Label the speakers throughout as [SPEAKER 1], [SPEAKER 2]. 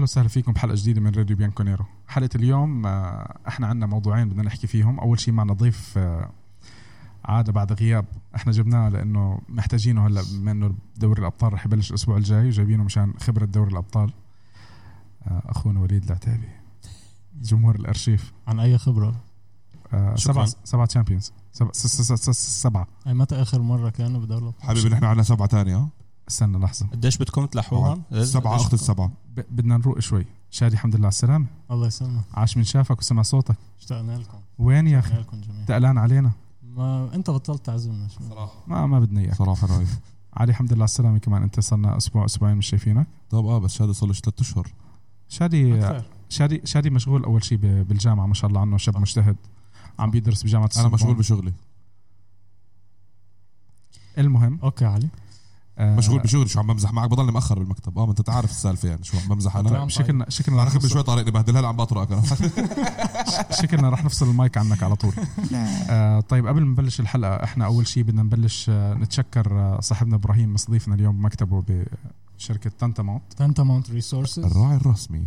[SPEAKER 1] وسهلا فيكم بحلقه جديده من راديو بيانكونيرو حلقه اليوم آه، احنا عندنا موضوعين بدنا نحكي فيهم اول شيء معنا ضيف آه، عاده بعد غياب احنا جبناه لانه محتاجينه هلا بما انه دوري الابطال رح يبلش الاسبوع الجاي وجايبينه مشان خبره دوري الابطال آه، اخونا وليد العتابي جمهور الارشيف
[SPEAKER 2] عن اي خبره
[SPEAKER 1] آه،
[SPEAKER 3] شكراً.
[SPEAKER 1] سبعه سبعه تشامبيونز سبعه س- س- س- س- سبعه
[SPEAKER 2] اي متى اخر مره كانوا بدوري الابطال
[SPEAKER 4] حبيبي نحن عندنا سبعه ثانيه ها
[SPEAKER 1] استنى لحظه
[SPEAKER 3] قديش بدكم إيه، تلحوهم؟
[SPEAKER 1] آه،
[SPEAKER 4] سبعه اخت السبعه
[SPEAKER 1] ب- بدنا نروق شوي شادي الحمد لله على السلامه
[SPEAKER 2] الله يسلمك
[SPEAKER 1] عاش من شافك وسمع صوتك
[SPEAKER 2] اشتقنا لكم
[SPEAKER 1] وين يا اخي
[SPEAKER 2] اشتقنا لكم جميعا
[SPEAKER 1] تقلان علينا
[SPEAKER 2] ما انت بطلت تعزمنا شو
[SPEAKER 1] ما ما بدنا اياك
[SPEAKER 4] صراحه رايف
[SPEAKER 1] علي الحمد لله على السلامه كمان انت صرنا اسبوع اسبوعين مش شايفينك
[SPEAKER 4] طب اه بس هذا صار له ثلاث اشهر
[SPEAKER 1] شادي
[SPEAKER 2] أكثر.
[SPEAKER 1] شادي شادي مشغول اول شيء ب- بالجامعه ما شاء الله عنه شاب مجتهد عم بيدرس بجامعه
[SPEAKER 4] انا
[SPEAKER 1] السوربون.
[SPEAKER 4] مشغول بشغلي
[SPEAKER 1] المهم
[SPEAKER 2] اوكي علي
[SPEAKER 1] آه،
[SPEAKER 4] مشغول بشغلي شو عم بمزح معك بضلني مخر بالمكتب اه ما انت تعرف السالفه يعني شو عم بمزح انا
[SPEAKER 1] طيب، شكلنا شكلنا
[SPEAKER 4] انا
[SPEAKER 1] رح
[SPEAKER 4] خبي
[SPEAKER 1] نفصل
[SPEAKER 4] شوي طارق بهدلها هلا عم بطرقك انا
[SPEAKER 1] شكلنا رح نفصل المايك عنك على طول آه طيب قبل ما نبلش الحلقه احنا اول شيء بدنا نبلش آه نتشكر آه صاحبنا ابراهيم مستضيفنا اليوم بمكتبه بشركه تنتامونت
[SPEAKER 2] تنتا ماونت ريسورسز
[SPEAKER 4] الراعي الرسمي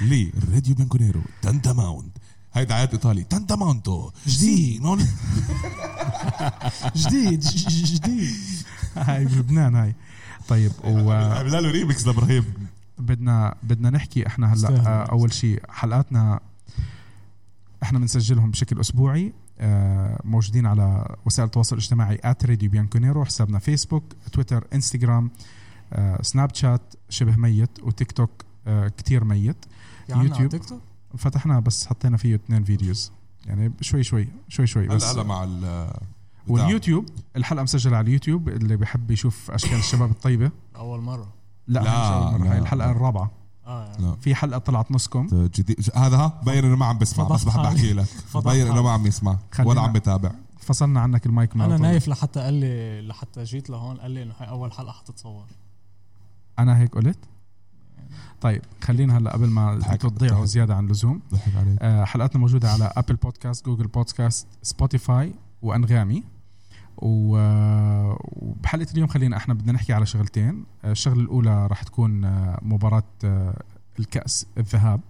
[SPEAKER 4] لي الراديو بانكونيرو تانتا ماوند هاي دعايات ايطالي تانتا ماونتو جديد
[SPEAKER 2] جديد جديد
[SPEAKER 1] هاي بلبنان هاي طيب و
[SPEAKER 4] عملها له ريمكس لابراهيم
[SPEAKER 1] بدنا بدنا نحكي احنا
[SPEAKER 2] استاهل.
[SPEAKER 1] هلا آه، اول شيء حلقاتنا احنا بنسجلهم بشكل اسبوعي آه، موجودين على وسائل التواصل الاجتماعي @راديو بيانكونيرو حسابنا فيسبوك تويتر انستغرام آه، سناب شات شبه ميت وتيك توك آه، كتير ميت
[SPEAKER 2] في عنا على
[SPEAKER 1] يوتيوب.
[SPEAKER 2] تيك توك
[SPEAKER 1] فتحنا بس حطينا فيه اثنين فيديوز يعني شوي شوي شوي شوي
[SPEAKER 4] هلا
[SPEAKER 1] بس
[SPEAKER 4] هلا مع ال
[SPEAKER 1] واليوتيوب الحلقه مسجله على اليوتيوب اللي بحب يشوف اشكال الشباب الطيبه
[SPEAKER 2] اول مره
[SPEAKER 1] لا,
[SPEAKER 4] لا،
[SPEAKER 1] هاي مش أول مرة، هاي
[SPEAKER 4] لا.
[SPEAKER 1] الحلقه الرابعه
[SPEAKER 2] اه يعني.
[SPEAKER 4] لا.
[SPEAKER 1] في حلقه طلعت نصكم
[SPEAKER 4] جديد هذا ها بين انه ما عم بسمع
[SPEAKER 2] فضح
[SPEAKER 4] بس بحب
[SPEAKER 2] حالي.
[SPEAKER 4] احكي لك
[SPEAKER 2] فضح
[SPEAKER 4] بين انه
[SPEAKER 2] حالي.
[SPEAKER 4] ما عم يسمع
[SPEAKER 1] خلينا-
[SPEAKER 4] ولا عم بتابع
[SPEAKER 1] فصلنا عنك المايك مرة
[SPEAKER 2] انا
[SPEAKER 1] طيب.
[SPEAKER 2] نايف لحتى قال لي لحتى جيت لهون قال لي انه هاي اول حلقه حتتصور
[SPEAKER 1] انا هيك قلت طيب خلينا هلا قبل ما
[SPEAKER 4] ضحك-
[SPEAKER 1] تضيعوا
[SPEAKER 4] ضحك.
[SPEAKER 1] زياده عن اللزوم
[SPEAKER 4] ضحك عليك
[SPEAKER 1] آه، حلقاتنا موجوده على ابل بودكاست جوجل بودكاست سبوتيفاي وانغامي و- آه، وبحلقه اليوم خلينا احنا بدنا نحكي على شغلتين آه، الشغله الاولى راح تكون آه، مباراه آه، الكاس الذهاب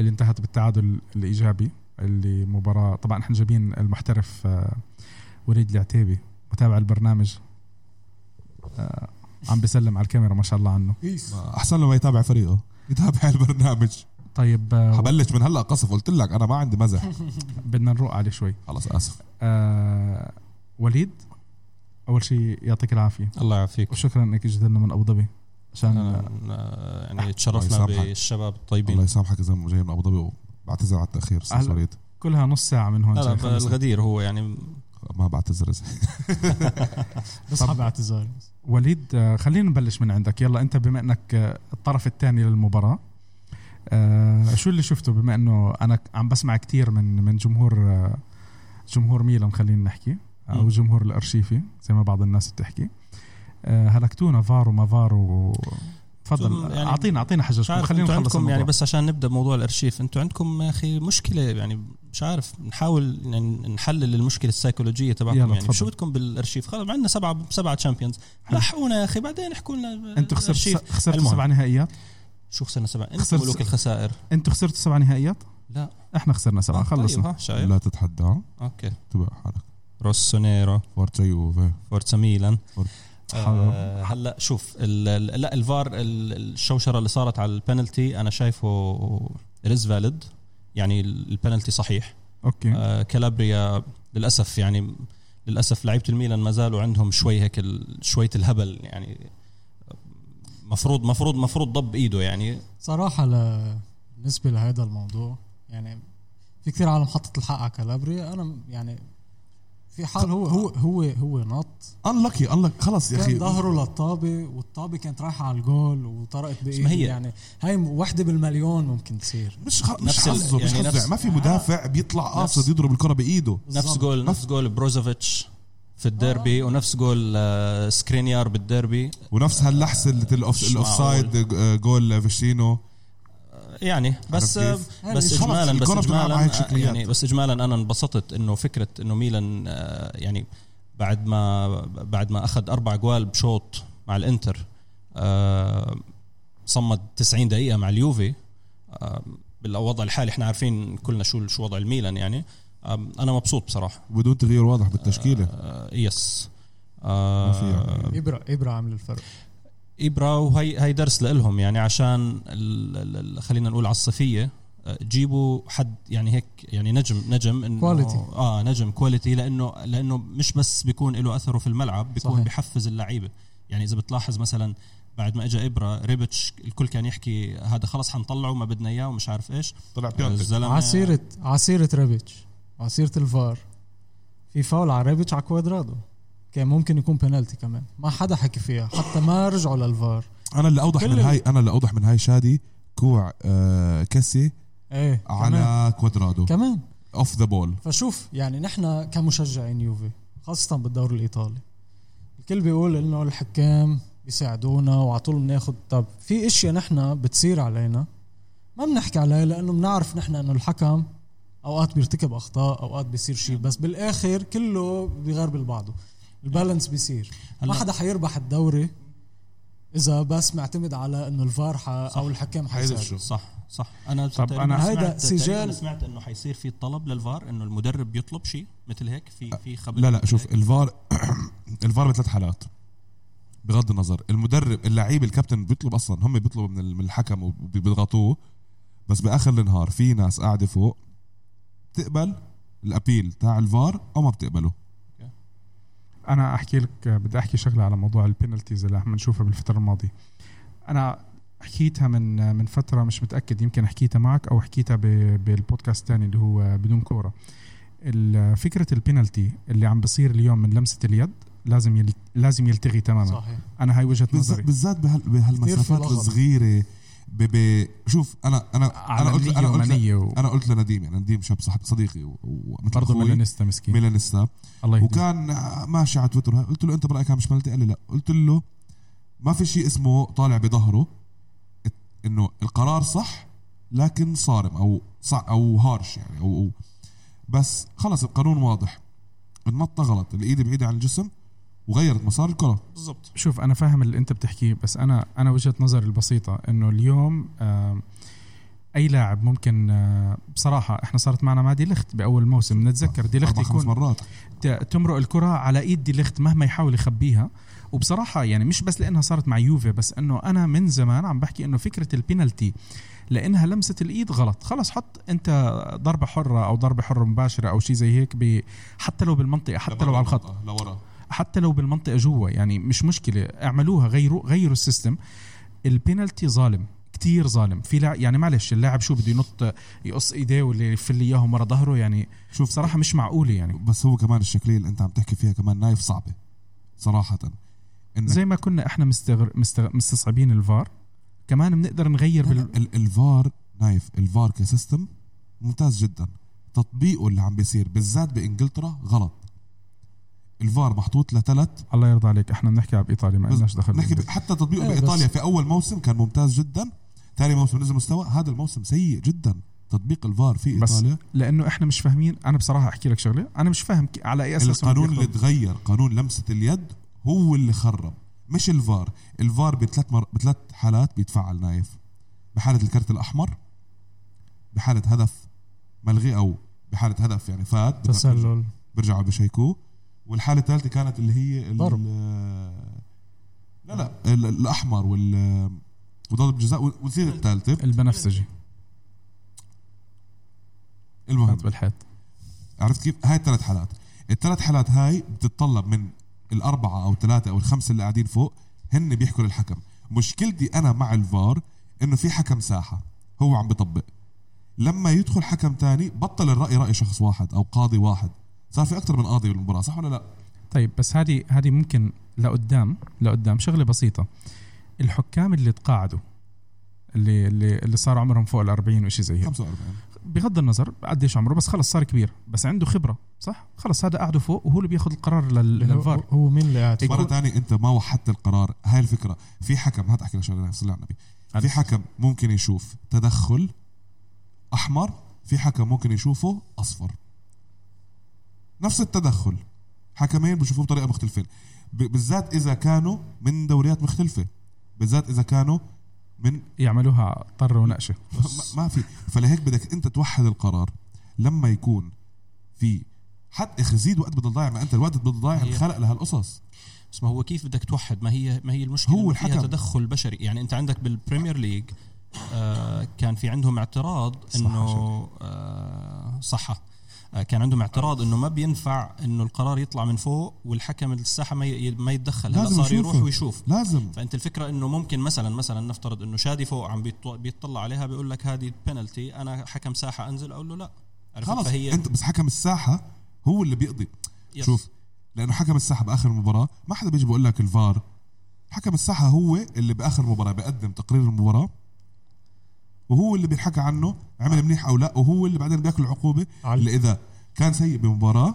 [SPEAKER 1] اللي انتهت بالتعادل الايجابي اللي مباراه طبعا احنا جايبين المحترف آه، وليد العتيبي متابع البرنامج آه، عم بسلم على الكاميرا ما شاء الله عنه
[SPEAKER 4] ما احسن آه، له ما يتابع فريقه يتابع البرنامج
[SPEAKER 1] طيب آه،
[SPEAKER 4] حبلش من هلا قصف قلت لك انا ما عندي مزح
[SPEAKER 1] بدنا نروق عليه شوي
[SPEAKER 4] خلص اسف
[SPEAKER 1] آه وليد اول شيء يعطيك العافيه
[SPEAKER 3] الله يعافيك
[SPEAKER 1] وشكرا انك جيت لنا من ابو ظبي عشان آه،
[SPEAKER 3] أنا- يعني
[SPEAKER 4] الله
[SPEAKER 3] تشرفنا
[SPEAKER 4] يسامحك.
[SPEAKER 3] بالشباب
[SPEAKER 4] الله
[SPEAKER 3] الطيبين
[SPEAKER 4] يسامحك اذا جاي من ابو ظبي وبعتذر على التاخير استاذ
[SPEAKER 1] أهلا.
[SPEAKER 4] فريد
[SPEAKER 1] كلها نص ساعه من هون
[SPEAKER 3] لا
[SPEAKER 1] جاي
[SPEAKER 3] لا
[SPEAKER 1] خمسة.
[SPEAKER 3] الغدير هو يعني
[SPEAKER 4] ما بعتذر إذا-
[SPEAKER 2] بس
[SPEAKER 1] طب.
[SPEAKER 2] حابب اعتذاري
[SPEAKER 1] وليد آه، خلينا نبلش من عندك يلا انت بما انك آه، الطرف الثاني للمباراه آه شو اللي شفته بما انه انا ك- عم بسمع كثير من من جمهور آه جمهور ميلان خلينا نحكي او
[SPEAKER 3] مم.
[SPEAKER 1] جمهور الارشيفي زي ما بعض الناس بتحكي آه هلكتونا فار وما فار و... تفضل
[SPEAKER 3] يعني-
[SPEAKER 1] اعطينا اعطينا
[SPEAKER 3] مش
[SPEAKER 1] حججكم
[SPEAKER 3] عارف
[SPEAKER 1] خلينا
[SPEAKER 3] انتوا
[SPEAKER 1] نخلص
[SPEAKER 3] عندكم يعني
[SPEAKER 1] الموضوع.
[SPEAKER 3] بس عشان نبدا موضوع الارشيف انتوا عندكم يا اخي مشكله يعني مش عارف نحاول يعني نحلل المشكله السيكولوجيه تبعكم
[SPEAKER 1] يلا،
[SPEAKER 3] يعني
[SPEAKER 1] تفضل.
[SPEAKER 3] شو بدكم بالارشيف خلص عندنا سبعه سبعه تشامبيونز
[SPEAKER 1] حلو.
[SPEAKER 3] لحقونا يا اخي بعدين احكوا لنا
[SPEAKER 1] انتوا
[SPEAKER 3] الأرشيف.
[SPEAKER 1] خسرت خسرت
[SPEAKER 3] المهم.
[SPEAKER 1] سبع نهائيات
[SPEAKER 3] شو خسرنا سبعه انتوا
[SPEAKER 1] خسرت
[SPEAKER 3] ملوك
[SPEAKER 1] س-
[SPEAKER 3] الخسائر
[SPEAKER 1] انتوا خسرتوا سبع نهائيات
[SPEAKER 3] لا
[SPEAKER 1] احنا خسرنا سبعه
[SPEAKER 3] طيب
[SPEAKER 1] خلصنا
[SPEAKER 3] ها شايف
[SPEAKER 4] لا تتحدى
[SPEAKER 3] اوكي
[SPEAKER 4] تبع حالك
[SPEAKER 3] روسونيرو
[SPEAKER 4] فورتشا يوفي
[SPEAKER 3] فورتسا ميلان
[SPEAKER 4] فور-
[SPEAKER 3] آه، هلا شوف ال- ال- لا الفار ال- الشوشره اللي صارت على البنالتي انا شايفه ريز فاليد يعني ال- البنالتي صحيح
[SPEAKER 1] اوكي
[SPEAKER 3] آه، كالابريا للاسف يعني للاسف لعيبه الميلان ما زالوا عندهم شوي هيك ال- شويه الهبل يعني مفروض مفروض مفروض ضب ايده يعني
[SPEAKER 2] صراحة ل- بالنسبة لهذا الموضوع يعني في كثير عالم حطت الحق على كالابريا انا م- يعني في حال هو هو هو هو نط
[SPEAKER 4] انلكي انلكي خلص يا
[SPEAKER 2] كان
[SPEAKER 4] اخي
[SPEAKER 2] ظهره للطابة والطابة كانت رايحة على الجول وطرقت
[SPEAKER 3] ما
[SPEAKER 2] بإيده
[SPEAKER 3] هي-
[SPEAKER 2] يعني هاي م- وحدة بالمليون ممكن تصير
[SPEAKER 4] مش خ... مش
[SPEAKER 3] نفس ال-
[SPEAKER 4] حظه مش
[SPEAKER 3] يعني نفس- آه.
[SPEAKER 4] حظه ما في مدافع بيطلع قاصد يضرب الكره بايده
[SPEAKER 3] نفس
[SPEAKER 2] بالضبط.
[SPEAKER 3] جول نفس جول بروزوفيتش في الديربي ونفس جول آه، سكرينيار بالديربي
[SPEAKER 4] ونفس هاللحسه اللي الاوف
[SPEAKER 3] مش
[SPEAKER 4] الاوف سايد آه، جول فيشتينو
[SPEAKER 3] يعني بس
[SPEAKER 4] عرفت كيف؟
[SPEAKER 3] آه، بس
[SPEAKER 2] هذه
[SPEAKER 3] اجمالا
[SPEAKER 4] خلص،
[SPEAKER 3] بس
[SPEAKER 4] الكرة بتلعب على
[SPEAKER 3] اجمالا آه،
[SPEAKER 4] هالشكليات.
[SPEAKER 3] يعني بس اجمالا انا انبسطت انه فكره انه ميلان آه، يعني بعد ما بعد ما اخذ اربع جوال بشوط مع الانتر آه، صمد 90 دقيقه مع اليوفي آه، بالوضع الحالي احنا عارفين كلنا شو شو وضع الميلان يعني آه، انا مبسوط بصراحه
[SPEAKER 4] بدون تغيير واضح بالتشكيله
[SPEAKER 3] آه، يس
[SPEAKER 4] ما في يعني.
[SPEAKER 3] آه
[SPEAKER 2] ابرا ابرا عامل الفرق
[SPEAKER 3] ابره وهي هي درس لهم يعني عشان ال- ال- ال- خلينا نقول على الصيفيه آه، جيبوا حد يعني هيك يعني نجم نجم انه
[SPEAKER 2] Quality.
[SPEAKER 3] اه نجم كواليتي لانه لانه مش بس بيكون له اثره في الملعب بيكون
[SPEAKER 2] صحيح.
[SPEAKER 3] صحيح. بحفز اللعيبه يعني اذا بتلاحظ مثلا بعد ما اجى ابره ريبتش الكل كان يحكي هذا خلص حنطلعه ما بدنا اياه ومش عارف ايش
[SPEAKER 4] طلع
[SPEAKER 3] الزلمه
[SPEAKER 2] عسيرة عسيرة رابيتش عسيرة الفار في فاول على رابيتش على كوادرادو كان ممكن يكون بنالتي كمان ما حدا حكي فيها حتى ما رجعوا للفار
[SPEAKER 3] آه.
[SPEAKER 4] انا اللي اوضح
[SPEAKER 2] كل
[SPEAKER 4] من
[SPEAKER 2] ال-
[SPEAKER 4] هاي انا اللي اوضح من هاي شادي كوع آه كسي
[SPEAKER 2] ايه كمان,
[SPEAKER 4] على كوادرادو
[SPEAKER 2] كمان
[SPEAKER 4] اوف ذا بول
[SPEAKER 2] فشوف يعني نحن كمشجعين يوفي خاصة بالدوري الإيطالي الكل بيقول إنه الحكام بيساعدونا وعلى طول بناخد طب في اشياء نحن بتصير علينا ما بنحكي عليها لأنه بنعرف نحن إنه الحكم أوقات بيرتكب أخطاء أوقات بيصير شيء بس بالآخر كله بيغربل بعضه البالانس بيصير ما
[SPEAKER 3] هلا-
[SPEAKER 2] حدا حيربح الدوري إذا بس معتمد على إنه الفار ح- أو الحكام حيساعد
[SPEAKER 4] حيدرسوا.
[SPEAKER 3] صح صح انا
[SPEAKER 1] طب
[SPEAKER 3] تقريباً
[SPEAKER 1] أنا-
[SPEAKER 3] سمعت-
[SPEAKER 2] هيدا
[SPEAKER 3] تقريباً
[SPEAKER 2] سجال-
[SPEAKER 3] سمعت انه حيصير في طلب للفار انه المدرب يطلب شيء مثل هيك في في خبر
[SPEAKER 4] لا لا
[SPEAKER 3] مثل
[SPEAKER 4] شوف
[SPEAKER 3] هيك.
[SPEAKER 4] الفار الفار بثلاث حالات بغض النظر المدرب اللعيب الكابتن بيطلب اصلا هم بيطلبوا من ال- من الحكم وبيضغطوه بس باخر النهار في ناس قاعده فوق بتقبل الابيل تاع الفار او ما بتقبله
[SPEAKER 1] انا احكي لك بدي احكي شغله على موضوع البينالتيز اللي عم نشوفها بالفتره الماضيه انا حكيتها من من فتره مش متاكد يمكن حكيتها معك او حكيتها ب- بالبودكاست الثاني اللي هو بدون كوره ال- فكره البينالتي اللي عم بصير اليوم من لمسه اليد لازم يل... لازم يلتغي تماما صح.
[SPEAKER 2] صحيح
[SPEAKER 1] انا هاي وجهه
[SPEAKER 4] بالذات-
[SPEAKER 1] نظري
[SPEAKER 4] بالذات بهال- بهالمسافات
[SPEAKER 2] لغط.
[SPEAKER 4] الصغيره ب... ب... شوف انا انا انا قلت
[SPEAKER 1] عالميه
[SPEAKER 4] انا قلت
[SPEAKER 1] ومنيه و...
[SPEAKER 4] انا قلت لنديم يعني نديم شاب صاحب صديقي و- ومثل
[SPEAKER 1] برضه
[SPEAKER 4] أخوي،
[SPEAKER 1] ميلانيستا مسكين
[SPEAKER 4] ميلانيستا
[SPEAKER 1] الله يهديه
[SPEAKER 4] وكان ماشي على تويتر قلت له انت برايك هاي مش بنالتي قال لي لا قلت له ما في شيء اسمه طالع بظهره انه القرار صح لكن صارم او صع او هارش يعني او, أو بس خلص القانون واضح النطه غلط الايد بعيده عن الجسم وغيرت مسار الكره
[SPEAKER 3] بالضبط
[SPEAKER 1] شوف انا فاهم اللي انت بتحكيه بس انا انا وجهه نظري البسيطه انه اليوم آم، اي لاعب ممكن آه، بصراحه احنا صارت معنا مع دي لخت باول موسم نتذكر دي لخت
[SPEAKER 4] اربع خمس
[SPEAKER 1] يكون
[SPEAKER 4] مرات
[SPEAKER 1] ت- تمرق الكرة على ايد دي ليخت مهما يحاول يخبيها وبصراحة يعني مش بس لانها صارت مع يوفي بس انه انا من زمان عم بحكي انه فكرة البينالتي لانها لمسة الايد غلط خلص حط انت ضربة حرة او ضربة حرة مباشرة او شيء زي هيك ب... حتى لو بالمنطقة حتى لو على الخط
[SPEAKER 4] لورا
[SPEAKER 1] حتى لو بالمنطقه جوا يعني مش مشكله اعملوها غيروا غيروا السيستم البينالتي ظالم كتير ظالم في لاعب يعني معلش اللاعب شو بده ينط يقص ايديه ولا يفل اياهم ورا ظهره يعني
[SPEAKER 4] شوف
[SPEAKER 1] بصراحه مش معقوله يعني
[SPEAKER 4] بس هو كمان الشكليه اللي انت عم تحكي فيها كمان نايف صعبه صراحه انك
[SPEAKER 1] زي ما كنا احنا مستغر... مستغ... مستصعبين الفار كمان بنقدر نغير
[SPEAKER 4] لا، لا،
[SPEAKER 1] بال...
[SPEAKER 4] ال- الفار نايف الفار كسيستم ممتاز جدا تطبيقه اللي عم بيصير بالذات بانجلترا غلط الفار محطوط لثلاث
[SPEAKER 1] الله يرضى عليك احنا بنحكي على ايطاليا ما لناش دخل
[SPEAKER 4] نحكي ب-
[SPEAKER 1] بالإنجليزي.
[SPEAKER 4] حتى تطبيقه
[SPEAKER 2] إيه،
[SPEAKER 4] بايطاليا
[SPEAKER 2] بس-
[SPEAKER 4] في اول موسم كان ممتاز جدا ثاني موسم نزل مستوى هذا الموسم سيء جدا تطبيق الفار في
[SPEAKER 1] بس
[SPEAKER 4] ايطاليا
[SPEAKER 1] لانه احنا مش فاهمين انا بصراحه احكي لك شغله انا مش فاهم كي- على اي اساس هم
[SPEAKER 4] القانون
[SPEAKER 1] بياخدوا.
[SPEAKER 4] اللي تغير قانون لمسه اليد هو اللي خرب مش الفار الفار بثلاث مر... بثلاث حالات بيتفعل نايف بحاله الكرت الاحمر بحاله هدف ملغي او بحاله هدف يعني فات
[SPEAKER 2] تسلل
[SPEAKER 4] برجعوا بشيكوه والحاله الثالثه كانت اللي هي ال-
[SPEAKER 2] ضرب.
[SPEAKER 4] لا لا ال- الاحمر وال وضرب جزاء وال- والصيغه الثالثه
[SPEAKER 1] البنفسجي
[SPEAKER 4] المهم
[SPEAKER 1] فات بالحيط
[SPEAKER 4] عرفت كيف؟ هاي الثلاث حالات، الثلاث حالات هاي بتتطلب من الأربعة أو الثلاثة أو الخمسة اللي قاعدين فوق هن بيحكوا للحكم، مشكلتي أنا مع الفار إنه في حكم ساحة هو عم بيطبق لما يدخل حكم تاني بطل الرأي رأي شخص واحد أو قاضي واحد، صار في أكثر من قاضي بالمباراة صح ولا لا؟
[SPEAKER 1] طيب بس هذه هذه ممكن لقدام لقدام شغله بسيطه الحكام اللي تقاعدوا اللي اللي اللي صار عمرهم فوق ال 40 وشي زي هيك
[SPEAKER 4] 45
[SPEAKER 1] بغض النظر قديش عمره بس خلص صار كبير بس عنده خبره صح خلص هذا قعده فوق وهو اللي بياخذ القرار لل-
[SPEAKER 2] هو,
[SPEAKER 1] للفار
[SPEAKER 2] هو مين اللي قاعد
[SPEAKER 4] مرة
[SPEAKER 1] يكون-
[SPEAKER 4] تانية أنت ما وحدت القرار، هاي الفكرة، في حكم هات أحكي لك شغلة صلي على النبي، في حكم ممكن يشوف تدخل احمر في حكم ممكن يشوفه اصفر نفس التدخل حكمين بشوفوه بطريقه مختلفه ب- بالذات اذا كانوا من دوريات مختلفه بالذات اذا كانوا من
[SPEAKER 1] يعملوها طر ونقشه
[SPEAKER 4] ما- ما في فلهيك بدك انت توحد القرار لما يكون في حد اخي زيد وقت بده ضايع ما انت الوقت بده ضايع
[SPEAKER 3] هي-
[SPEAKER 4] انخلق لهالقصص
[SPEAKER 3] بس ما هو كيف بدك توحد ما هي ما هي المشكله
[SPEAKER 4] هو
[SPEAKER 3] إنه فيها
[SPEAKER 4] الحكم.
[SPEAKER 3] تدخل بشري يعني انت عندك بالبريمير ليج آه كان في عندهم اعتراض انه آه صحه آه كان عندهم اعتراض انه ما بينفع انه القرار يطلع من فوق والحكم الساحه ما ي- ما يتدخل هلا
[SPEAKER 4] لازم
[SPEAKER 3] صار
[SPEAKER 4] يشوفه.
[SPEAKER 3] يروح ويشوف
[SPEAKER 4] لازم
[SPEAKER 3] فانت الفكره انه ممكن مثلا مثلا نفترض انه شادي فوق عم بيط- بيطلع عليها بيقول لك هذه بنالتي انا حكم ساحه انزل اقول له لا عرفت
[SPEAKER 4] خلص
[SPEAKER 3] فهي
[SPEAKER 4] انت بس حكم الساحه هو اللي بيقضي
[SPEAKER 3] يس.
[SPEAKER 4] شوف لانه حكم الساحه باخر المباراه ما حدا بيجي بيقول لك الفار حكم الساحه هو اللي باخر المباراه بيقدم تقرير المباراه وهو اللي بينحكى عنه عمل منيح او لا وهو اللي بعدين بياكل العقوبه
[SPEAKER 2] عل-
[SPEAKER 4] اللي اذا كان سيء بمباراه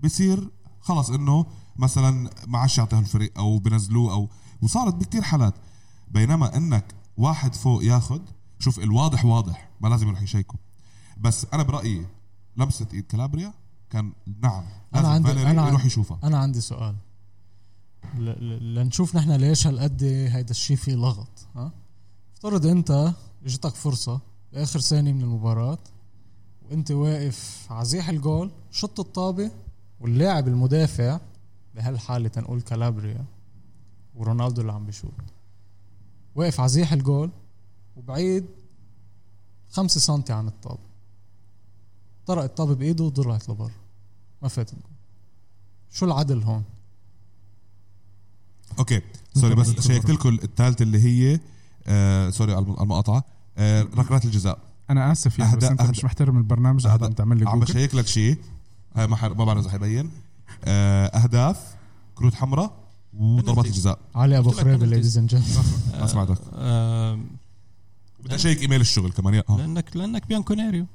[SPEAKER 4] بصير خلص انه مثلا ما عادش يعطيه الفريق او بنزلوه او وصارت بكتير حالات بينما انك واحد فوق ياخد شوف الواضح واضح ما لازم يروح يشيكه بس انا برايي لمسه ايد كالابريا كان نعم
[SPEAKER 2] أنا
[SPEAKER 4] لازم
[SPEAKER 2] عندي-
[SPEAKER 4] فاليري
[SPEAKER 2] أنا عن-
[SPEAKER 4] يروح يشوفها
[SPEAKER 2] انا عندي سؤال ل- ل- لنشوف نحن ليش هالقد هيدا الشيء فيه لغط ها افترض انت اجتك فرصه باخر ثانيه من المباراه وانت واقف عزيح الجول شط الطابه واللاعب المدافع بهالحاله تنقول كالابريا ورونالدو اللي عم بيشوط واقف عزيح الجول وبعيد خمسة سنتي عن الطابة طرق الطابة بإيده وضرعت لبر ما فاتت شو العدل هون؟
[SPEAKER 4] اوكي سوري
[SPEAKER 1] طبعاً.
[SPEAKER 4] بس شيكت لكم الثالثه اللي هي آه سوري على الم- المقاطعه آه ركلات الجزاء
[SPEAKER 1] انا اسف يعني بس
[SPEAKER 4] أهدأ-
[SPEAKER 1] انت
[SPEAKER 4] أهدأ.
[SPEAKER 1] مش محترم البرنامج قاعد عم تعمل لي
[SPEAKER 4] عم
[SPEAKER 1] جوجل
[SPEAKER 4] بشيك لك شيء هاي ما حر... ما بعرف اذا حيبين آه، اهداف كروت حمراء وضربات
[SPEAKER 3] بنالتي.
[SPEAKER 4] الجزاء
[SPEAKER 2] علي ابو
[SPEAKER 3] قلت لك
[SPEAKER 2] خريبه
[SPEAKER 3] penalties.
[SPEAKER 2] ليديز اند
[SPEAKER 4] ما سمعتك
[SPEAKER 3] آه
[SPEAKER 4] بدي اشيك ايميل الشغل كمان يا آه.
[SPEAKER 3] لانك لانك بيانكونيريو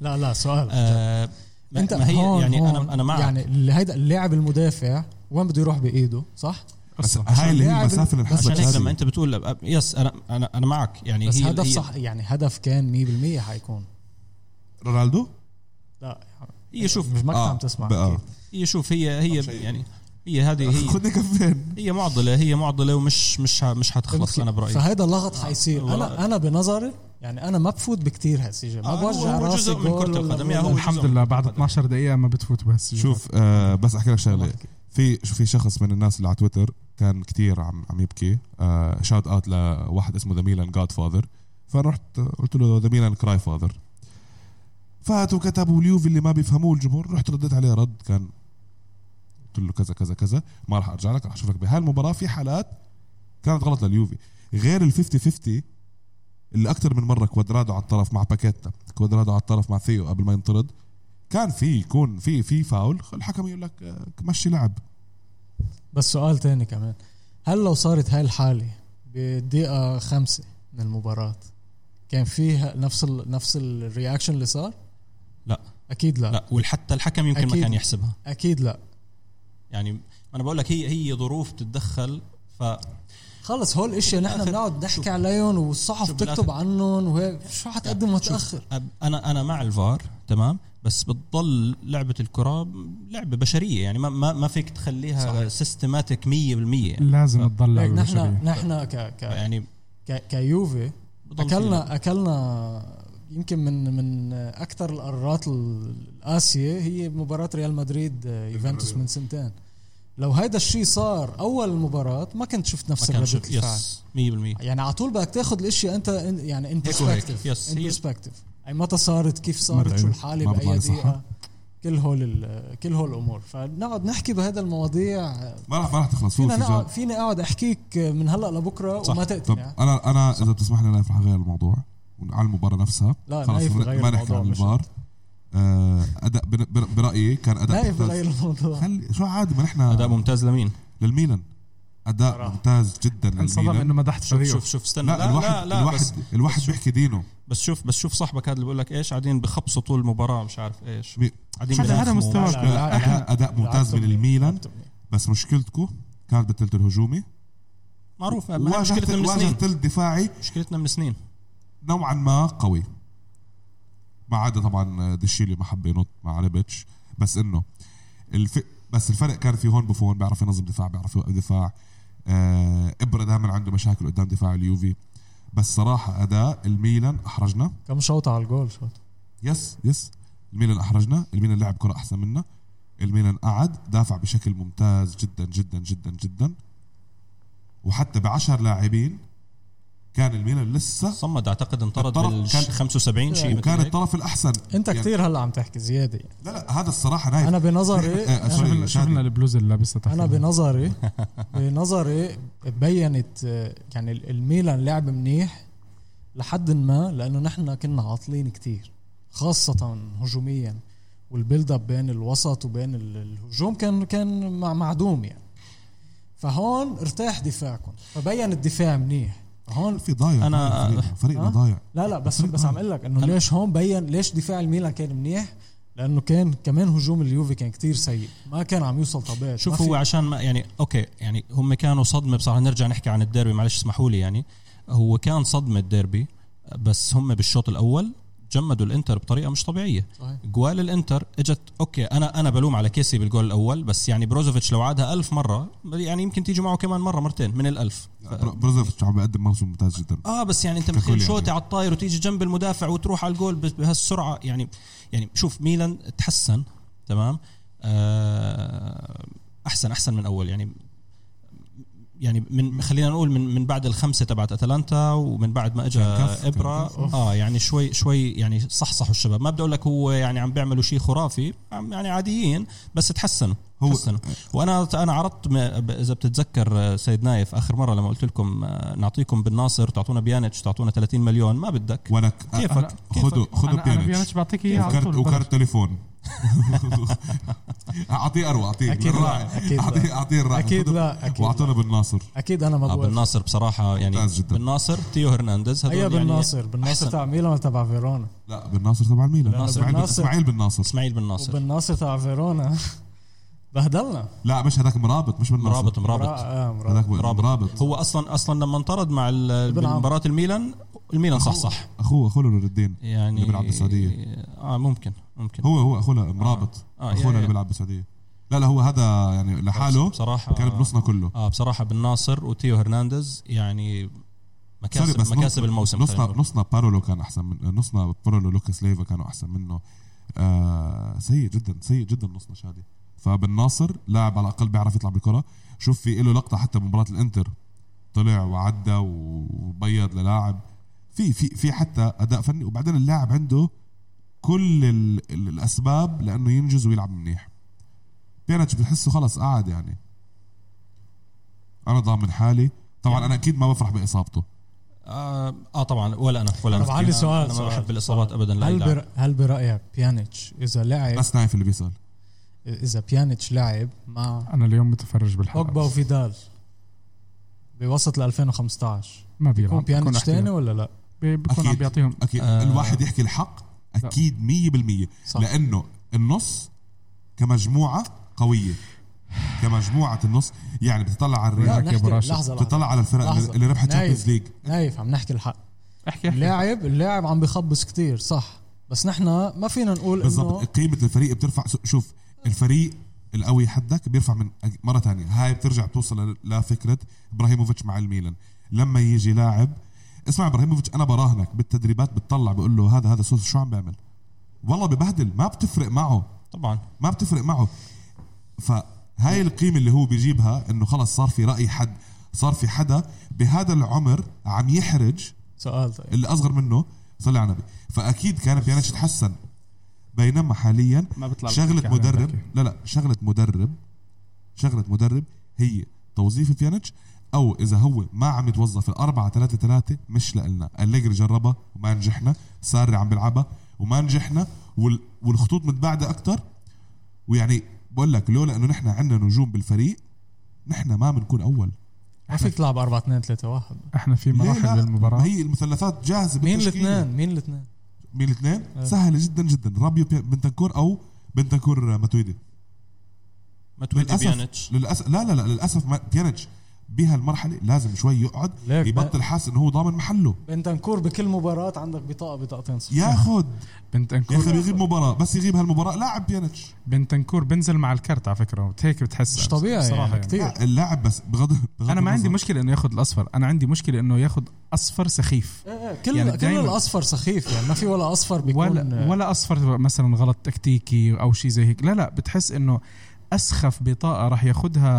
[SPEAKER 2] لا لا سؤال
[SPEAKER 3] آه ما-
[SPEAKER 2] انت
[SPEAKER 3] ما هي
[SPEAKER 2] هون
[SPEAKER 3] يعني
[SPEAKER 2] هون
[SPEAKER 3] انا انا مع
[SPEAKER 2] يعني اللي هيدا اللاعب المدافع وين بده يروح بايده صح؟
[SPEAKER 4] بس
[SPEAKER 1] أصلاً.
[SPEAKER 4] هاي اللي هي
[SPEAKER 2] لاعب-
[SPEAKER 4] المسافه اللي
[SPEAKER 2] بس
[SPEAKER 3] عشان هيك لما
[SPEAKER 4] انحسبت
[SPEAKER 3] انت بتقول أب- يس انا انا انا معك يعني
[SPEAKER 2] بس
[SPEAKER 3] هي
[SPEAKER 2] هدف
[SPEAKER 3] هي
[SPEAKER 2] صح يعني هدف كان 100% حيكون
[SPEAKER 4] رونالدو
[SPEAKER 2] لا يعني
[SPEAKER 3] هي شوف
[SPEAKER 2] مش ما كنت
[SPEAKER 4] آه،
[SPEAKER 2] عم تسمع
[SPEAKER 4] بقى.
[SPEAKER 2] أكيد.
[SPEAKER 3] هي شوف هي هي يعني هي هذه هي
[SPEAKER 4] خدني كفين
[SPEAKER 3] هي معضله هي معضله ومش مش ح- مش حتخلص انا برايي
[SPEAKER 2] فهيدا اللغط حيصير انا
[SPEAKER 3] والله.
[SPEAKER 2] انا بنظري يعني انا ما بفوت بكتير هالسجن ما
[SPEAKER 3] آه، هو-
[SPEAKER 2] بوجع
[SPEAKER 3] هو
[SPEAKER 2] راسي
[SPEAKER 3] جزء من
[SPEAKER 2] جول
[SPEAKER 3] كرة
[SPEAKER 2] ولا
[SPEAKER 3] القدم،
[SPEAKER 2] بوجع-
[SPEAKER 3] يا هو
[SPEAKER 1] الحمد لله بعد 12 دقيقه ما بتفوت بس
[SPEAKER 4] شوف آه بس احكي لك شغله في شو في شخص من الناس اللي على تويتر كان كتير عم عم يبكي آه شاوت اوت لواحد اسمه ذا ميلان جاد فاذر فرحت قلت له ذا ميلان كراي فاذر فاتوا كتبوا اليوفي اللي ما بيفهموه الجمهور رحت رديت عليه رد كان قلت له كذا كذا كذا ما راح ارجع لك راح اشوفك بهاي المباراه في حالات كانت غلط لليوفي غير ال 50 50 اللي اكثر من مره كوادرادو على الطرف مع باكيتا كوادرادو على الطرف مع ثيو قبل ما ينطرد كان في يكون في في فاول الحكم يقول لك آه، مشي لعب
[SPEAKER 2] بس سؤال تاني كمان هل لو صارت هاي الحالة بدقيقة خمسة من المباراة كان فيها نفس ال نفس الرياكشن اللي صار؟
[SPEAKER 3] لا.
[SPEAKER 2] أكيد لا,
[SPEAKER 3] لا وحتى الحكم يمكن ما
[SPEAKER 2] أكيد.
[SPEAKER 3] كان يحسبها
[SPEAKER 2] أكيد لا
[SPEAKER 3] يعني انا بقول لك هي هي ظروف تتدخل ف
[SPEAKER 2] خلص هول الاشياء نحن
[SPEAKER 3] بالآخر-
[SPEAKER 2] بنقعد نحكي
[SPEAKER 3] شوف-
[SPEAKER 2] عليهم والصحف
[SPEAKER 3] شوف
[SPEAKER 2] بتكتب
[SPEAKER 3] بالآخر-
[SPEAKER 2] عنهم وهيك شو حتقدم
[SPEAKER 3] شوف،
[SPEAKER 2] وتأخر
[SPEAKER 3] أب- انا انا مع الفار تمام بس بتضل لعبه الكره لعبه بشريه يعني ما ما, ما فيك تخليها سيستماتيك 100% يعني
[SPEAKER 1] لازم تضل
[SPEAKER 2] هيك
[SPEAKER 1] لعبة
[SPEAKER 2] نحن
[SPEAKER 1] بشرية.
[SPEAKER 2] نحن ك ك
[SPEAKER 3] يعني
[SPEAKER 2] ك- كيوفي
[SPEAKER 3] بضل في
[SPEAKER 2] اكلنا اكلنا يمكن من من اكثر القارات القاسيه هي مباراه ريال مدريد آه، يوفنتوس من سنتين لو هيدا الشيء صار اول مباراه ما كنت شفت
[SPEAKER 3] ما
[SPEAKER 2] نفس
[SPEAKER 3] كان
[SPEAKER 2] ردة
[SPEAKER 3] شوف
[SPEAKER 2] الفعل
[SPEAKER 3] يس 100%
[SPEAKER 4] آه.
[SPEAKER 2] يعني على طول بدك تاخذ الاشياء انت إن- يعني ان
[SPEAKER 3] هيك وهيك.
[SPEAKER 2] برسبكتيف
[SPEAKER 3] يس،
[SPEAKER 2] ان
[SPEAKER 3] هي-
[SPEAKER 2] برسبكتيف اي يعني متى صارت كيف صارت
[SPEAKER 1] مدعي.
[SPEAKER 2] شو الحاله
[SPEAKER 4] ما
[SPEAKER 2] باي
[SPEAKER 4] بضل صح.
[SPEAKER 2] دقيقه كل هول ال- كل هول الامور فنقعد نحكي بهذا المواضيع آه،
[SPEAKER 4] ما راح ما راح تخلص فيه
[SPEAKER 2] فينا
[SPEAKER 4] في
[SPEAKER 2] نقعد
[SPEAKER 4] جواب.
[SPEAKER 2] فيني اقعد احكيك من هلا لبكره
[SPEAKER 3] صح.
[SPEAKER 2] وما
[SPEAKER 4] طب
[SPEAKER 2] تقتنع
[SPEAKER 4] انا انا اذا بتسمح لي انا رح اغير الموضوع على المباراه نفسها
[SPEAKER 2] لا،
[SPEAKER 4] خلص
[SPEAKER 2] نايف بغير
[SPEAKER 4] ما نحكي
[SPEAKER 2] الموضوع
[SPEAKER 4] عن
[SPEAKER 2] مش
[SPEAKER 4] الفار آه، اداء بن- بن- برايي كان اداء
[SPEAKER 2] نايف
[SPEAKER 4] ممتاز.
[SPEAKER 2] بغير الموضوع
[SPEAKER 4] خلي شو عادي ما
[SPEAKER 3] اداء
[SPEAKER 4] نحن
[SPEAKER 3] ممتاز لمين
[SPEAKER 4] للميلان اداء
[SPEAKER 2] صراحة.
[SPEAKER 4] ممتاز جدا
[SPEAKER 1] انصدم
[SPEAKER 4] للميلان
[SPEAKER 1] انه مدحت
[SPEAKER 3] شوف
[SPEAKER 1] فريقه
[SPEAKER 3] شوف شوف استنى
[SPEAKER 4] لا الواحد
[SPEAKER 3] بس,
[SPEAKER 4] الواحد الواحد
[SPEAKER 3] بس شوف-
[SPEAKER 4] بيحكي دينه
[SPEAKER 3] بس شوف بس شوف صاحبك هذا اللي بيقول لك ايش قاعدين بخبصوا طول المباراه مش عارف ايش
[SPEAKER 4] مين؟
[SPEAKER 3] قاعدين
[SPEAKER 1] هذا- هذا
[SPEAKER 3] بينافقوا.
[SPEAKER 1] مستوى.
[SPEAKER 2] لا،
[SPEAKER 4] لا،
[SPEAKER 2] لا،
[SPEAKER 4] احنا
[SPEAKER 2] لا.
[SPEAKER 4] اداء ممتاز من
[SPEAKER 2] لعبتهم
[SPEAKER 4] الميلان
[SPEAKER 2] لعبتهم
[SPEAKER 4] بس مشكلتكم كانت بالثلث الهجومي
[SPEAKER 3] معروف ما-
[SPEAKER 4] واجهت
[SPEAKER 3] مشكلتنا من
[SPEAKER 4] واجهت
[SPEAKER 3] سنين
[SPEAKER 4] الثلث دفاعي
[SPEAKER 3] مشكلتنا من سنين
[SPEAKER 4] نوعا ما قوي ما عدا طبعا دشيلي ما حب ينط مع ريبتش بس انه الف... بس الفرق كان في هون بوفون بيعرف ينظم دفاع بيعرف يوقف دفاع آه، ابرا دائما عنده مشاكل قدام دفاع اليوفي بس صراحه اداء الميلان احرجنا
[SPEAKER 2] كم شوطه على الجول شوط
[SPEAKER 4] يس يس الميلان احرجنا الميلان لعب كره احسن منا الميلان قعد دافع بشكل ممتاز جدا جدا جدا جدا وحتى بعشر لاعبين كان الميلان لسه
[SPEAKER 3] صمد اعتقد انطرد
[SPEAKER 4] انطرد،
[SPEAKER 3] بال
[SPEAKER 4] كان-
[SPEAKER 3] 75 شيء مثل
[SPEAKER 4] وكان
[SPEAKER 3] هيك.
[SPEAKER 4] الطرف الاحسن
[SPEAKER 2] انت
[SPEAKER 4] يعني-
[SPEAKER 2] كثير هلا عم تحكي زياده يعني.
[SPEAKER 4] لا لا هذا الصراحه نايف
[SPEAKER 2] انا
[SPEAKER 4] إيه،
[SPEAKER 2] بنظري
[SPEAKER 4] إيه،
[SPEAKER 2] أنا-
[SPEAKER 4] سوري.
[SPEAKER 1] شفنا شفنا البلوزه اللي لابسها تحت
[SPEAKER 2] انا بنظري بنظري بينت آه، يعني ال- الميلان لعب منيح لحد ما لانه نحن كنا عاطلين كتير خاصه هجوميا والبيلد اب بين الوسط وبين ال- الهجوم كان كان مع- معدوم يعني فهون ارتاح دفاعكم فبين الدفاع منيح هون
[SPEAKER 4] في ضايع
[SPEAKER 3] أنا-
[SPEAKER 4] فريق- فريقنا
[SPEAKER 2] أه؟
[SPEAKER 4] ضايع
[SPEAKER 2] لا لا بس بس عم اقول لك انه ليش هون بين ليش دفاع الميلان كان منيح لانه كان كمان هجوم اليوفي كان كتير سيء ما كان عم يوصل طبيعي ما
[SPEAKER 3] شوف
[SPEAKER 2] في-
[SPEAKER 3] هو عشان ما يعني اوكي يعني هم كانوا صدمه بصراحه نرجع نحكي عن الديربي معلش اسمحوا لي يعني هو كان صدمه ديربي بس هم بالشوط الاول جمدوا الانتر بطريقه مش طبيعيه
[SPEAKER 2] صحيح.
[SPEAKER 3] جوال الانتر اجت اوكي انا انا بلوم على كيسي بالجول الاول بس يعني بروزوفيتش لو عادها ألف مره يعني يمكن تيجي معه كمان مره مرتين من الألف ف-
[SPEAKER 4] بروزوفيتش عم بيقدم موسم ممتاز جدا
[SPEAKER 3] اه بس يعني انت
[SPEAKER 4] ككل
[SPEAKER 3] متخيل
[SPEAKER 4] يعني.
[SPEAKER 3] شوطه على الطاير وتيجي جنب المدافع وتروح على الجول بس- بهالسرعه يعني يعني شوف ميلان تحسن تمام آه احسن احسن من اول يعني يعني من خلينا نقول من من بعد الخمسه تبعت اتلانتا ومن بعد ما اجى
[SPEAKER 4] كان كف، كان
[SPEAKER 3] ابرا
[SPEAKER 4] كف.
[SPEAKER 3] اه يعني شوي شوي يعني صحصحوا الشباب ما بدي اقول لك هو يعني عم بيعملوا شيء خرافي عم- يعني عاديين بس تحسنوا
[SPEAKER 4] هو
[SPEAKER 3] تحسنوا وانا انا عرضت م- اذا بتتذكر آه، سيد نايف اخر مره لما قلت لكم آه، نعطيكم بالناصر تعطونا بيانيتش تعطونا 30 مليون ما بدك
[SPEAKER 4] وانا
[SPEAKER 3] كيفك؟
[SPEAKER 4] أنا- خذوا خذوا
[SPEAKER 1] انا انا
[SPEAKER 4] بيانيتش
[SPEAKER 1] بيانتش بعطيك اياه على
[SPEAKER 4] وكارت
[SPEAKER 1] طول ببلاش.
[SPEAKER 4] وكارت تليفون اعطيه اروع اعطيه
[SPEAKER 2] أكيد لا،
[SPEAKER 4] الراعي
[SPEAKER 2] أكيد لا.
[SPEAKER 4] اعطيه اعطيه الراعي
[SPEAKER 2] اكيد
[SPEAKER 4] خذوا-
[SPEAKER 2] لا اكيد لا.
[SPEAKER 4] واعطونا بالناصر
[SPEAKER 2] اكيد انا ما
[SPEAKER 3] آه
[SPEAKER 2] بوافق
[SPEAKER 3] بالناصر بصراحه يعني
[SPEAKER 4] ممتاز أيوة، جدا.
[SPEAKER 3] بالناصر تيو هرنانديز هدول
[SPEAKER 2] هي
[SPEAKER 3] يعني
[SPEAKER 2] أيوة، بالناصر بالناصر
[SPEAKER 3] أحسن.
[SPEAKER 2] تبع ميلان ولا تبع فيرونا
[SPEAKER 4] لا بالناصر تبع الميلان
[SPEAKER 2] لا،
[SPEAKER 4] اسماعيل بن-
[SPEAKER 2] بالناصر.
[SPEAKER 4] اسماعيل بالناصر
[SPEAKER 3] اسماعيل بالناصر
[SPEAKER 2] بالناصر تبع فيرونا بهدلنا
[SPEAKER 4] لا مش هذاك مرابط مش بالناصر
[SPEAKER 3] مرابط مرابط
[SPEAKER 2] مرا- آه، مرا-
[SPEAKER 4] هذاك
[SPEAKER 3] مرابط.
[SPEAKER 4] مرابط
[SPEAKER 3] هو اصلا اصلا لما انطرد مع ال-
[SPEAKER 2] بن عم.
[SPEAKER 3] مباراه الميلان الميلان صح صح
[SPEAKER 4] اخوه اخوه نور الدين
[SPEAKER 3] يعني
[SPEAKER 4] اللي بيلعب بالسعودية.
[SPEAKER 3] اه ممكن ممكن
[SPEAKER 4] هو هو اخوه مرابط
[SPEAKER 3] آه، يا-
[SPEAKER 4] اخونا
[SPEAKER 3] يا.
[SPEAKER 4] اللي بيلعب بالسعوديه لا لا هو هذا يعني لحاله
[SPEAKER 3] بصراحه
[SPEAKER 4] كان بنصنا كله
[SPEAKER 3] اه بصراحه بالناصر وتيو هرنانديز يعني
[SPEAKER 4] سوري، بس
[SPEAKER 3] مكاسب مكاسب
[SPEAKER 4] نص-
[SPEAKER 3] الموسم
[SPEAKER 4] نصنا
[SPEAKER 3] خلينا نقول.
[SPEAKER 4] نصنا بارولو كان احسن من نصنا بارولو لوكاس ليفا كانوا احسن منه آه سيء جدا سيء جدا نصنا شادي فبالناصر لاعب على الاقل بيعرف يطلع بالكره شوف في له لقطه حتى بمباراه الانتر طلع وعدى وبيض للاعب في في في حتى اداء فني وبعدين اللاعب عنده كل ال ال الاسباب لانه ينجز ويلعب منيح بيانيتش بتحسه خلص قاعد يعني انا ضامن حالي
[SPEAKER 3] يعني
[SPEAKER 4] طبعا انا اكيد ما بفرح باصابته
[SPEAKER 3] آه, اه طبعا ولا انا ولا
[SPEAKER 2] طب
[SPEAKER 3] انا
[SPEAKER 2] عندي
[SPEAKER 3] أنا-
[SPEAKER 2] سؤال-
[SPEAKER 3] انا ما
[SPEAKER 2] سؤال.
[SPEAKER 3] بحب الاصابات ابدا لا
[SPEAKER 2] هل
[SPEAKER 3] يلعب.
[SPEAKER 2] بر... هل برايك بيانيتش اذا لعب
[SPEAKER 4] بس نايف اللي بيسال
[SPEAKER 2] اذا بيانيتش لعب مع
[SPEAKER 1] انا اليوم متفرج بالحلقه
[SPEAKER 2] بوجبا
[SPEAKER 1] بس.
[SPEAKER 2] وفيدال بوسط ال 2015
[SPEAKER 1] ما بيلعب بيكون
[SPEAKER 2] بيكون بيانيتش
[SPEAKER 1] احتياط.
[SPEAKER 2] تاني ولا لا؟
[SPEAKER 1] بي- بيكون
[SPEAKER 4] أكيد.
[SPEAKER 1] عم بيعطيهم
[SPEAKER 4] اكيد
[SPEAKER 3] آه.
[SPEAKER 4] آه الواحد يحكي الحق اكيد 100%
[SPEAKER 2] صح.
[SPEAKER 4] لانه النص كمجموعه قويه كمجموعه النص يعني بتطلع على
[SPEAKER 1] لا،
[SPEAKER 4] الريال
[SPEAKER 1] نحكي-
[SPEAKER 2] لحظه
[SPEAKER 1] براشد.
[SPEAKER 2] لحظه
[SPEAKER 4] بتطلع على الفرق
[SPEAKER 2] لحظة.
[SPEAKER 4] اللي ربحت
[SPEAKER 2] نايف.
[SPEAKER 4] تشامبيونز ليج
[SPEAKER 2] نايف عم نحكي الحق
[SPEAKER 1] احكي احكي
[SPEAKER 2] اللاعب اللاعب عم بخبص كتير صح بس نحن ما فينا نقول انه
[SPEAKER 4] بالضبط قيمه الفريق بترفع شوف الفريق القوي حدك بيرفع من مره تانية هاي بترجع بتوصل ل- لفكره ابراهيموفيتش مع الميلان لما يجي لاعب اسمع ابراهيموفيتش انا براهنك بالتدريبات بتطلع بقول له هذا هذا سوس شو عم بيعمل والله ببهدل ما بتفرق معه
[SPEAKER 3] طبعا
[SPEAKER 4] ما بتفرق معه فهاي القيمة اللي هو بيجيبها انه خلص صار في رأي حد صار في حدا بهذا العمر عم يحرج
[SPEAKER 2] سؤال طيب
[SPEAKER 4] اللي اصغر منه صلى على النبي فاكيد كان بيانيتش تحسن بينما حاليا
[SPEAKER 1] ما بطلع بحكي
[SPEAKER 4] شغلة
[SPEAKER 1] على
[SPEAKER 4] مدرب
[SPEAKER 1] هذاك.
[SPEAKER 4] لا لا شغلة مدرب شغلة مدرب هي توظيف بيانيتش او اذا هو ما عم يتوظف الأربعة ثلاثة ثلاثة مش لنا أليجري جربها وما نجحنا ساري عم بيلعبها وما نجحنا وال- والخطوط متباعدة اكثر ويعني بقول لك لولا انه نحن عندنا نجوم بالفريق نحن ما بنكون اول
[SPEAKER 2] ما فيك تلعب 4 2 3 1
[SPEAKER 1] احنا في
[SPEAKER 4] ليه
[SPEAKER 1] مراحل
[SPEAKER 4] لا؟
[SPEAKER 1] بالمباراه
[SPEAKER 4] ما هي المثلثات جاهزه
[SPEAKER 2] مين
[SPEAKER 4] بالتشكيلة.
[SPEAKER 2] الاثنين مين الاثنين
[SPEAKER 4] مين الاثنين؟
[SPEAKER 1] آه.
[SPEAKER 4] أه. سهله جدا جدا رابيو بي- بنتنكور او بنتنكور ماتويدي
[SPEAKER 3] ما تودي
[SPEAKER 4] للاسف
[SPEAKER 3] بيانيتش
[SPEAKER 4] للاسف لا لا لا للاسف ما- بيانيتش بهالمرحله لازم شوي يقعد
[SPEAKER 2] ليك
[SPEAKER 4] يبطل حاسس انه هو ضامن محله
[SPEAKER 2] بنتنكور بكل مباراة عندك بطاقة بطاقتين صفر
[SPEAKER 1] آه.
[SPEAKER 4] ياخذ
[SPEAKER 1] بنت
[SPEAKER 4] يا اخي
[SPEAKER 1] انكور
[SPEAKER 4] بيغيب مباراه بس يغيب هالمباراه لاعب بيانتش
[SPEAKER 1] بنت انكور بنزل مع الكرت على فكره وبت- هيك بتحس
[SPEAKER 2] مش طبيعي
[SPEAKER 1] بصراحه
[SPEAKER 2] يعني
[SPEAKER 1] يعني.
[SPEAKER 2] كثير
[SPEAKER 4] لا، اللاعب بس بغض, بغض
[SPEAKER 1] انا ما عندي
[SPEAKER 4] النظر.
[SPEAKER 1] مشكله انه ياخذ الاصفر انا عندي مشكله انه ياخذ اصفر سخيف
[SPEAKER 2] ايه ايه كل
[SPEAKER 1] يعني
[SPEAKER 2] يعني كل
[SPEAKER 1] دايماً-
[SPEAKER 2] الاصفر سخيف يعني ما في ولا اصفر بيكون آه،
[SPEAKER 1] ولا ولا اصفر مثلا غلط تكتيكي او شيء زي هيك لا لا بتحس انه اسخف بطاقه راح ياخذها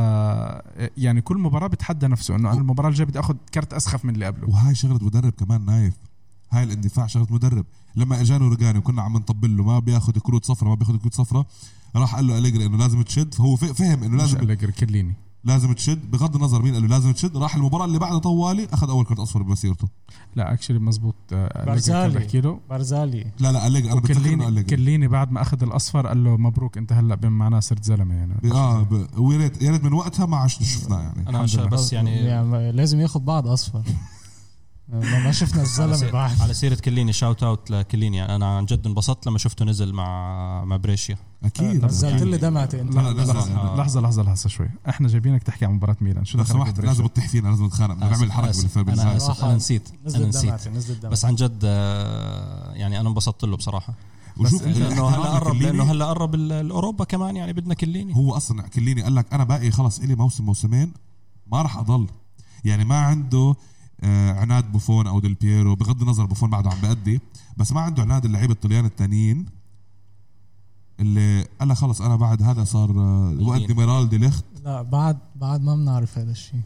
[SPEAKER 1] يعني كل مباراه بتحدى نفسه انه انا المباراه الجايه بدي اخذ كرت اسخف من اللي قبله
[SPEAKER 4] وهاي شغله مدرب كمان نايف هاي الاندفاع شغله مدرب لما اجانا رجاني وكنا عم نطبل له ما بياخذ كروت صفرة ما بياخذ كروت صفرة راح قال له اليجري انه لازم تشد فهو ف- فهم انه
[SPEAKER 1] مش
[SPEAKER 4] لازم
[SPEAKER 1] أليجري، كليني
[SPEAKER 4] لازم تشد بغض النظر مين قال له لازم تشد راح المباراه اللي بعدها طوالي اخذ اول كرت اصفر بمسيرته
[SPEAKER 1] لا اكشلي مزبوط آه، أليجري كان
[SPEAKER 2] برزالي.
[SPEAKER 1] بحكي له
[SPEAKER 2] بارزالي
[SPEAKER 4] لا لا اليجري انا بتذكر انه
[SPEAKER 1] كليني
[SPEAKER 4] اليجري
[SPEAKER 1] كليني بعد ما اخذ الاصفر قال له مبروك انت هلا بين معنا صرت زلمه يعني
[SPEAKER 4] اه ب- ويا ريت يا ريت من وقتها ما عشنا شفناه يعني
[SPEAKER 3] انا عشان بس يعني
[SPEAKER 2] يعني لازم ياخذ بعض اصفر ما ما شفنا
[SPEAKER 3] على
[SPEAKER 2] الزلمه
[SPEAKER 3] سيرة,
[SPEAKER 2] بعد
[SPEAKER 3] على سيرة كليني شاوت اوت لكليني يعني انا عن جد انبسطت لما شفته نزل مع مع بريشيا
[SPEAKER 4] اكيد
[SPEAKER 2] نزلت
[SPEAKER 3] يعني-
[SPEAKER 2] لي دمعتي انت
[SPEAKER 4] لا، لا،
[SPEAKER 1] لحظه
[SPEAKER 4] يعني-
[SPEAKER 1] لحظه لحظه لحظه شوي احنا جايبينك تحكي عن مباراه ميلان شو
[SPEAKER 4] لو
[SPEAKER 1] دخلك
[SPEAKER 4] سمحت
[SPEAKER 1] بالبريشة؟
[SPEAKER 4] لازم تطيح فينا لازم نتخانق بدنا نعمل
[SPEAKER 3] آسف-
[SPEAKER 4] حلقه
[SPEAKER 3] آسف.
[SPEAKER 4] بالفيلم
[SPEAKER 3] انا
[SPEAKER 4] هاي.
[SPEAKER 3] اسف
[SPEAKER 2] صراحة
[SPEAKER 3] انا نسيت انا
[SPEAKER 2] نزلت
[SPEAKER 3] نسيت
[SPEAKER 2] دمعتي نزلت دمعتي
[SPEAKER 3] بس عن جد آه، يعني انا انبسطت له بصراحه
[SPEAKER 4] وشوف
[SPEAKER 1] بس أنت-
[SPEAKER 3] لانه
[SPEAKER 4] الاحترام
[SPEAKER 3] هلا قرب
[SPEAKER 4] لكليني
[SPEAKER 3] لانه هلا قرب ال- الاوروبا كمان يعني بدنا كليني
[SPEAKER 4] هو اصلا كليني قال لك انا باقي خلص الي موسم موسمين ما راح اضل يعني ما عنده آه، عناد بوفون او ديل بييرو بغض النظر بوفون بعده عم بأدي بس ما عنده عناد اللعيبه الطليان التانيين اللي قال لك خلص انا بعد هذا صار آه، وقت ديميرال دي ليخت
[SPEAKER 2] لا بعد بعد ما بنعرف هذا الشيء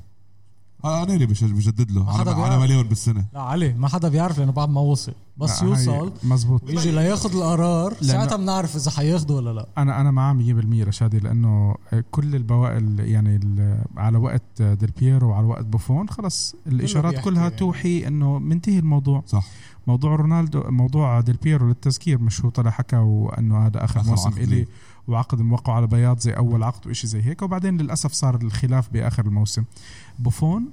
[SPEAKER 4] آه، انا اللي بش- بجدد له
[SPEAKER 2] ما حدا
[SPEAKER 4] على على
[SPEAKER 2] بيعرف.
[SPEAKER 4] مليون بالسنه
[SPEAKER 2] لا علي ما حدا بيعرف لانه بعد ما وصل بس
[SPEAKER 1] هاي
[SPEAKER 2] يوصل
[SPEAKER 1] مزبوط
[SPEAKER 2] ويجي لياخذ القرار
[SPEAKER 1] لأنه-
[SPEAKER 2] ساعتها بنعرف اذا حياخده ولا لا
[SPEAKER 1] انا انا معاه 100% رشادي لانه كل البوائل يعني ال- على وقت ديل بييرو وعلى وقت بوفون خلص الاشارات
[SPEAKER 2] بيحكي
[SPEAKER 1] كلها
[SPEAKER 2] يعني.
[SPEAKER 1] توحي انه منتهي الموضوع
[SPEAKER 4] صح
[SPEAKER 1] موضوع رونالدو موضوع ديل بييرو للتذكير مش هو طلع حكى وانه هذا اخر
[SPEAKER 4] آخر
[SPEAKER 1] موسم
[SPEAKER 4] عقد إيه.
[SPEAKER 1] الي
[SPEAKER 4] لي.
[SPEAKER 1] وعقد موقع على بياض زي اول عقد وإشي زي هيك وبعدين للاسف صار الخلاف باخر الموسم بوفون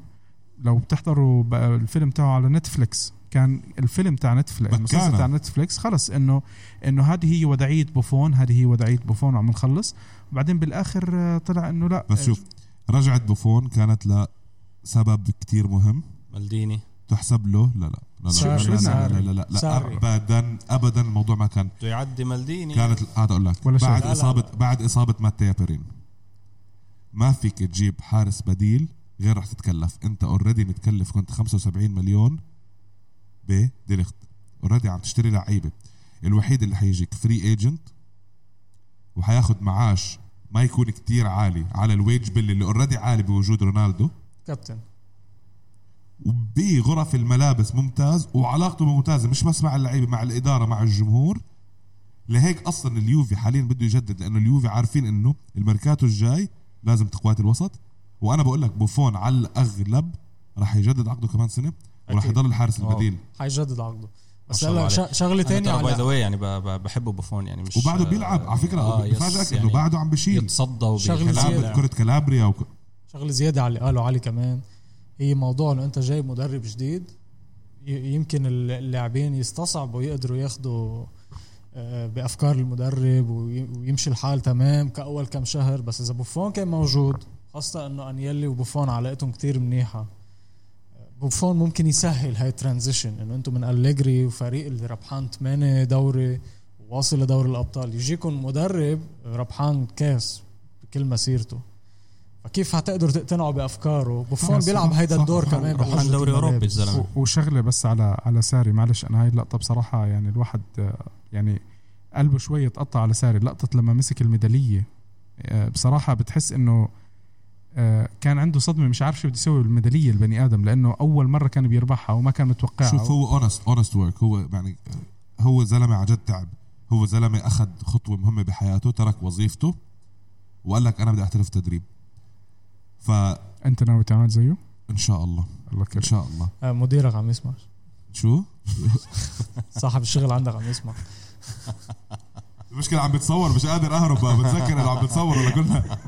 [SPEAKER 1] لو بتحضروا ب- الفيلم تاعه على نتفليكس كان الفيلم تاع نتفليكس
[SPEAKER 4] بكانة.
[SPEAKER 1] المسلسل تاع نتفليكس خلص انه انه هذه هي وداعيه بوفون هذه هي وداعيه بوفون وعم نخلص وبعدين بالاخر آه، طلع انه لا
[SPEAKER 4] بس شوف رجعت بوفون كانت لسبب كتير مهم
[SPEAKER 3] مالديني
[SPEAKER 4] تحسب له لا لا لا لا
[SPEAKER 2] ساري.
[SPEAKER 4] لا لا
[SPEAKER 1] ساري.
[SPEAKER 4] لا, لا, لا, لا
[SPEAKER 2] ساري.
[SPEAKER 4] ابدا ابدا الموضوع ما كان
[SPEAKER 3] بده يعدي مالديني
[SPEAKER 4] كانت هذا اقول لك
[SPEAKER 1] ولا شيء.
[SPEAKER 4] بعد
[SPEAKER 1] لا،
[SPEAKER 2] لا،
[SPEAKER 4] اصابه
[SPEAKER 2] لا.
[SPEAKER 4] بعد اصابه مات تيابرين ما فيك تجيب حارس بديل غير رح تتكلف انت اوريدي متكلف كنت 75 مليون بديليخت اوريدي عم تشتري لعيبه الوحيد اللي حيجيك فري ايجنت وحياخد معاش ما يكون كتير عالي على الويج بيل اللي اوريدي عالي بوجود رونالدو
[SPEAKER 2] كابتن
[SPEAKER 4] وبغرف الملابس ممتاز وعلاقته ممتازه مش بس مع اللعيبه مع الاداره مع الجمهور لهيك اصلا اليوفي حاليا بده يجدد لانه اليوفي عارفين انه الميركاتو الجاي لازم تقويات الوسط وانا بقول لك بوفون على الاغلب راح يجدد عقده كمان سنه وراح
[SPEAKER 2] أكيد.
[SPEAKER 4] يضل الحارس
[SPEAKER 3] واو.
[SPEAKER 4] البديل
[SPEAKER 2] حيجدد عقده بس
[SPEAKER 3] ما شاء الله
[SPEAKER 2] هلا
[SPEAKER 3] عليك.
[SPEAKER 2] ش- شغله ثانيه
[SPEAKER 3] باي ذا
[SPEAKER 2] على
[SPEAKER 3] واي يعني ب- ب- بحبه بوفون يعني مش
[SPEAKER 4] وبعده بيلعب على فكره
[SPEAKER 3] آه،
[SPEAKER 4] آه
[SPEAKER 3] يس،
[SPEAKER 4] بفاجئك
[SPEAKER 3] يعني
[SPEAKER 4] انه بعده عم بشيل
[SPEAKER 3] يتصدى
[SPEAKER 2] شغلة
[SPEAKER 3] وبيلعب
[SPEAKER 2] زيادة.
[SPEAKER 4] كلابريا كره كلابريا وك...
[SPEAKER 2] شغله زياده على اللي قاله علي كمان هي موضوع انه انت جايب مدرب جديد ي- يمكن اللاعبين يستصعبوا يقدروا ياخدوا آه، بافكار المدرب وي- ويمشي الحال تمام كاول كم شهر بس اذا بوفون كان موجود خاصه انه انيلي وبوفون علاقتهم كتير منيحه بوفون ممكن يسهل هاي الترانزيشن انه انتم من أليجري وفريق اللي ربحان 8 دوري واصل لدوري الابطال يجيكم مدرب ربحان كاس بكل مسيرته فكيف حتقدروا تقتنعوا بافكاره بوفون
[SPEAKER 1] صح،
[SPEAKER 2] بيلعب هيدا
[SPEAKER 4] صح،
[SPEAKER 2] الدور
[SPEAKER 4] صح.
[SPEAKER 2] كمان
[SPEAKER 4] ربحان
[SPEAKER 2] بوجهة
[SPEAKER 3] دوري أوروبي
[SPEAKER 2] الملابس.
[SPEAKER 3] الزلمة.
[SPEAKER 1] و- وشغله بس على على ساري معلش انا هاي اللقطه بصراحه يعني الواحد آه، يعني قلبه شوي اتقطع على ساري لقطه لما مسك الميداليه آه، بصراحه بتحس انه آه، كان عنده صدمه مش عارف شو بده يسوي بالميداليه البني ادم لانه اول مره كان بيربحها وما كان متوقعها
[SPEAKER 4] شوف هو اونست اونست ورك هو يعني هو زلمه عن جد تعب هو زلمه اخذ خطوه مهمه بحياته ترك وظيفته وقال لك انا بدي احترف تدريب فان
[SPEAKER 1] انت ناوي تعمل زيه
[SPEAKER 4] شاء الله
[SPEAKER 1] الله
[SPEAKER 4] ان
[SPEAKER 1] كريم
[SPEAKER 4] شاء الله
[SPEAKER 2] آه، مديرك عم يسمع
[SPEAKER 4] شو
[SPEAKER 2] صاحب الشغل عندك عم يسمع
[SPEAKER 4] المشكله عم بتصور مش قادر اهرب بتذكر اللي عم بتصور ولا كلنا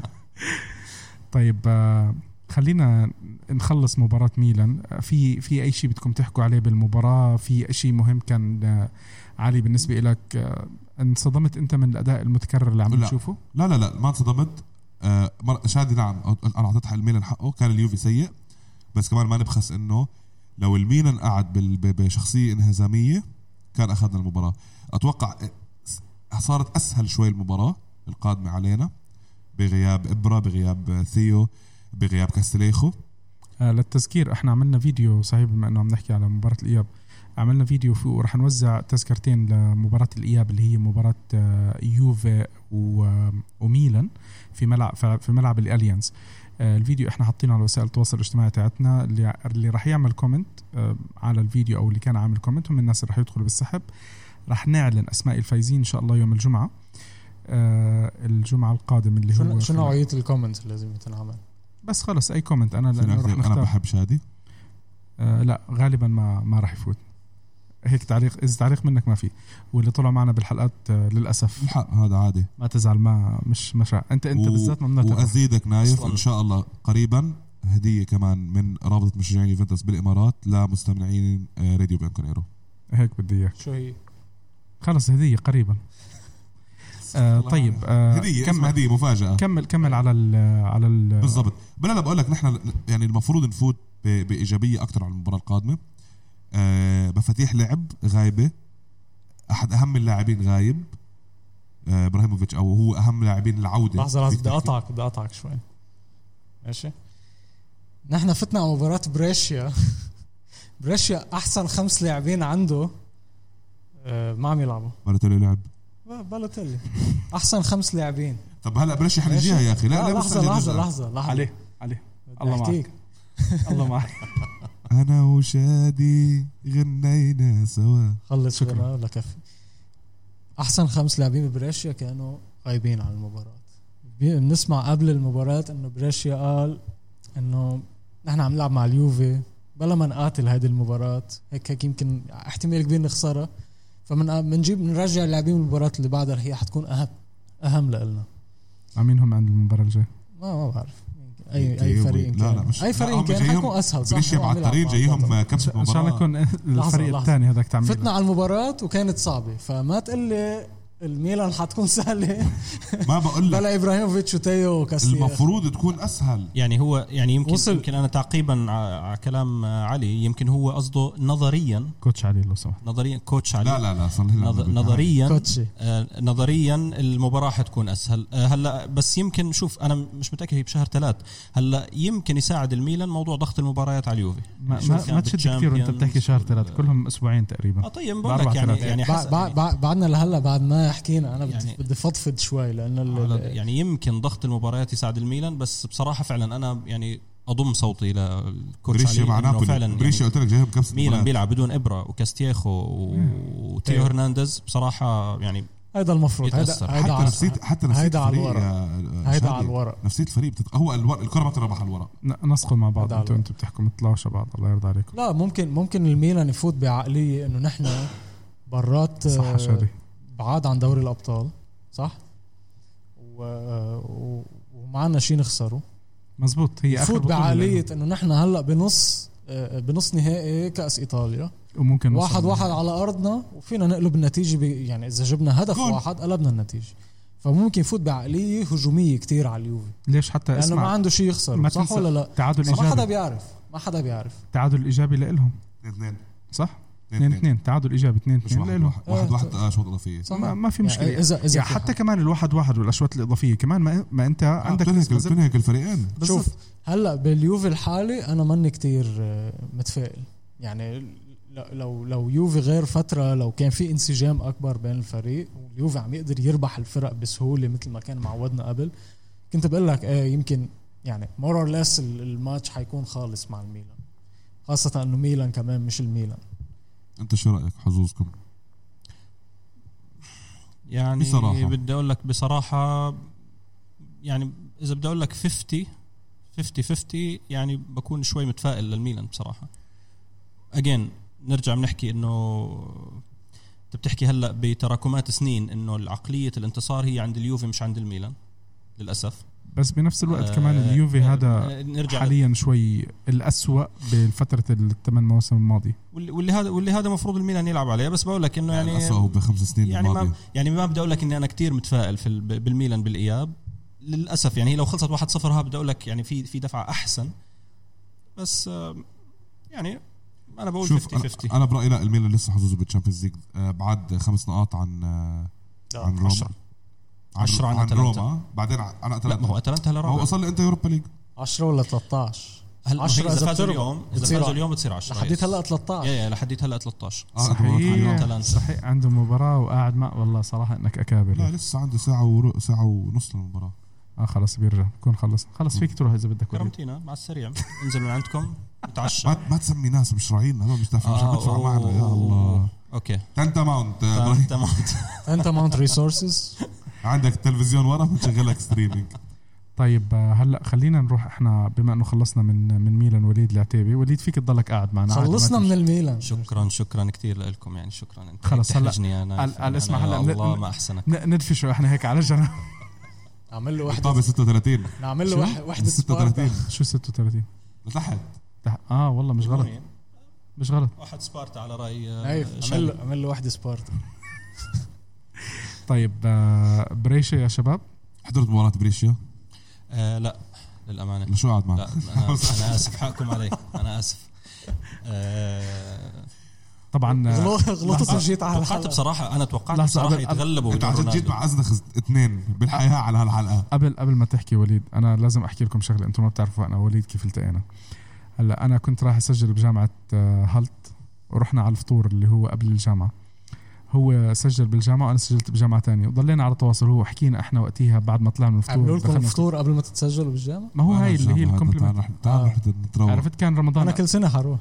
[SPEAKER 1] طيب آه، خلينا نخلص مباراة ميلان آه، في في أي شيء بدكم تحكوا عليه بالمباراة في شيء مهم كان آه، علي آه، بالنسبة لك انصدمت أنت من الأداء المتكرر اللي عم
[SPEAKER 4] لا.
[SPEAKER 1] تشوفه
[SPEAKER 4] لا لا لا ما انصدمت آه، مر- شادي نعم أو- انا اعطيت حق الميلان حقه كان اليوفي سيء بس كمان ما نبخس انه لو الميلان قعد بال- ب- بشخصيه انهزاميه كان اخذنا المباراه اتوقع آه، صارت اسهل شوي المباراه القادمه علينا بغياب ابرا بغياب آه، ثيو بغياب كاستليخو
[SPEAKER 1] آه، للتذكير احنا عملنا فيديو صحيح بما انه عم نحكي على مباراه الاياب عملنا فيديو فيه ورح نوزع تذكرتين لمباراه الاياب اللي هي مباراه آه، يوفي و- آه، وميلان في ملعب في ملعب الاليانز آه، الفيديو احنا حاطينه على وسائل التواصل الاجتماعي تاعتنا اللي اللي راح يعمل كومنت آه، على الفيديو او اللي كان عامل كومنت هم الناس اللي راح يدخلوا بالسحب راح نعلن اسماء الفايزين ان شاء الله يوم الجمعه آه، الجمعه القادم اللي
[SPEAKER 2] شو
[SPEAKER 1] هو
[SPEAKER 2] شو
[SPEAKER 1] في-
[SPEAKER 2] نوعيه الكومنت اللي لازم تنعمل
[SPEAKER 1] بس خلص اي كومنت انا
[SPEAKER 4] فينا
[SPEAKER 1] لانه
[SPEAKER 4] أكتب-
[SPEAKER 1] راح
[SPEAKER 4] انا
[SPEAKER 1] نختار
[SPEAKER 4] بحب شادي
[SPEAKER 1] آه لا غالبا ما ما راح يفوت هيك تعليق اذا تعليق منك ما في واللي طلعوا معنا بالحلقات آه للاسف
[SPEAKER 4] الحق هذا عادي
[SPEAKER 1] ما تزعل ما مش مش انت انت
[SPEAKER 4] و-
[SPEAKER 1] بالذات ممنوع تفرح.
[SPEAKER 4] وازيدك نايف
[SPEAKER 3] أصلاً.
[SPEAKER 4] ان شاء الله قريبا هديه كمان من رابطه مشجعين يوفنتوس بالامارات لمستمعين آه، راديو بانكونيرو
[SPEAKER 1] هيك بدي اياك
[SPEAKER 2] شو هي؟
[SPEAKER 1] خلص هديه قريبا آه طيب آه
[SPEAKER 4] هديه اسمها
[SPEAKER 1] كمل
[SPEAKER 4] هديه مفاجاه
[SPEAKER 1] كمل كمل على ال على ال
[SPEAKER 4] بالضبط بلا لا بقول لك نحن يعني المفروض نفوت ب- بايجابيه اكثر على المباراه القادمه آه، مفاتيح لعب غايبه احد اهم اللاعبين غايب آه، ابراهيموفيتش او هو اهم لاعبين العوده
[SPEAKER 2] لحظه لحظه
[SPEAKER 4] فيك
[SPEAKER 2] بدي
[SPEAKER 4] تحكي.
[SPEAKER 2] اقطعك بدي اقطعك شوي ماشي نحن فتنا على مباراة بريشيا بريشيا احسن خمس لاعبين عنده آه، ما عم يلعبوا
[SPEAKER 4] باراتيلو لعب
[SPEAKER 2] ب- بالوتيلي احسن خمس لاعبين
[SPEAKER 4] طب هلا بلاش حنجيها يا اخي لا لا بس
[SPEAKER 2] لحظة
[SPEAKER 4] بدي
[SPEAKER 2] لحظة
[SPEAKER 4] نرجع.
[SPEAKER 2] لحظة لحظة
[SPEAKER 1] عليه عليه الله معك.
[SPEAKER 2] أحكيك.
[SPEAKER 1] الله معك
[SPEAKER 4] انا وشادي غنينا سوا
[SPEAKER 2] خلص
[SPEAKER 1] شكراً.
[SPEAKER 2] شكرا ولا كفي احسن خمس لاعبين بريشيا كانوا غايبين عن المباراه بي- بنسمع قبل المباراه انه بريشيا قال انه نحن عم نلعب مع اليوفي بلا ما نقاتل هذه المباراه هيك هيك يمكن احتمال كبير نخسرها فمن بنجيب بنرجع اللاعبين المباراه اللي بعدها هي حتكون اهم اهم لنا
[SPEAKER 1] عاملين هم عند المباراه الجايه
[SPEAKER 2] ما ما بعرف اي اي
[SPEAKER 4] جايبوا-
[SPEAKER 2] فريق
[SPEAKER 4] لا،
[SPEAKER 2] كان
[SPEAKER 4] لا، مش-
[SPEAKER 2] اي
[SPEAKER 4] لا،
[SPEAKER 2] فريق
[SPEAKER 4] هم
[SPEAKER 2] كان
[SPEAKER 4] جايهم-
[SPEAKER 2] حيكون اسهل صح
[SPEAKER 4] بريشيا
[SPEAKER 2] هو عم
[SPEAKER 4] على
[SPEAKER 2] يلعب
[SPEAKER 4] الطريق
[SPEAKER 2] مع بعض.
[SPEAKER 4] جايهم
[SPEAKER 1] ان
[SPEAKER 4] كبسه
[SPEAKER 1] شاء- إن شاء الله
[SPEAKER 4] مباراه
[SPEAKER 1] يكون الفريق
[SPEAKER 2] لحظة.
[SPEAKER 1] الثاني هذاك تعمل
[SPEAKER 2] فتنا على المباراه وكانت صعبه فما تقول لي الميلان حتكون سهله
[SPEAKER 4] ما بقول لك
[SPEAKER 2] بلا ابراهيموفيتش وتيو وكاستيا
[SPEAKER 4] المفروض تكون اسهل
[SPEAKER 3] يعني هو يعني يمكن
[SPEAKER 2] وصل.
[SPEAKER 3] وصل. يمكن انا تعقيبا ع- على كلام آه، علي يمكن هو قصده نظريا
[SPEAKER 1] كوتش علي لو سمحت
[SPEAKER 3] نظريا كوتش علي
[SPEAKER 4] لا لا لا صلي الله على
[SPEAKER 3] نظ-
[SPEAKER 4] النبي.
[SPEAKER 3] نظريا
[SPEAKER 2] كوتشي
[SPEAKER 3] آه، نظريا المباراه حتكون اسهل آه، هلا بس يمكن شوف انا مش متاكد هي بشهر ثلاث هلا يمكن يساعد الميلان موضوع ضغط المباريات على اليوفي
[SPEAKER 1] ما,
[SPEAKER 3] شوف
[SPEAKER 1] ما,
[SPEAKER 3] كان
[SPEAKER 1] ما تشد
[SPEAKER 3] بالشامبيونز
[SPEAKER 1] كثير وانت بتحكي شهر ثلاث كلهم اسبوعين
[SPEAKER 3] اه
[SPEAKER 1] تقريبا
[SPEAKER 3] طيب بقول
[SPEAKER 1] بأربع
[SPEAKER 3] لك يعني
[SPEAKER 1] ثلاث.
[SPEAKER 3] يعني
[SPEAKER 2] بعد
[SPEAKER 3] حسب
[SPEAKER 2] بعد بعد بعدنا لهلا بعد ما حكينا انا بدي
[SPEAKER 3] يعني-
[SPEAKER 2] بدي فضفض شوي لانه ال-
[SPEAKER 3] على- يعني يمكن ضغط المباريات يساعد الميلان بس بصراحه فعلا انا يعني اضم صوتي للكوتش
[SPEAKER 4] بريشيا
[SPEAKER 3] علي
[SPEAKER 4] مع
[SPEAKER 3] إنه
[SPEAKER 4] نابولي
[SPEAKER 3] فعلا
[SPEAKER 4] بريشيا
[SPEAKER 3] يعني
[SPEAKER 4] قلت لك جايهم كبسه
[SPEAKER 3] ميلان
[SPEAKER 4] مباراة.
[SPEAKER 3] بيلعب بدون ابره وكاستياخو وتيو
[SPEAKER 2] طيب.
[SPEAKER 3] هرنانديز بصراحه يعني
[SPEAKER 2] هيدا المفروض هيدا
[SPEAKER 3] يتأثر.
[SPEAKER 2] هيدا
[SPEAKER 4] حتى
[SPEAKER 2] على
[SPEAKER 4] نفسيه حتى نفسيه
[SPEAKER 2] هيدا على
[SPEAKER 4] الفريق
[SPEAKER 2] الورق.
[SPEAKER 4] يا-
[SPEAKER 2] هيدا
[SPEAKER 4] شادي.
[SPEAKER 2] على الورق
[SPEAKER 4] نفسيه الفريق بتت... هو الور... الكره ما بتنربح على الورق
[SPEAKER 1] ن- نسقوا مع بعض
[SPEAKER 2] هذا على
[SPEAKER 1] انتوا انتوا بتحكوا متلاوشة بعض الله يرضى عليكم
[SPEAKER 2] لا ممكن ممكن الميلان يفوت بعقليه انه نحن برات
[SPEAKER 1] صح يا
[SPEAKER 2] آه،
[SPEAKER 1] شادي
[SPEAKER 2] بعاد عن دوري الابطال صح؟ و... آه، و... ومعنا شيء نخسره
[SPEAKER 1] مزبوط هي اخر
[SPEAKER 2] يفوت
[SPEAKER 1] بطولة
[SPEAKER 2] بعقليه
[SPEAKER 1] لإلهم.
[SPEAKER 2] انه نحن هلا بنص آه، بنص نهائي كاس ايطاليا
[SPEAKER 1] وممكن نوصل
[SPEAKER 2] واحد
[SPEAKER 1] لل-
[SPEAKER 2] واحد على ارضنا وفينا نقلب النتيجه ب... يعني اذا جبنا هدف
[SPEAKER 4] جول.
[SPEAKER 2] واحد قلبنا النتيجه فممكن يفوت بعقليه هجوميه كتير على اليوفي
[SPEAKER 1] ليش حتى
[SPEAKER 2] لانه ما
[SPEAKER 1] اسمع
[SPEAKER 2] عنده شيء
[SPEAKER 1] ما
[SPEAKER 2] يخسره صح
[SPEAKER 1] تنسى
[SPEAKER 2] ولا لا
[SPEAKER 1] تعادل
[SPEAKER 2] ما حدا
[SPEAKER 1] ايجابي
[SPEAKER 2] بيعرف ما حدا بيعرف
[SPEAKER 1] تعادل ايجابي لهم
[SPEAKER 4] اثنين
[SPEAKER 1] صح 2 2 تعادل ايجابي 2
[SPEAKER 4] مش
[SPEAKER 1] 2
[SPEAKER 4] واحد
[SPEAKER 1] لهم
[SPEAKER 4] واحد واحد, واحد آه، شوط اضافيه
[SPEAKER 2] صح
[SPEAKER 1] ما- ما في
[SPEAKER 2] يعني
[SPEAKER 1] مشكلة.
[SPEAKER 2] اذا اذا
[SPEAKER 1] يعني
[SPEAKER 2] في
[SPEAKER 1] حتى
[SPEAKER 2] حدا.
[SPEAKER 1] كمان الواحد واحد والاشواط الاضافيه كمان ما, ما انت عندك
[SPEAKER 4] عندك آه، بتنهك
[SPEAKER 1] نسبة زر-
[SPEAKER 4] بتنهك الفريقين
[SPEAKER 1] بالضبط.
[SPEAKER 2] شوف هلا باليوفي الحالي انا ماني كتير آه، متفائل يعني ل- لو لو يوفي غير فتره لو كان في انسجام اكبر بين الفريق واليوفي عم يقدر يربح الفرق بسهوله مثل ما كان معودنا قبل كنت بقول لك آه يمكن يعني مور اور ليس الماتش حيكون خالص مع الميلان خاصة انه ميلان كمان مش الميلان
[SPEAKER 4] انت شو رايك حظوظكم
[SPEAKER 3] يعني
[SPEAKER 4] بصراحة.
[SPEAKER 3] بدي اقول لك بصراحه يعني اذا بدي اقول لك 50 50 50 يعني بكون شوي متفائل للميلان بصراحه اجين نرجع بنحكي انه انت بتحكي هلا بتراكمات سنين انه العقليه الانتصار هي عند اليوفي مش عند الميلان للاسف
[SPEAKER 1] بس بنفس الوقت
[SPEAKER 3] آه،
[SPEAKER 1] كمان اليوفي
[SPEAKER 4] يعني
[SPEAKER 3] آه،
[SPEAKER 1] هذا
[SPEAKER 3] آه، نرجع
[SPEAKER 1] حاليا شوي الأسوأ بفتره الثمان مواسم الماضيه
[SPEAKER 3] واللي واللي هذا واللي هذا المفروض الميلان يلعب عليه بس بقول لك انه
[SPEAKER 4] يعني
[SPEAKER 3] يعني
[SPEAKER 4] اسوء بخمس سنين
[SPEAKER 3] يعني ما
[SPEAKER 4] الماضيه
[SPEAKER 3] يعني ما بدي اقول لك اني انا كتير متفائل في ال- بالميلان بالاياب للاسف يعني هي لو خلصت 1-0 ها بدي اقول لك يعني في في دفعه احسن بس آه، يعني انا بقول 50
[SPEAKER 4] شوف
[SPEAKER 3] 50
[SPEAKER 4] أنا, انا برايي لا الميلان لسه حظوظه بالتشامبيونز ليج آه، بعد خمس نقاط عن آه، عن
[SPEAKER 1] نعم.
[SPEAKER 4] روما
[SPEAKER 3] عشرة. عشرة عن
[SPEAKER 4] عن
[SPEAKER 3] أتلانتا.
[SPEAKER 4] روما بعدين عن عن
[SPEAKER 3] لا ما هو
[SPEAKER 4] اتلانتا
[SPEAKER 3] اتلانتا هلا
[SPEAKER 4] ما هو
[SPEAKER 3] رابع
[SPEAKER 4] وصل لي انت يوروبا ليج آه،
[SPEAKER 2] 10 ولا 13
[SPEAKER 3] هلا
[SPEAKER 2] 10
[SPEAKER 3] 10 اذا
[SPEAKER 2] إذا
[SPEAKER 3] فازوا
[SPEAKER 2] بتربح
[SPEAKER 3] اليوم اذا
[SPEAKER 2] بتصير
[SPEAKER 3] فازوا
[SPEAKER 2] ع-
[SPEAKER 3] اليوم بتصير 10
[SPEAKER 2] لحديت هلا 13
[SPEAKER 3] يا يا لحديت هلا 13
[SPEAKER 4] آه، أنت مرات على اليوم.
[SPEAKER 1] صحيح
[SPEAKER 3] أتلانتا.
[SPEAKER 1] صحيح عندهم مباراة وقاعد مع والله صراحة انك
[SPEAKER 4] لا
[SPEAKER 1] اكابر
[SPEAKER 4] لسه عنده ساعه ورو... ساعه ونص للمباراه
[SPEAKER 1] اه خلص بيرجع بكون خلص خلص فيك تروح اذا بدك وليد.
[SPEAKER 3] كرمتينا على السريع انزل من عندكم نتعشى
[SPEAKER 4] ما, ما تسمي ناس مش راعيين هذول مش دافعين مش عم يدفعوا
[SPEAKER 3] آه، أوه.
[SPEAKER 4] معنا يا الله
[SPEAKER 3] اوكي
[SPEAKER 4] تنتا ماونت آه،
[SPEAKER 3] تمام
[SPEAKER 4] إبراهيم.
[SPEAKER 3] تمام.
[SPEAKER 2] انت ماونت ريسورسز
[SPEAKER 4] عندك تلفزيون ورا بنشغل لك ستريمينج
[SPEAKER 1] طيب آه، هلا خلينا نروح احنا بما انه خلصنا من من ميلان وليد العتيبي وليد فيك تضلك قاعد معنا عادي، ما
[SPEAKER 2] خلصنا من
[SPEAKER 1] تمشي.
[SPEAKER 2] الميلان
[SPEAKER 3] شكرا شكرا كثير لكم يعني شكرا انت
[SPEAKER 1] خلص، هلا-
[SPEAKER 3] تحرجني انا
[SPEAKER 1] قال- قال
[SPEAKER 3] أنا-
[SPEAKER 1] اسمع
[SPEAKER 3] يا
[SPEAKER 1] هلا من-
[SPEAKER 3] الله ما احسنك
[SPEAKER 1] ن- ندفشه احنا هيك على جنب
[SPEAKER 2] نعمل له وحده
[SPEAKER 4] طابه 36
[SPEAKER 2] نعمل له وح- وحده سبارتا
[SPEAKER 4] 36
[SPEAKER 1] شو 36
[SPEAKER 4] لتحت
[SPEAKER 1] تح- اه والله مش غلط أيوه، مش غلط
[SPEAKER 3] واحد سبارتا على آه، راي
[SPEAKER 1] آه،
[SPEAKER 2] نايف أيوه، عمل له عمل له وحده سبارتا
[SPEAKER 1] طيب آه، بريشة يا شباب
[SPEAKER 4] حضرت مباراه بريشيا
[SPEAKER 3] آه لا للامانه
[SPEAKER 4] لشو قاعد معك
[SPEAKER 3] لا انا انا اسف حقكم علي انا اسف آه،
[SPEAKER 1] طبعا آه،
[SPEAKER 2] غلط- غلطت
[SPEAKER 1] لحظة.
[SPEAKER 2] وجيت على
[SPEAKER 3] توقعت
[SPEAKER 2] الحلقه
[SPEAKER 3] بصراحه انا توقعت
[SPEAKER 1] لحظة،
[SPEAKER 3] بصراحه
[SPEAKER 1] قبل-
[SPEAKER 3] يتغلبوا
[SPEAKER 4] انت
[SPEAKER 3] بدون
[SPEAKER 4] عشان
[SPEAKER 3] رونالدو.
[SPEAKER 4] جيت مع ازنخ اثنين بالحياه على هالحلقه
[SPEAKER 1] قبل قبل ما تحكي وليد انا لازم احكي لكم شغله انتم ما بتعرفوا انا وليد كيف التقينا هلا انا كنت راح اسجل بجامعه آه، هالت ورحنا على الفطور اللي هو قبل الجامعه هو سجل بالجامعه وانا سجلت بجامعه تانية وضلينا على تواصل هو حكينا احنا وقتها بعد ما طلعنا من الفطور
[SPEAKER 2] عملوا لكم
[SPEAKER 1] دخلنا-
[SPEAKER 2] الفطور قبل ما تتسجلوا بالجامعه
[SPEAKER 1] ما هو هاي اللي هي
[SPEAKER 4] تعال
[SPEAKER 1] الكومبلمنت
[SPEAKER 4] نروح تعال نروح نتروق
[SPEAKER 1] عرفت كان رمضان
[SPEAKER 2] انا كل سنه حروح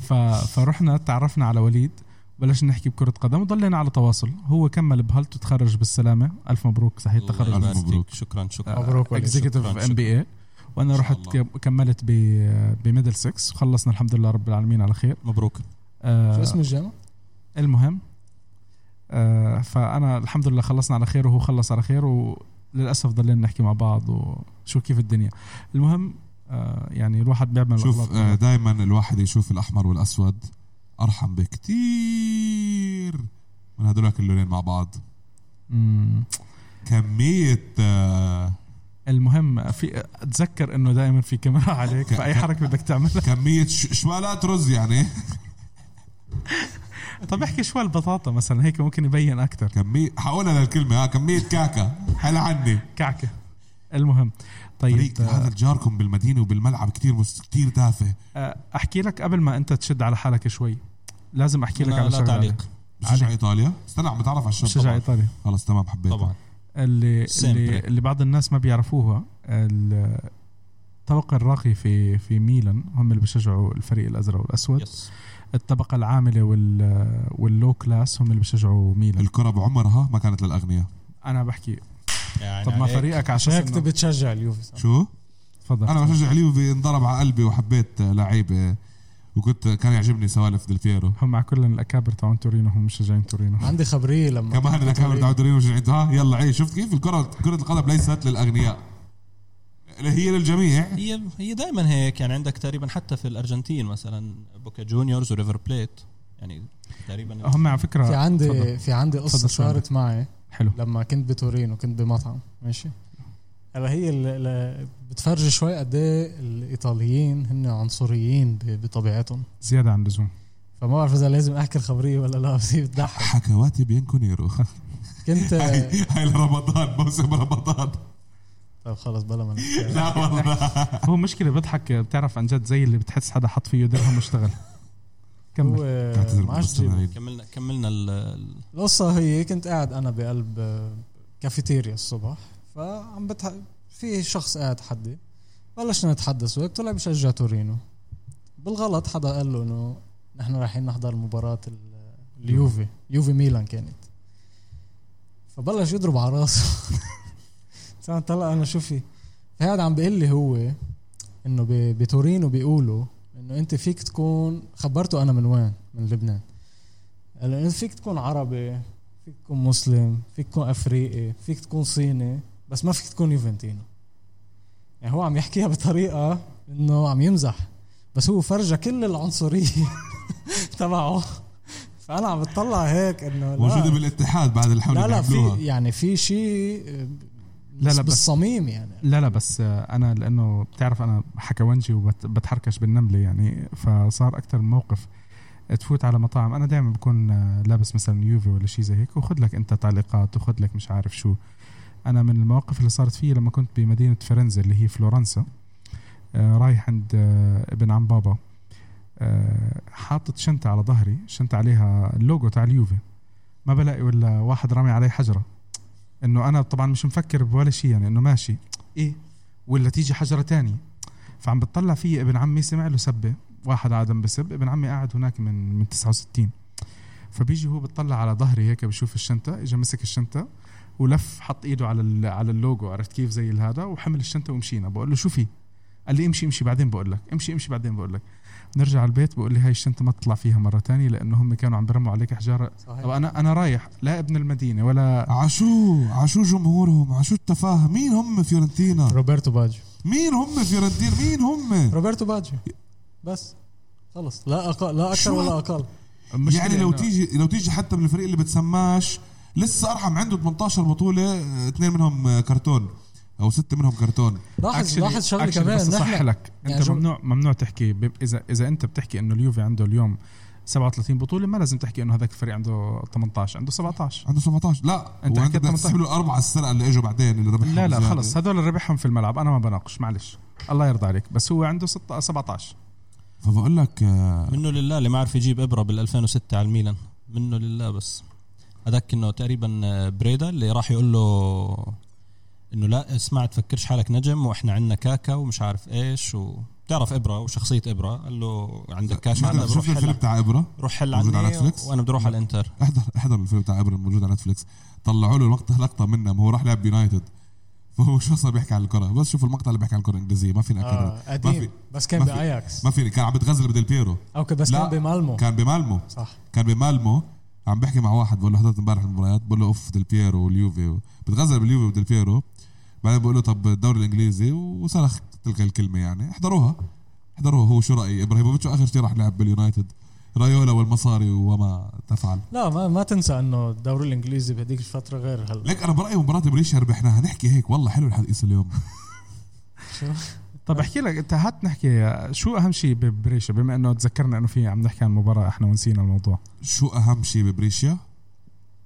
[SPEAKER 1] ف... فرحنا تعرفنا على وليد بلشنا نحكي بكرة قدم وضلينا على تواصل هو كمل بهلت وتخرج بالسلامة ألف مبروك صحيح
[SPEAKER 3] الله
[SPEAKER 1] التخرج
[SPEAKER 4] يبارك.
[SPEAKER 3] يبارك فيك.
[SPEAKER 4] مبروك.
[SPEAKER 3] شكرا
[SPEAKER 1] أه،
[SPEAKER 3] شكرا
[SPEAKER 2] مبروك وليد.
[SPEAKER 1] اكزيكتيف
[SPEAKER 3] شكراً،
[SPEAKER 1] ام بي اي وانا
[SPEAKER 4] إن شاء
[SPEAKER 1] رحت
[SPEAKER 4] الله.
[SPEAKER 1] ك- كملت ب بميدل 6 وخلصنا الحمد لله رب العالمين على خير
[SPEAKER 3] مبروك
[SPEAKER 1] آه،
[SPEAKER 2] شو اسم الجامعه؟
[SPEAKER 1] المهم آه، فانا الحمد لله خلصنا على خير وهو خلص على خير وللاسف ضلينا نحكي مع بعض وشو كيف الدنيا المهم آه، يعني الواحد بيعمل
[SPEAKER 4] شوف آه،
[SPEAKER 1] أغلاط.
[SPEAKER 4] دائما الواحد يشوف الاحمر والاسود ارحم بكتير من هدولك اللونين مع بعض
[SPEAKER 1] مم.
[SPEAKER 4] كميه آه،
[SPEAKER 1] المهم في اتذكر انه دائما في كاميرا عليك فاي حركه بدك تعملها
[SPEAKER 4] كميه ش- شوالات رز يعني
[SPEAKER 1] طب احكي شوي البطاطا مثلا هيك ممكن يبين اكثر
[SPEAKER 4] كميه حقولها آه، للكلمه ها كميه كعكه هلا عني
[SPEAKER 1] كعكه المهم طيب
[SPEAKER 4] فريق هذا جاركم بالمدينه وبالملعب كتير مس- كتير تافه
[SPEAKER 1] آه، احكي لك قبل ما انت تشد على حالك شوي لازم احكي لك
[SPEAKER 3] لا,
[SPEAKER 1] على
[SPEAKER 3] لا
[SPEAKER 1] شغله
[SPEAKER 3] تعليق
[SPEAKER 4] بشجع ايطاليا استنى عم بتعرف على الشاب
[SPEAKER 1] بشجع
[SPEAKER 4] طبعاً.
[SPEAKER 1] ايطاليا
[SPEAKER 4] خلص تمام حبيت
[SPEAKER 3] طبعا
[SPEAKER 1] اللي
[SPEAKER 3] Simple.
[SPEAKER 1] اللي, اللي بعض الناس ما بيعرفوها ال- الطبقه الراقي في في ميلان هم اللي بيشجعوا الفريق الازرق والاسود
[SPEAKER 3] يس
[SPEAKER 1] الطبقه العامله وال واللو كلاس هم اللي بيشجعوا ميلان
[SPEAKER 4] الكره بعمرها ما كانت للاغنياء
[SPEAKER 1] انا بحكي
[SPEAKER 3] يعني
[SPEAKER 1] طب ما
[SPEAKER 3] عليك.
[SPEAKER 1] فريقك عشان
[SPEAKER 2] هيك بتشجع اليوفي صح؟
[SPEAKER 4] شو
[SPEAKER 1] تفضل
[SPEAKER 4] انا بشجع اليوفي انضرب على قلبي وحبيت آه، لعيبه آه، وكنت كان يعجبني سوالف ديل بيرو
[SPEAKER 1] هم مع كل الاكابر تبعون تورينو هم مشجعين تورينو
[SPEAKER 2] عندي خبريه لما
[SPEAKER 4] كمان انا كامل تعود رينو ها يلا عيش شفت كيف الكره كره القدم ليست للاغنياء هي للجميع
[SPEAKER 3] هي هي دائما هيك يعني عندك تقريبا حتى في الارجنتين مثلا بوكا جونيورز وريفر بليت يعني تقريبا
[SPEAKER 1] هم على فكره
[SPEAKER 2] في
[SPEAKER 1] تفضل.
[SPEAKER 2] عندي في عندي قصه
[SPEAKER 1] تفضل سؤالك.
[SPEAKER 2] صارت معي
[SPEAKER 1] حلو
[SPEAKER 2] لما كنت بتورينو كنت بمطعم ماشي هلا هي ال- ال- بتفرجي شوي قد ايه الايطاليين هن عنصريين ب- بطبيعتهم
[SPEAKER 1] زياده عن اللزوم
[SPEAKER 2] فما بعرف اذا لازم احكي الخبريه ولا لا بس هي بتضحك
[SPEAKER 4] حكواتي بينكو نيرو
[SPEAKER 2] كنت
[SPEAKER 4] هاي هاي لرمضان موسم رمضان
[SPEAKER 2] طيب خلص بلا ما نحكي.
[SPEAKER 4] لا والله
[SPEAKER 1] هو مشكله بضحك بتعرف عن جد زي اللي بتحس حدا حط فيه درهم واشتغل
[SPEAKER 2] هو
[SPEAKER 1] كمل
[SPEAKER 4] بعتذر
[SPEAKER 2] ما عادش
[SPEAKER 4] بالمستمعين.
[SPEAKER 2] جيبه.
[SPEAKER 3] كملنا كملنا ال- ال-
[SPEAKER 2] القصة هي كنت قاعد أنا بقلب آه، كافيتيريا الصبح فعم بتح... في شخص قاعد حدي بلشنا نتحدث وهيك طلع بشجع تورينو بالغلط حدا قال له إنه نحن رايحين نحضر مباراة ال- اليوفي يوفي ميلان كانت فبلش يضرب على راسه طلع طلع أنا شو في فقاعد عم بيقول لي هو إنه ب- بتورينو بيقولوا إنه أنت فيك تكون خبرته أنا من وين من لبنان هلا انت فيك تكون عربي فيك تكون مسلم فيك تكون افريقي فيك تكون صيني بس ما فيك تكون يوفنتينو يعني هو عم يحكيها بطريقه انه عم يمزح بس هو فرجى كل العنصريه تبعه فانا عم بتطلع هيك انه لا
[SPEAKER 4] موجوده بالاتحاد بعد الحمله
[SPEAKER 2] لا
[SPEAKER 4] اللي
[SPEAKER 2] لا
[SPEAKER 4] عملوها
[SPEAKER 2] في يعني في شيء
[SPEAKER 1] لا
[SPEAKER 2] بس
[SPEAKER 1] بس-
[SPEAKER 2] بالصميم يعني
[SPEAKER 1] لا لا بس آه، انا لانه بتعرف انا حكونجي وبتحركش بالنمله يعني فصار اكثر من موقف تفوت على مطاعم انا دائما بكون آه، لابس مثلا يوفي ولا شيء زي هيك وخذ لك انت تعليقات وخذ لك مش عارف شو انا من المواقف اللي صارت فيي لما كنت بمدينه فرنزا اللي هي فلورنسا آه، رايح عند آه، ابن عم بابا آه، حاطط شنطه على ظهري شنطه عليها اللوجو تاع اليوفي ما بلاقي ولا واحد رامي علي حجره انه انا طبعا مش مفكر بولا شيء يعني انه ماشي ايه ولا تيجي حجره تانية فعم بتطلع في ابن عمي سمع له سبه واحد عادم بسب ابن عمي قاعد هناك من من 69 فبيجي هو بتطلع على ظهري هيك بشوف الشنطه اجى مسك الشنطه ولف حط ايده على ال- على اللوجو عرفت كيف زي هذا وحمل الشنطه ومشينا بقول له شو في قال لي امشي امشي بعدين بقول لك امشي امشي بعدين بقول لك نرجع على البيت بقول لي هاي الشنطه ما تطلع فيها مره تانية لانه هم كانوا عم برموا عليك حجاره طب
[SPEAKER 2] صحيح
[SPEAKER 1] انا انا رايح لا ابن المدينه ولا
[SPEAKER 4] عشو عشو جمهورهم عشو التفاهه مين هم فيورنتينا
[SPEAKER 2] روبرتو باجيو
[SPEAKER 4] مين هم فيورنتينا مين هم
[SPEAKER 2] روبرتو باجيو بس خلص لا اقل لا اكثر
[SPEAKER 4] شو
[SPEAKER 2] ولا اقل
[SPEAKER 1] مشكلة
[SPEAKER 4] يعني لو
[SPEAKER 1] إنه-
[SPEAKER 4] تيجي لو تيجي حتى من الفريق اللي بتسماش لسه ارحم عنده 18 بطوله آه، اثنين منهم آه، كرتون او سته منهم كرتون
[SPEAKER 2] لاحظ
[SPEAKER 1] Actually-
[SPEAKER 2] لاحظ شغله
[SPEAKER 1] actually
[SPEAKER 2] كمان
[SPEAKER 1] بس صح
[SPEAKER 2] نحن
[SPEAKER 1] لك
[SPEAKER 2] يعني
[SPEAKER 1] انت
[SPEAKER 2] شو-
[SPEAKER 1] ممنوع ممنوع تحكي ب- اذا اذا انت بتحكي انه اليوفي عنده اليوم 37 بطوله ما لازم تحكي انه هذاك الفريق عنده 18 عنده 17
[SPEAKER 4] عنده 17 لا
[SPEAKER 1] أنت
[SPEAKER 4] انت
[SPEAKER 1] حكيت
[SPEAKER 4] بدك
[SPEAKER 1] 18.
[SPEAKER 4] تسحب له الاربعه السرقه اللي اجوا بعدين اللي ربحهم
[SPEAKER 1] لا لا
[SPEAKER 4] زيادة.
[SPEAKER 1] خلص هذول اللي ربحهم في الملعب انا ما بناقش معلش الله يرضى عليك بس هو عنده ستة 17
[SPEAKER 4] فبقول لك آه،
[SPEAKER 3] منه لله اللي ما عرف يجيب ابره بال 2006 على الميلان منه لله بس هذاك انه تقريبا آه، بريدا اللي راح يقول له انه لا اسمع تفكرش حالك نجم واحنا عندنا كاكا ومش عارف ايش وبتعرف ابره وشخصيه ابره قال له عندك كاش عندك
[SPEAKER 4] شفت
[SPEAKER 3] روح
[SPEAKER 4] الفيلم
[SPEAKER 3] حل
[SPEAKER 4] بتاع ابره
[SPEAKER 3] روح حل
[SPEAKER 4] موجود على
[SPEAKER 3] عني
[SPEAKER 4] نتفليكس؟
[SPEAKER 3] وانا بدي اروح على الانتر
[SPEAKER 4] احضر احضر الفيلم بتاع ابره الموجود على نتفلكس طلعوا له المقطع لقطه منه ما هو راح لعب يونايتد فهو شو صار بيحكي عن الكره بس شوف المقطع اللي بيحكي عن الكره الانجليزيه ما فينا اكرر
[SPEAKER 2] آه
[SPEAKER 4] ما في
[SPEAKER 2] قديم بس كان
[SPEAKER 4] ما في-
[SPEAKER 2] باياكس
[SPEAKER 4] ما فيني كان عم بتغزل بدل بيرو
[SPEAKER 2] او ك- بس
[SPEAKER 4] لا.
[SPEAKER 2] كان بمالمو
[SPEAKER 4] كان بمالمو
[SPEAKER 2] صح
[SPEAKER 4] كان بمالمو عم بحكي مع واحد بقول له حضرت امبارح المباريات بقول له اوف ديل بيرو واليوفي بتغزل باليوفي وديل بيرو بعدين بقول له طب الدوري الانجليزي وصرخ تلك الكلمه يعني احضروها احضروها هو شو رايي ابراهيموفيتش اخر شيء راح لعب باليونايتد رايولا والمصاري وما تفعل
[SPEAKER 2] لا ما ما تنسى انه الدوري الانجليزي بهديك الفتره غير هلا
[SPEAKER 4] لك انا برايي مباراه بريشيا ربحناها نحكي هيك والله حلو الحديث اليوم
[SPEAKER 1] طب احكي لك انت هات نحكي شو اهم شيء ببريشا بما انه تذكرنا انه في عم نحكي عن مباراه احنا ونسينا الموضوع
[SPEAKER 4] شو اهم شيء ببريشيا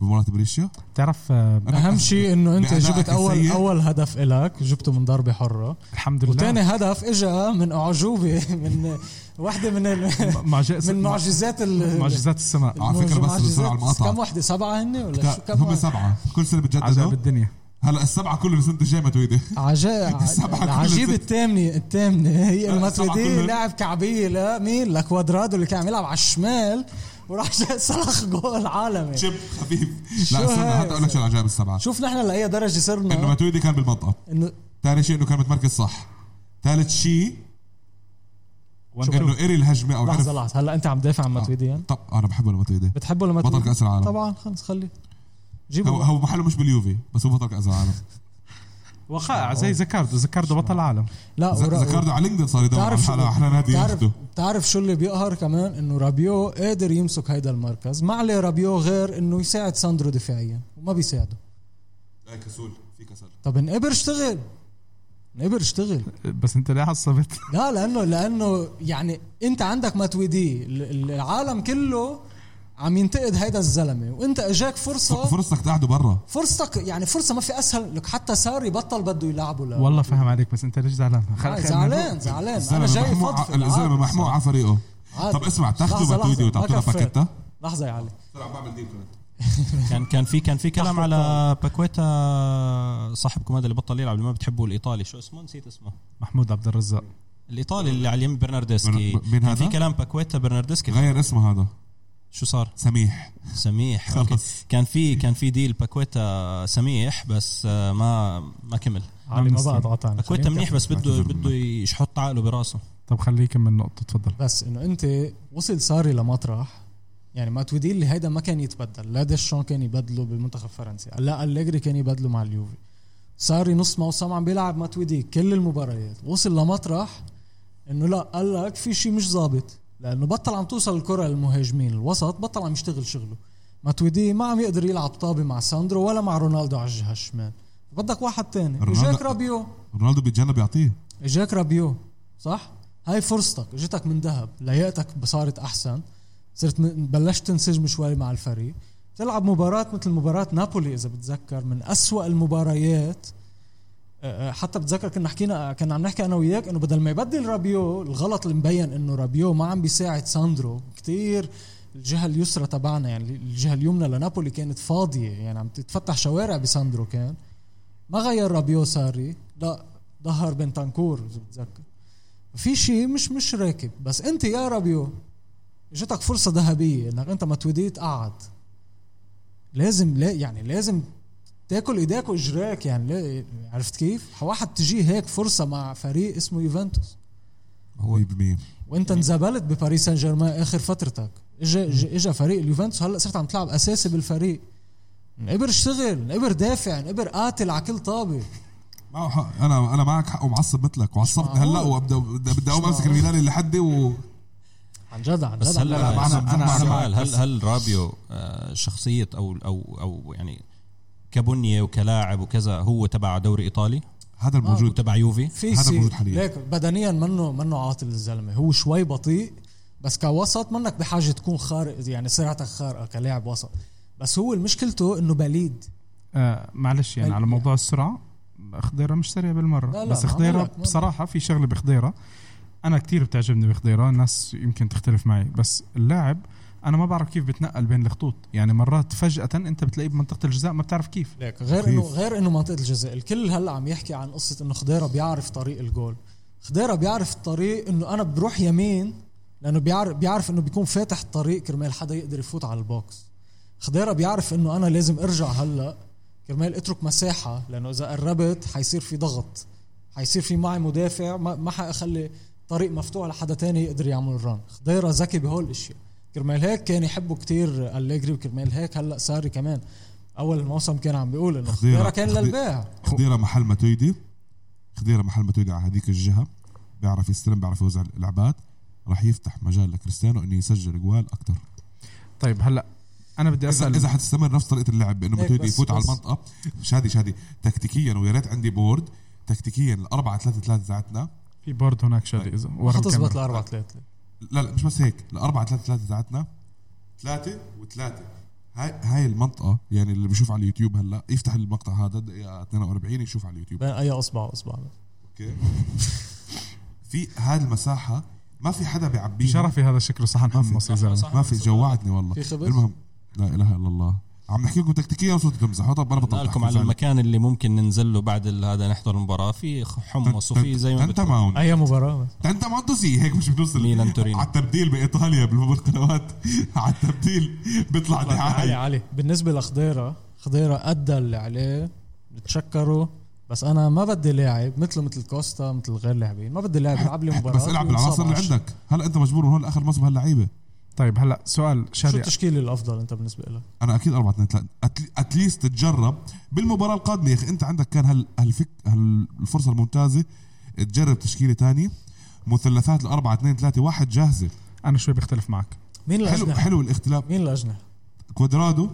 [SPEAKER 4] بمباراه بريشيا
[SPEAKER 1] تعرف آه،
[SPEAKER 2] اهم شيء انه انت
[SPEAKER 4] بأدائك
[SPEAKER 2] جبت اول
[SPEAKER 4] السيء.
[SPEAKER 2] اول هدف الك جبته من ضربه حره
[SPEAKER 1] الحمد لله
[SPEAKER 2] وثاني هدف اجى من اعجوبه من وحده من ال-
[SPEAKER 1] معجزة
[SPEAKER 2] من معجزات ال
[SPEAKER 1] معجزات السماء
[SPEAKER 4] على فكرة بس
[SPEAKER 2] معجزات-
[SPEAKER 4] بسرعة على المقاطعة.
[SPEAKER 2] كم وحده سبعه هن ولا شو كم
[SPEAKER 4] هم
[SPEAKER 2] واحدة؟
[SPEAKER 4] سبعه كل سنه
[SPEAKER 1] عجائب
[SPEAKER 4] بتجددوا
[SPEAKER 1] الدنيا
[SPEAKER 4] هلا السبعه كلهم السنه الجايه ما تويدي
[SPEAKER 2] عجا...
[SPEAKER 4] السبعة كلها
[SPEAKER 2] العجيب
[SPEAKER 4] ست.
[SPEAKER 2] الثامنه الثامنه هي
[SPEAKER 4] لا، السبعة
[SPEAKER 2] الماتريدي
[SPEAKER 4] كلها.
[SPEAKER 2] لاعب كعبيه لمين لكوادرادو اللي كان عم يلعب على الشمال وراح جاي صرخ جول عالمي
[SPEAKER 4] شيب خفيف
[SPEAKER 2] شو
[SPEAKER 4] لا استنى
[SPEAKER 2] هاي؟
[SPEAKER 4] حتى اقول لك شو العجائب السبعه
[SPEAKER 2] شوف نحن لاي درجه
[SPEAKER 4] انه
[SPEAKER 2] صرنا
[SPEAKER 4] ماتويدي كان بالمنطقه
[SPEAKER 2] انه
[SPEAKER 4] ثاني شيء انه كان متمركز صح ثالث شيء
[SPEAKER 1] شوف.
[SPEAKER 4] انه قري الهجمه او
[SPEAKER 2] لحظه
[SPEAKER 4] عرف
[SPEAKER 2] لحظه هلا انت عم تدافع عن ماتويديان
[SPEAKER 4] طب انا بحبه لماتويدي
[SPEAKER 2] بتحبه لما
[SPEAKER 4] بطل
[SPEAKER 2] تريد؟
[SPEAKER 4] كأس العالم.
[SPEAKER 2] طبعا خلص خليه
[SPEAKER 4] هو
[SPEAKER 2] جيبه
[SPEAKER 4] هو محله مش باليوفي بس هو بطل كاس العالم
[SPEAKER 1] وقائع زي زكاردو زكاردو بطل عالم
[SPEAKER 2] لا ورا-
[SPEAKER 4] ذكرته على لينكدين صار يدور على
[SPEAKER 2] بتعرف شو-
[SPEAKER 4] حاله احلى نادي
[SPEAKER 2] بتعرف
[SPEAKER 4] ياخده
[SPEAKER 2] بتعرف شو اللي بيقهر كمان انه رابيو قادر يمسك هيدا المركز ما عليه رابيو غير انه يساعد ساندرو دفاعيا وما بيساعده
[SPEAKER 4] لا كسول في كسل
[SPEAKER 2] طب نقبر اشتغل نقبر اشتغل
[SPEAKER 1] بس انت ليه عصبت
[SPEAKER 2] لا لانه لانه يعني انت عندك ماتويدي ال- العالم كله عم ينتقد هيدا الزلمه وانت اجاك فرصه
[SPEAKER 4] فرصتك تقعده برا
[SPEAKER 2] فرصتك يعني فرصه ما في اسهل لك حتى ساري بطل بده يلعبه لا
[SPEAKER 1] والله فاهم عليك بس انت ليش زعلان خل-
[SPEAKER 2] آه،
[SPEAKER 1] خلينا
[SPEAKER 2] زعلان زعلان انا
[SPEAKER 4] الزلمة
[SPEAKER 2] جاي
[SPEAKER 4] محمود ع-
[SPEAKER 2] فضفض
[SPEAKER 4] الزلمه
[SPEAKER 2] عادي.
[SPEAKER 4] محمود على فريقه
[SPEAKER 2] عادي.
[SPEAKER 4] طب اسمع تاخذوا
[SPEAKER 2] لحظة،
[SPEAKER 4] باتويدي
[SPEAKER 2] لحظة، ما
[SPEAKER 4] وتعطونا
[SPEAKER 2] كفيت.
[SPEAKER 4] باكيتا
[SPEAKER 2] لحظه يا علي
[SPEAKER 4] طلع بعمل ديل
[SPEAKER 3] كان كان في كان في كلام على باكويتا صاحبكم هذا اللي بطل يلعب اللي ما بتحبوه الايطالي شو اسمه نسيت اسمه
[SPEAKER 1] محمود عبد الرزاق
[SPEAKER 3] الايطالي اللي على اليمين برناردسكي
[SPEAKER 4] برن- مين
[SPEAKER 3] كان
[SPEAKER 4] هذا؟
[SPEAKER 3] في كلام باكويتا برناردسكي
[SPEAKER 4] غير اسمه هذا
[SPEAKER 3] شو صار
[SPEAKER 4] سميح
[SPEAKER 3] سميح
[SPEAKER 4] خلص.
[SPEAKER 3] أوكي. كان في كان في ديل باكويتا سميح بس آه، ما ما كمل
[SPEAKER 2] علي ما
[SPEAKER 1] نسيب.
[SPEAKER 2] بقى قطعنا
[SPEAKER 3] باكويتا منيح بس بده
[SPEAKER 4] بعتذر
[SPEAKER 3] بده يحط عقله براسه
[SPEAKER 1] طب خليه يكمل نقطه تفضل
[SPEAKER 2] بس انه انت وصل ساري لمطرح يعني ماتويدي اللي هيدا ما كان يتبدل لا ديشون كان يبدله بمنتخب فرنسا لا أليجري كان يبدله مع اليوفي ساري نص موسم عم بيلعب ماتويدي كل المباريات وصل لمطرح انه لا قال لك في شيء مش ظابط لانه بطل عم توصل الكره للمهاجمين الوسط بطل عم يشتغل شغله ماتويدي ما عم يقدر يلعب طابه مع ساندرو ولا مع رونالدو على الجهه الشمال بدك واحد تاني
[SPEAKER 4] رونالدو-
[SPEAKER 2] اجاك رابيو
[SPEAKER 4] رونالدو بيتجنب يعطيه
[SPEAKER 2] اجاك رابيو صح؟ هاي فرصتك اجتك من ذهب لياقتك صارت احسن صرت ن- بلشت تنسجم شوي مع الفريق تلعب مباراة مثل مباراة نابولي إذا بتذكر من أسوأ المباريات أه، أه، حتى بتذكر كنا حكينا كنا عم نحكي أنا وياك إنه بدل ما يبدل رابيو الغلط اللي مبين إنه رابيو ما عم بيساعد ساندرو كتير الجهة اليسرى تبعنا يعني الجهة اليمنى لنابولي كانت فاضية يعني عم تتفتح شوارع بساندرو كان ما غير رابيو ساري لا ظهر بنتانكور اذا بتذكر في شيء مش مش راكب بس انت يا رابيو اجتك فرصه ذهبيه انك انت ما توديت قعد لازم لا يعني لازم تاكل ايديك واجراك يعني لا عرفت كيف؟ واحد تجي هيك فرصه مع فريق اسمه يوفنتوس
[SPEAKER 4] 100%
[SPEAKER 2] وانت انزبلت بباريس سان جيرمان اخر فترتك اجا اجا- اجا فريق اليوفنتوس هلا صرت عم تلعب اساسي بالفريق انقبر اشتغل انقبر دافع انقبر قاتل على كل طابه
[SPEAKER 4] معه حق. اه، انا انا معك حق ومعصب مثلك وعصبتني
[SPEAKER 2] معقول.
[SPEAKER 4] هلا وابدا بدي اقوم
[SPEAKER 2] مش
[SPEAKER 4] امسك
[SPEAKER 2] معقول.
[SPEAKER 4] الميدان اللي حدي و
[SPEAKER 2] عن جد عن
[SPEAKER 3] بس
[SPEAKER 2] جد
[SPEAKER 3] هلا
[SPEAKER 4] لا، معنا-
[SPEAKER 3] أنا-
[SPEAKER 4] معنا-
[SPEAKER 3] أنا
[SPEAKER 4] معنا-
[SPEAKER 3] سؤال هل هل رابيو آه، شخصيه او او او يعني كبنيه وكلاعب وكذا هو تبع دوري ايطالي
[SPEAKER 2] اه.
[SPEAKER 4] هذا
[SPEAKER 3] موجود
[SPEAKER 4] الموجود
[SPEAKER 3] تبع يوفي
[SPEAKER 2] في
[SPEAKER 4] هذا
[SPEAKER 2] سي
[SPEAKER 4] موجود حالياً.
[SPEAKER 2] ليك بدنيا منه منه عاطل الزلمه هو شوي بطيء بس كوسط منك بحاجه تكون خارق يعني سرعتك خارقه كلاعب وسط بس هو مشكلته انه بليد
[SPEAKER 1] آه معلش يعني
[SPEAKER 2] هل-
[SPEAKER 1] على موضوع السرعه خضيره مش سريع بالمره
[SPEAKER 2] لا، لا،
[SPEAKER 1] بس
[SPEAKER 2] ما
[SPEAKER 1] خضيره
[SPEAKER 2] بقولك، ما
[SPEAKER 1] بصراحه في شغله بخضيره انا كتير بتعجبني بخضيره الناس يمكن تختلف معي بس اللاعب انا ما بعرف كيف بتنقل بين الخطوط يعني مرات فجاه انت بتلاقيه بمنطقه الجزاء ما بتعرف كيف
[SPEAKER 2] ليك غير
[SPEAKER 4] مخيف.
[SPEAKER 2] انه غير انه منطقه الجزاء الكل هلا عم يحكي عن قصه انه خضيره بيعرف طريق الجول خضيره بيعرف الطريق انه انا بروح يمين لانه بيعرف بيعرف انه بيكون فاتح الطريق كرمال حدا يقدر يفوت على البوكس خضيره بيعرف انه انا لازم ارجع هلا كرمال اترك مساحه لانه اذا قربت حيصير في ضغط حيصير في معي مدافع ما, ما حاخلي طريق مفتوح لحدا تاني يقدر يعمل الران خضيره ذكي بهول الاشياء كرمال هيك كان يحبه كتير أليجري وكرمال هيك هلا ساري كمان اول الموسم كان عم بيقول انه
[SPEAKER 4] خضيرة-
[SPEAKER 2] خضيره كان
[SPEAKER 4] خضي-
[SPEAKER 2] للبيع
[SPEAKER 4] خضيره محل ما تويدي خضيره محل ما تويدي على هذيك الجهه بيعرف يستلم بيعرف يوزع اللعبات راح يفتح مجال لكريستيانو انه يسجل جوال اكثر
[SPEAKER 1] طيب هلا انا بدي
[SPEAKER 4] اذا
[SPEAKER 1] اسال
[SPEAKER 4] اذا حتستمر نفس طريقه اللعب بانه
[SPEAKER 2] هيك
[SPEAKER 4] متويدي
[SPEAKER 2] بس-
[SPEAKER 4] يفوت على
[SPEAKER 2] بس.
[SPEAKER 4] المنطقه شادي شادي تكتيكيا ويا ريت عندي بورد تكتيكيا الأربعة ثلاثة ثلاثة تاعتنا
[SPEAKER 1] في بورد هناك شادي
[SPEAKER 4] طيب.
[SPEAKER 1] اذا ورا
[SPEAKER 2] حتزبط
[SPEAKER 1] الكاميرا.
[SPEAKER 2] لأربعة ثلاثة
[SPEAKER 4] لا لا مش بس هيك الأربعة ثلاثة ثلاثة تاعتنا ثلاثة وثلاثة هاي هاي المنطقة يعني اللي بشوف على اليوتيوب هلا يفتح المقطع هذا دقيقة 42 يشوف على اليوتيوب
[SPEAKER 2] بين اي اصبع واصبع
[SPEAKER 4] اوكي في هذه المساحة ما في حدا بيعبيها
[SPEAKER 1] شرفي هذا شكله صحن حمص يا زلمه
[SPEAKER 3] صح.
[SPEAKER 4] ما في جوعتني والله
[SPEAKER 2] في خبز؟
[SPEAKER 4] المهم لا اله الا الله عم نحكي لكم تكتيكيا وصرت تمزحوا طب انا بطلع
[SPEAKER 3] لكم على المكان اللي ممكن ننزل له بعد ال- هذا نحضر المباراه في حمص وفي زي ما
[SPEAKER 4] انت
[SPEAKER 3] بدكم.
[SPEAKER 4] معهم
[SPEAKER 2] اي مباراة بس.
[SPEAKER 4] انت ما تدوسي هيك مش بتوصل
[SPEAKER 3] ميلان تورينو.
[SPEAKER 4] على التبديل بايطاليا بالقنوات على التبديل بيطلع
[SPEAKER 2] علي
[SPEAKER 4] دعايه
[SPEAKER 2] علي بالنسبة لخضيرة خضيرة أدى اللي عليه نتشكره بس أنا ما بدي لاعب مثله مثل كوستا مثل غير لاعبين ما بدي لاعب يلعب لي مباراة
[SPEAKER 4] بس العب بالعناصر اللي
[SPEAKER 2] وينصاب
[SPEAKER 4] عندك هلا انت مجبور من هون لاخر موسم هاللعيبه
[SPEAKER 1] طيب هلا سؤال
[SPEAKER 2] عشرة. شو
[SPEAKER 1] شادي
[SPEAKER 2] التشكيل الأفضل أنت بالنسبة لك؟
[SPEAKER 4] انا اكيد 4 2 3 اتليست تتجرب بالمباراه القادمه يا اخي انت عندك كان هال هالفك هالفرصه الممتازه تجرب تشكيله تانية مثلثات الأربعة 2 3 1 جاهزه
[SPEAKER 1] انا شوي بختلف معك
[SPEAKER 2] مين
[SPEAKER 4] حلو
[SPEAKER 2] الأجنحة؟
[SPEAKER 4] حلو الاختلاف
[SPEAKER 2] مين الأجنحة؟
[SPEAKER 4] كوادرادو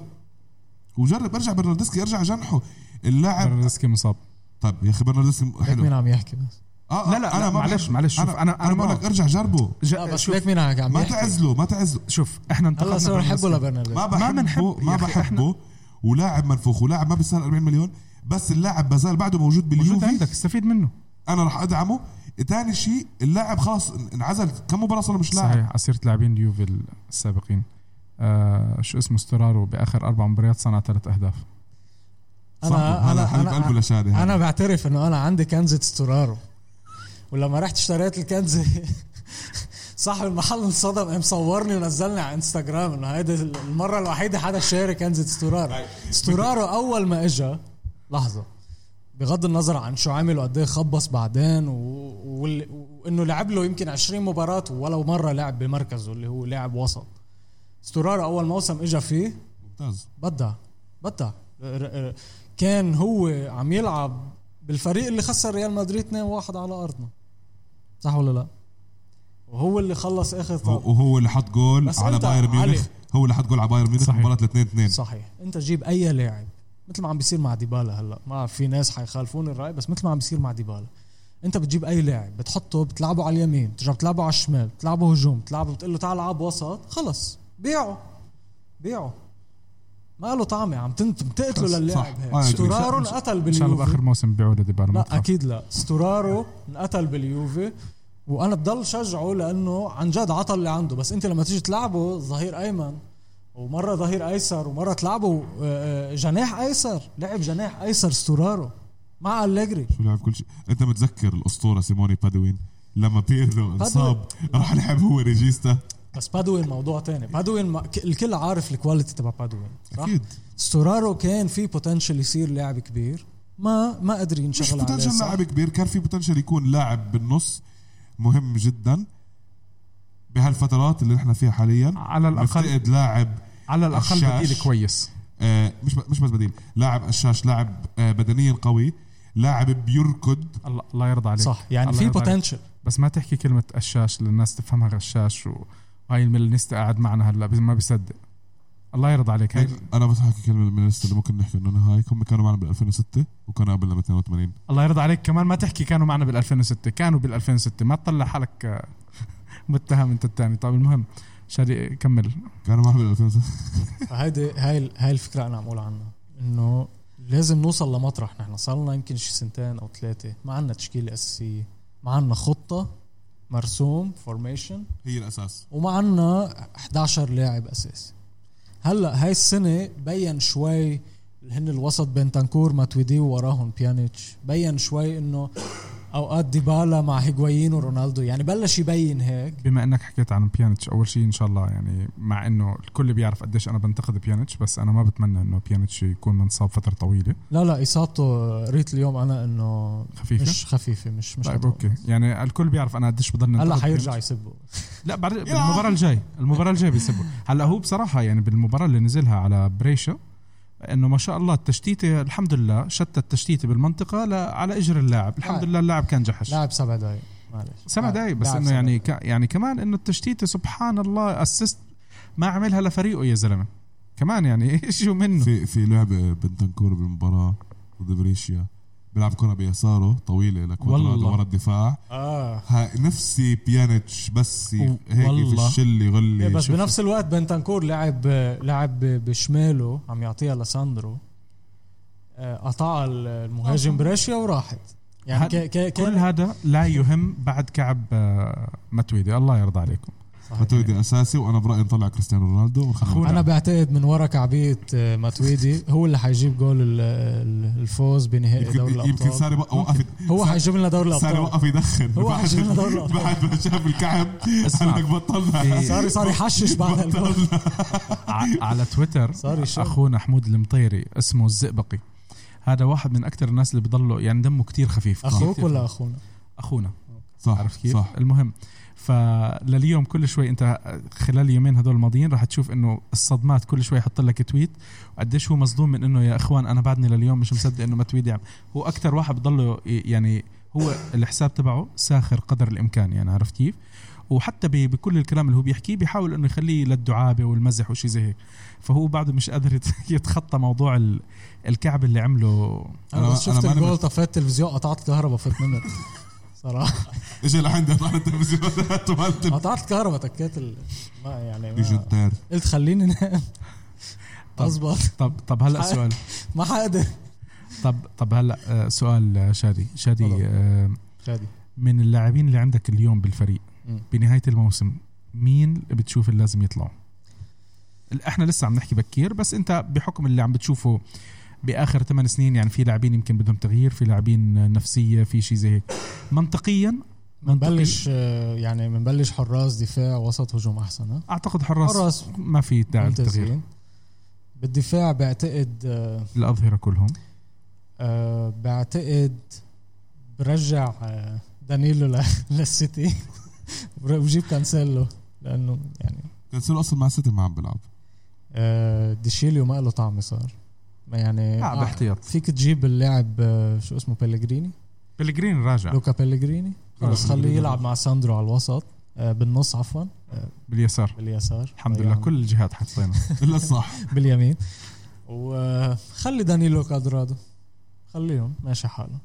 [SPEAKER 4] وجرب ارجع برناردسكي ارجع جنحه اللاعب
[SPEAKER 1] برناردسكي مصاب
[SPEAKER 4] طيب يا اخي برناردسكي
[SPEAKER 2] ليك
[SPEAKER 4] حلو
[SPEAKER 2] مين عم يحكي بس؟
[SPEAKER 4] آه
[SPEAKER 1] لا، لا، لا،
[SPEAKER 4] ما
[SPEAKER 1] معلش،
[SPEAKER 4] بحب-
[SPEAKER 1] معلش، شوف،
[SPEAKER 4] انا
[SPEAKER 1] أنا-
[SPEAKER 4] انا,
[SPEAKER 1] أنا
[SPEAKER 4] أنا بقول لك
[SPEAKER 1] معك.
[SPEAKER 4] ارجع جربه
[SPEAKER 1] جا-
[SPEAKER 2] لا بس
[SPEAKER 1] شوف
[SPEAKER 2] ليك مين عم
[SPEAKER 4] ما
[SPEAKER 2] يحكي؟
[SPEAKER 4] تعزله ما تعزله
[SPEAKER 1] شوف احنا انتقدنا
[SPEAKER 2] هلا صار
[SPEAKER 1] برناردسكي.
[SPEAKER 2] حبه لبرناردسكي
[SPEAKER 4] ما
[SPEAKER 1] ما
[SPEAKER 4] بحبه
[SPEAKER 1] بنحب-
[SPEAKER 4] ما
[SPEAKER 1] يا أخي،
[SPEAKER 4] بحبه ولاعب منفوخ ولاعب ما بيستاهل 40 مليون بس اللاعب بزال بعده موجود
[SPEAKER 1] موجود
[SPEAKER 4] باليوفي
[SPEAKER 1] عندك استفيد منه
[SPEAKER 4] انا راح ادعمه تاني شيء اللاعب خلاص انعزل كم مباراه صار مش لاعب
[SPEAKER 1] صحيح عصيرة لاعبين اليوفي السابقين آه شو اسمه استرارو باخر اربع مباريات صنع ثلاث اهداف
[SPEAKER 4] صاحبه،
[SPEAKER 2] أنا
[SPEAKER 4] هذا
[SPEAKER 2] أنا
[SPEAKER 4] حبيب
[SPEAKER 2] أنا
[SPEAKER 4] قلبه لشادي هذا.
[SPEAKER 2] أنا بعترف إنه أنا عندي كنزة استرارو ولما رحت اشتريت الكنزة صاحب المحل انصدم قام صورني ونزلني على انستغرام انه هيدي المره الوحيده حدا شاري كنزة استرارو استرارو اول ما اجا لحظه بغض النظر عن شو عمل وقد ايه خبص بعدين و... وال... وانه لعب له يمكن 20 مباراه ولو مره لعب بمركزه اللي هو لاعب وسط استرارو اول موسم اجا فيه
[SPEAKER 4] ممتاز
[SPEAKER 2] بدع بدع ر- ر- كان هو عم يلعب بالفريق اللي خسر ريال مدريد 2-1 على ارضنا صح ولا لا؟ وهو اللي خلص اخر
[SPEAKER 4] هو-
[SPEAKER 2] طاقة
[SPEAKER 4] وهو اللي حط جول
[SPEAKER 2] بس
[SPEAKER 4] على
[SPEAKER 2] أنت
[SPEAKER 4] بايرن
[SPEAKER 2] علي.
[SPEAKER 4] ميونخ هو اللي حط جول على بايرن ميونخ
[SPEAKER 1] صحيح.
[SPEAKER 4] مباراه 2 2
[SPEAKER 2] صحيح انت جيب اي لاعب مثل ما عم بيصير مع ديبالا هلا ما بعرف في ناس حيخالفوني الراي بس مثل ما عم بيصير مع ديبالا انت بتجيب اي لاعب بتحطه بتلعبه على اليمين بترجع بتلعبه على الشمال بتلعبه هجوم بتلعبه بتقول له تعال العب وسط خلص بيعه بيعه ما له طعمه عم تنت بتقتله
[SPEAKER 4] خلص،
[SPEAKER 2] للاعب
[SPEAKER 4] صح.
[SPEAKER 2] هيك
[SPEAKER 4] أنا أدري.
[SPEAKER 2] استورارو انقتل
[SPEAKER 1] ان آه، شاء الله
[SPEAKER 2] باليوفي
[SPEAKER 1] باخر موسم بيعوا لديبالا ما
[SPEAKER 2] لا
[SPEAKER 1] تخاف.
[SPEAKER 2] اكيد لا استورارو انقتل باليوفي وانا بضل شجعه لانه عن جد عطى اللي عنده بس انت لما تيجي تلعبه ظهير ايمن ومره ظهير ايسر ومره تلعبه آه، جناح ايسر لعب جناح ايسر استورارو مع اليجري
[SPEAKER 4] شو لعب كل شيء انت متذكر الاسطوره سيموني بادوين لما بيرلو انصاب راح لعب هو ريجيستا
[SPEAKER 2] بس بادوين موضوع تاني بادوين ما ك- الكل عارف الكواليتي تبع بادوين صح؟
[SPEAKER 4] اكيد
[SPEAKER 2] استورارو كان في بوتنشل يصير لاعب كبير ما ما قدر
[SPEAKER 4] مش
[SPEAKER 2] ينشغل عليه
[SPEAKER 4] بوتنشل
[SPEAKER 2] صح؟
[SPEAKER 4] لاعب كبير كان في بوتنشل يكون لاعب بالنص مهم جدا بهالفترات اللي نحن فيها حاليا
[SPEAKER 1] على الاقل
[SPEAKER 4] نفتقد لاعب
[SPEAKER 1] على الاقل
[SPEAKER 4] الشاش.
[SPEAKER 1] بديل كويس
[SPEAKER 4] آه، مش مش بس بديل لاعب قشاش لاعب آه، بدنيا قوي لاعب بيركض
[SPEAKER 1] الله الله يرضى عليك
[SPEAKER 2] صح يعني
[SPEAKER 1] الله
[SPEAKER 2] في
[SPEAKER 1] يرضى عليك.
[SPEAKER 2] بوتنشل
[SPEAKER 1] بس ما تحكي كلمه قشاش للناس تفهمها غشاش و- وهاي الميلانيستا قاعد معنا هلا بس ما بيصدق الله يرضى عليك هاي
[SPEAKER 4] انا بس حكي كلمه من الليست اللي ممكن نحكي انه هاي هم كانوا معنا بال 2006 وكانوا قبلنا ب 82
[SPEAKER 1] الله يرضى عليك كمان ما تحكي كانوا معنا بال 2006 كانوا بال 2006 ما تطلع حالك آه، متهم انت الثاني طيب المهم شادي كمل
[SPEAKER 4] كانوا معنا بال 2006
[SPEAKER 2] هيدي هاي هاي الفكره انا عم اقول عنها انه لازم نوصل لمطرح نحن صار لنا يمكن شي سنتين او ثلاثه ما عندنا تشكيله اساسيه ما عندنا خطه مرسوم فورميشن
[SPEAKER 4] هي الاساس
[SPEAKER 2] وما عندنا 11 لاعب اساسي هلا هاي السنه بين شوي اللي هن الوسط بين تنكور ماتويدي ووراهم بيانيتش بين شوي انه اوقات ديبالا مع هيغوايين ورونالدو يعني بلش يبين هيك
[SPEAKER 1] بما انك حكيت عن بيانيتش اول شيء ان شاء الله يعني مع انه الكل بيعرف قديش انا بنتقد بيانيتش بس انا ما بتمنى انه بيانيتش يكون منصاب فتره طويله
[SPEAKER 2] لا لا اصابته قريت اليوم انا انه
[SPEAKER 1] خفيفه
[SPEAKER 2] مش خفيفه مش مش
[SPEAKER 1] طيب
[SPEAKER 2] خطيرة.
[SPEAKER 1] اوكي يعني الكل بيعرف انا قديش بضل
[SPEAKER 2] هلا
[SPEAKER 1] ننتقد
[SPEAKER 2] حيرجع يسبه
[SPEAKER 1] لا بعد بالمباراة الجاي المباراة الجاي بيسبوا هلا هو بصراحة يعني بالمباراة اللي نزلها على بريشا انه ما شاء الله التشتيتة الحمد لله شتت التشتيتة بالمنطقة لا على اجر اللاعب الحمد
[SPEAKER 2] لاعب.
[SPEAKER 1] لله اللاعب كان جحش
[SPEAKER 2] لاعب سبع دقائق معلش
[SPEAKER 1] سبع
[SPEAKER 2] لاعب-
[SPEAKER 1] دقايق بس
[SPEAKER 2] لاعب
[SPEAKER 1] انه
[SPEAKER 2] سبع
[SPEAKER 1] يعني
[SPEAKER 2] دقايق.
[SPEAKER 1] ك... يعني كمان انه التشتيتة سبحان الله اسست ما عملها لفريقه يا زلمة كمان يعني ايش منه
[SPEAKER 4] في في لعبه بنتنكور بالمباراه ضد بريشيا بيلعب كره بيساره طويله لكوادرادو
[SPEAKER 1] والله.
[SPEAKER 4] ورا الدفاع
[SPEAKER 1] آه.
[SPEAKER 2] اه
[SPEAKER 4] ها نفسي بيانيتش بس هيك في
[SPEAKER 2] والله.
[SPEAKER 4] الشل يغلي
[SPEAKER 2] إيه بس
[SPEAKER 4] شوف.
[SPEAKER 2] بنفس الوقت بنتنكور لعب لعب بشماله عم يعطيها لساندرو آه، قطعها المهاجم بريشيا وراحت يعني
[SPEAKER 1] هاد-
[SPEAKER 2] ك- ك-
[SPEAKER 1] كل
[SPEAKER 2] كان
[SPEAKER 1] هذا لا يهم بعد كعب آه، متويدي الله يرضى عليكم
[SPEAKER 4] ماتويدي اساسي وانا برايي نطلع كريستيانو رونالدو ونخليه
[SPEAKER 1] أخونا.
[SPEAKER 2] انا بعتقد من ورا كعبيه آه، ماتويدي هو اللي حيجيب جول ال- ال- الفوز بنهائي إيه، دوري
[SPEAKER 4] يمكن يمكن
[SPEAKER 2] الابطال
[SPEAKER 4] ساري بق- وقف
[SPEAKER 2] هو
[SPEAKER 4] ساري-
[SPEAKER 2] حيجيب لنا دوري
[SPEAKER 4] ساري
[SPEAKER 2] الابطال
[SPEAKER 4] وقف يدخن
[SPEAKER 2] هو
[SPEAKER 4] بعد-
[SPEAKER 2] حيجيب لنا دوري إيه. الابطال
[SPEAKER 4] بعد ما شاف الكعب
[SPEAKER 1] اسمع.
[SPEAKER 4] قال لك بطلنا
[SPEAKER 2] صار صار يحشش بعد الجول
[SPEAKER 1] ع- على تويتر
[SPEAKER 2] صار يشم.
[SPEAKER 1] اخونا حمود المطيري اسمه الزئبقي هذا واحد من اكثر الناس اللي بضله يعني دمه كتير خفيف
[SPEAKER 2] اخوك
[SPEAKER 1] كتير
[SPEAKER 2] ولا
[SPEAKER 1] خفيف.
[SPEAKER 2] اخونا؟
[SPEAKER 1] اخونا
[SPEAKER 4] صح
[SPEAKER 1] عرفت كيف
[SPEAKER 4] صح
[SPEAKER 1] المهم فلليوم كل شوي انت خلال اليومين هذول الماضيين راح تشوف انه الصدمات كل شوي يحط لك تويت وقديش هو مصدوم من انه يا اخوان انا بعدني لليوم مش مصدق انه ما تويت يعمل هو اكثر واحد بضله ي- يعني هو الحساب تبعه ساخر قدر الامكان يعني عرفت كيف وحتى ب- بكل الكلام اللي هو بيحكيه بيحاول انه يخليه للدعابه والمزح وشي زي هيك فهو بعده مش قادر يت- يتخطى موضوع ال- الكعب اللي عمله
[SPEAKER 2] انا
[SPEAKER 4] أنا-
[SPEAKER 2] بس شفت
[SPEAKER 4] أنا ماني
[SPEAKER 2] الجول
[SPEAKER 4] مت-
[SPEAKER 2] طفيت التلفزيون قطعت الكهرباء فت منت صراحه
[SPEAKER 4] اجى لحد طلع التلفزيون طولت
[SPEAKER 2] قطعت الكهرباء تكيت ال... ما يعني ما...
[SPEAKER 4] ليجندير
[SPEAKER 2] قلت خليني نام اظبط
[SPEAKER 1] طب طب هلا سؤال
[SPEAKER 2] ما حقدر
[SPEAKER 1] طب طب هلا آه، سؤال آه، شادي شادي
[SPEAKER 2] تفضل.
[SPEAKER 1] آه،
[SPEAKER 2] شادي
[SPEAKER 1] من اللاعبين اللي عندك اليوم بالفريق
[SPEAKER 2] مم.
[SPEAKER 1] بنهايه الموسم مين بتشوف اللي لازم يطلعوا؟ ال- احنا لسه عم نحكي بكير بس انت بحكم اللي عم بتشوفه باخر ثمان سنين يعني في لاعبين يمكن بدهم تغيير في لاعبين نفسيه في شيء زي هيك منطقيا منطقيا
[SPEAKER 2] بنبلش آه، يعني بنبلش حراس دفاع وسط هجوم احسن ها
[SPEAKER 1] اعتقد حراس, حراس
[SPEAKER 2] حراس
[SPEAKER 1] ما في داعي
[SPEAKER 4] يعني
[SPEAKER 1] للتغيير
[SPEAKER 2] ممتازين بالدفاع بعتقد آه،
[SPEAKER 1] الاظهره كلهم
[SPEAKER 2] آه، بعتقد برجع آه، دانيلو ل- للسيتي وبجيب كانسيلو لانه يعني
[SPEAKER 4] كان سيرو اصلا مع السيتي ما عم بيلعب
[SPEAKER 2] آه، ديشيليو ما له طعم صار ما يعني
[SPEAKER 1] لاعب
[SPEAKER 2] آه،
[SPEAKER 1] احتياط
[SPEAKER 2] فيك تجيب اللاعب آه، شو اسمه بيلغريني
[SPEAKER 1] بلغرين راجع
[SPEAKER 2] لوكا بيلغريني خلص خليه يلعب مع ساندرو على الوسط آه، بالنص عفوا
[SPEAKER 1] باليسار
[SPEAKER 2] باليسار طيب.
[SPEAKER 1] الحمد لله
[SPEAKER 2] ضيعنا.
[SPEAKER 1] كل الجهات حطينا
[SPEAKER 4] الا صح
[SPEAKER 2] باليمين وخلي دانيلو كادرادو خليهم ماشي حاله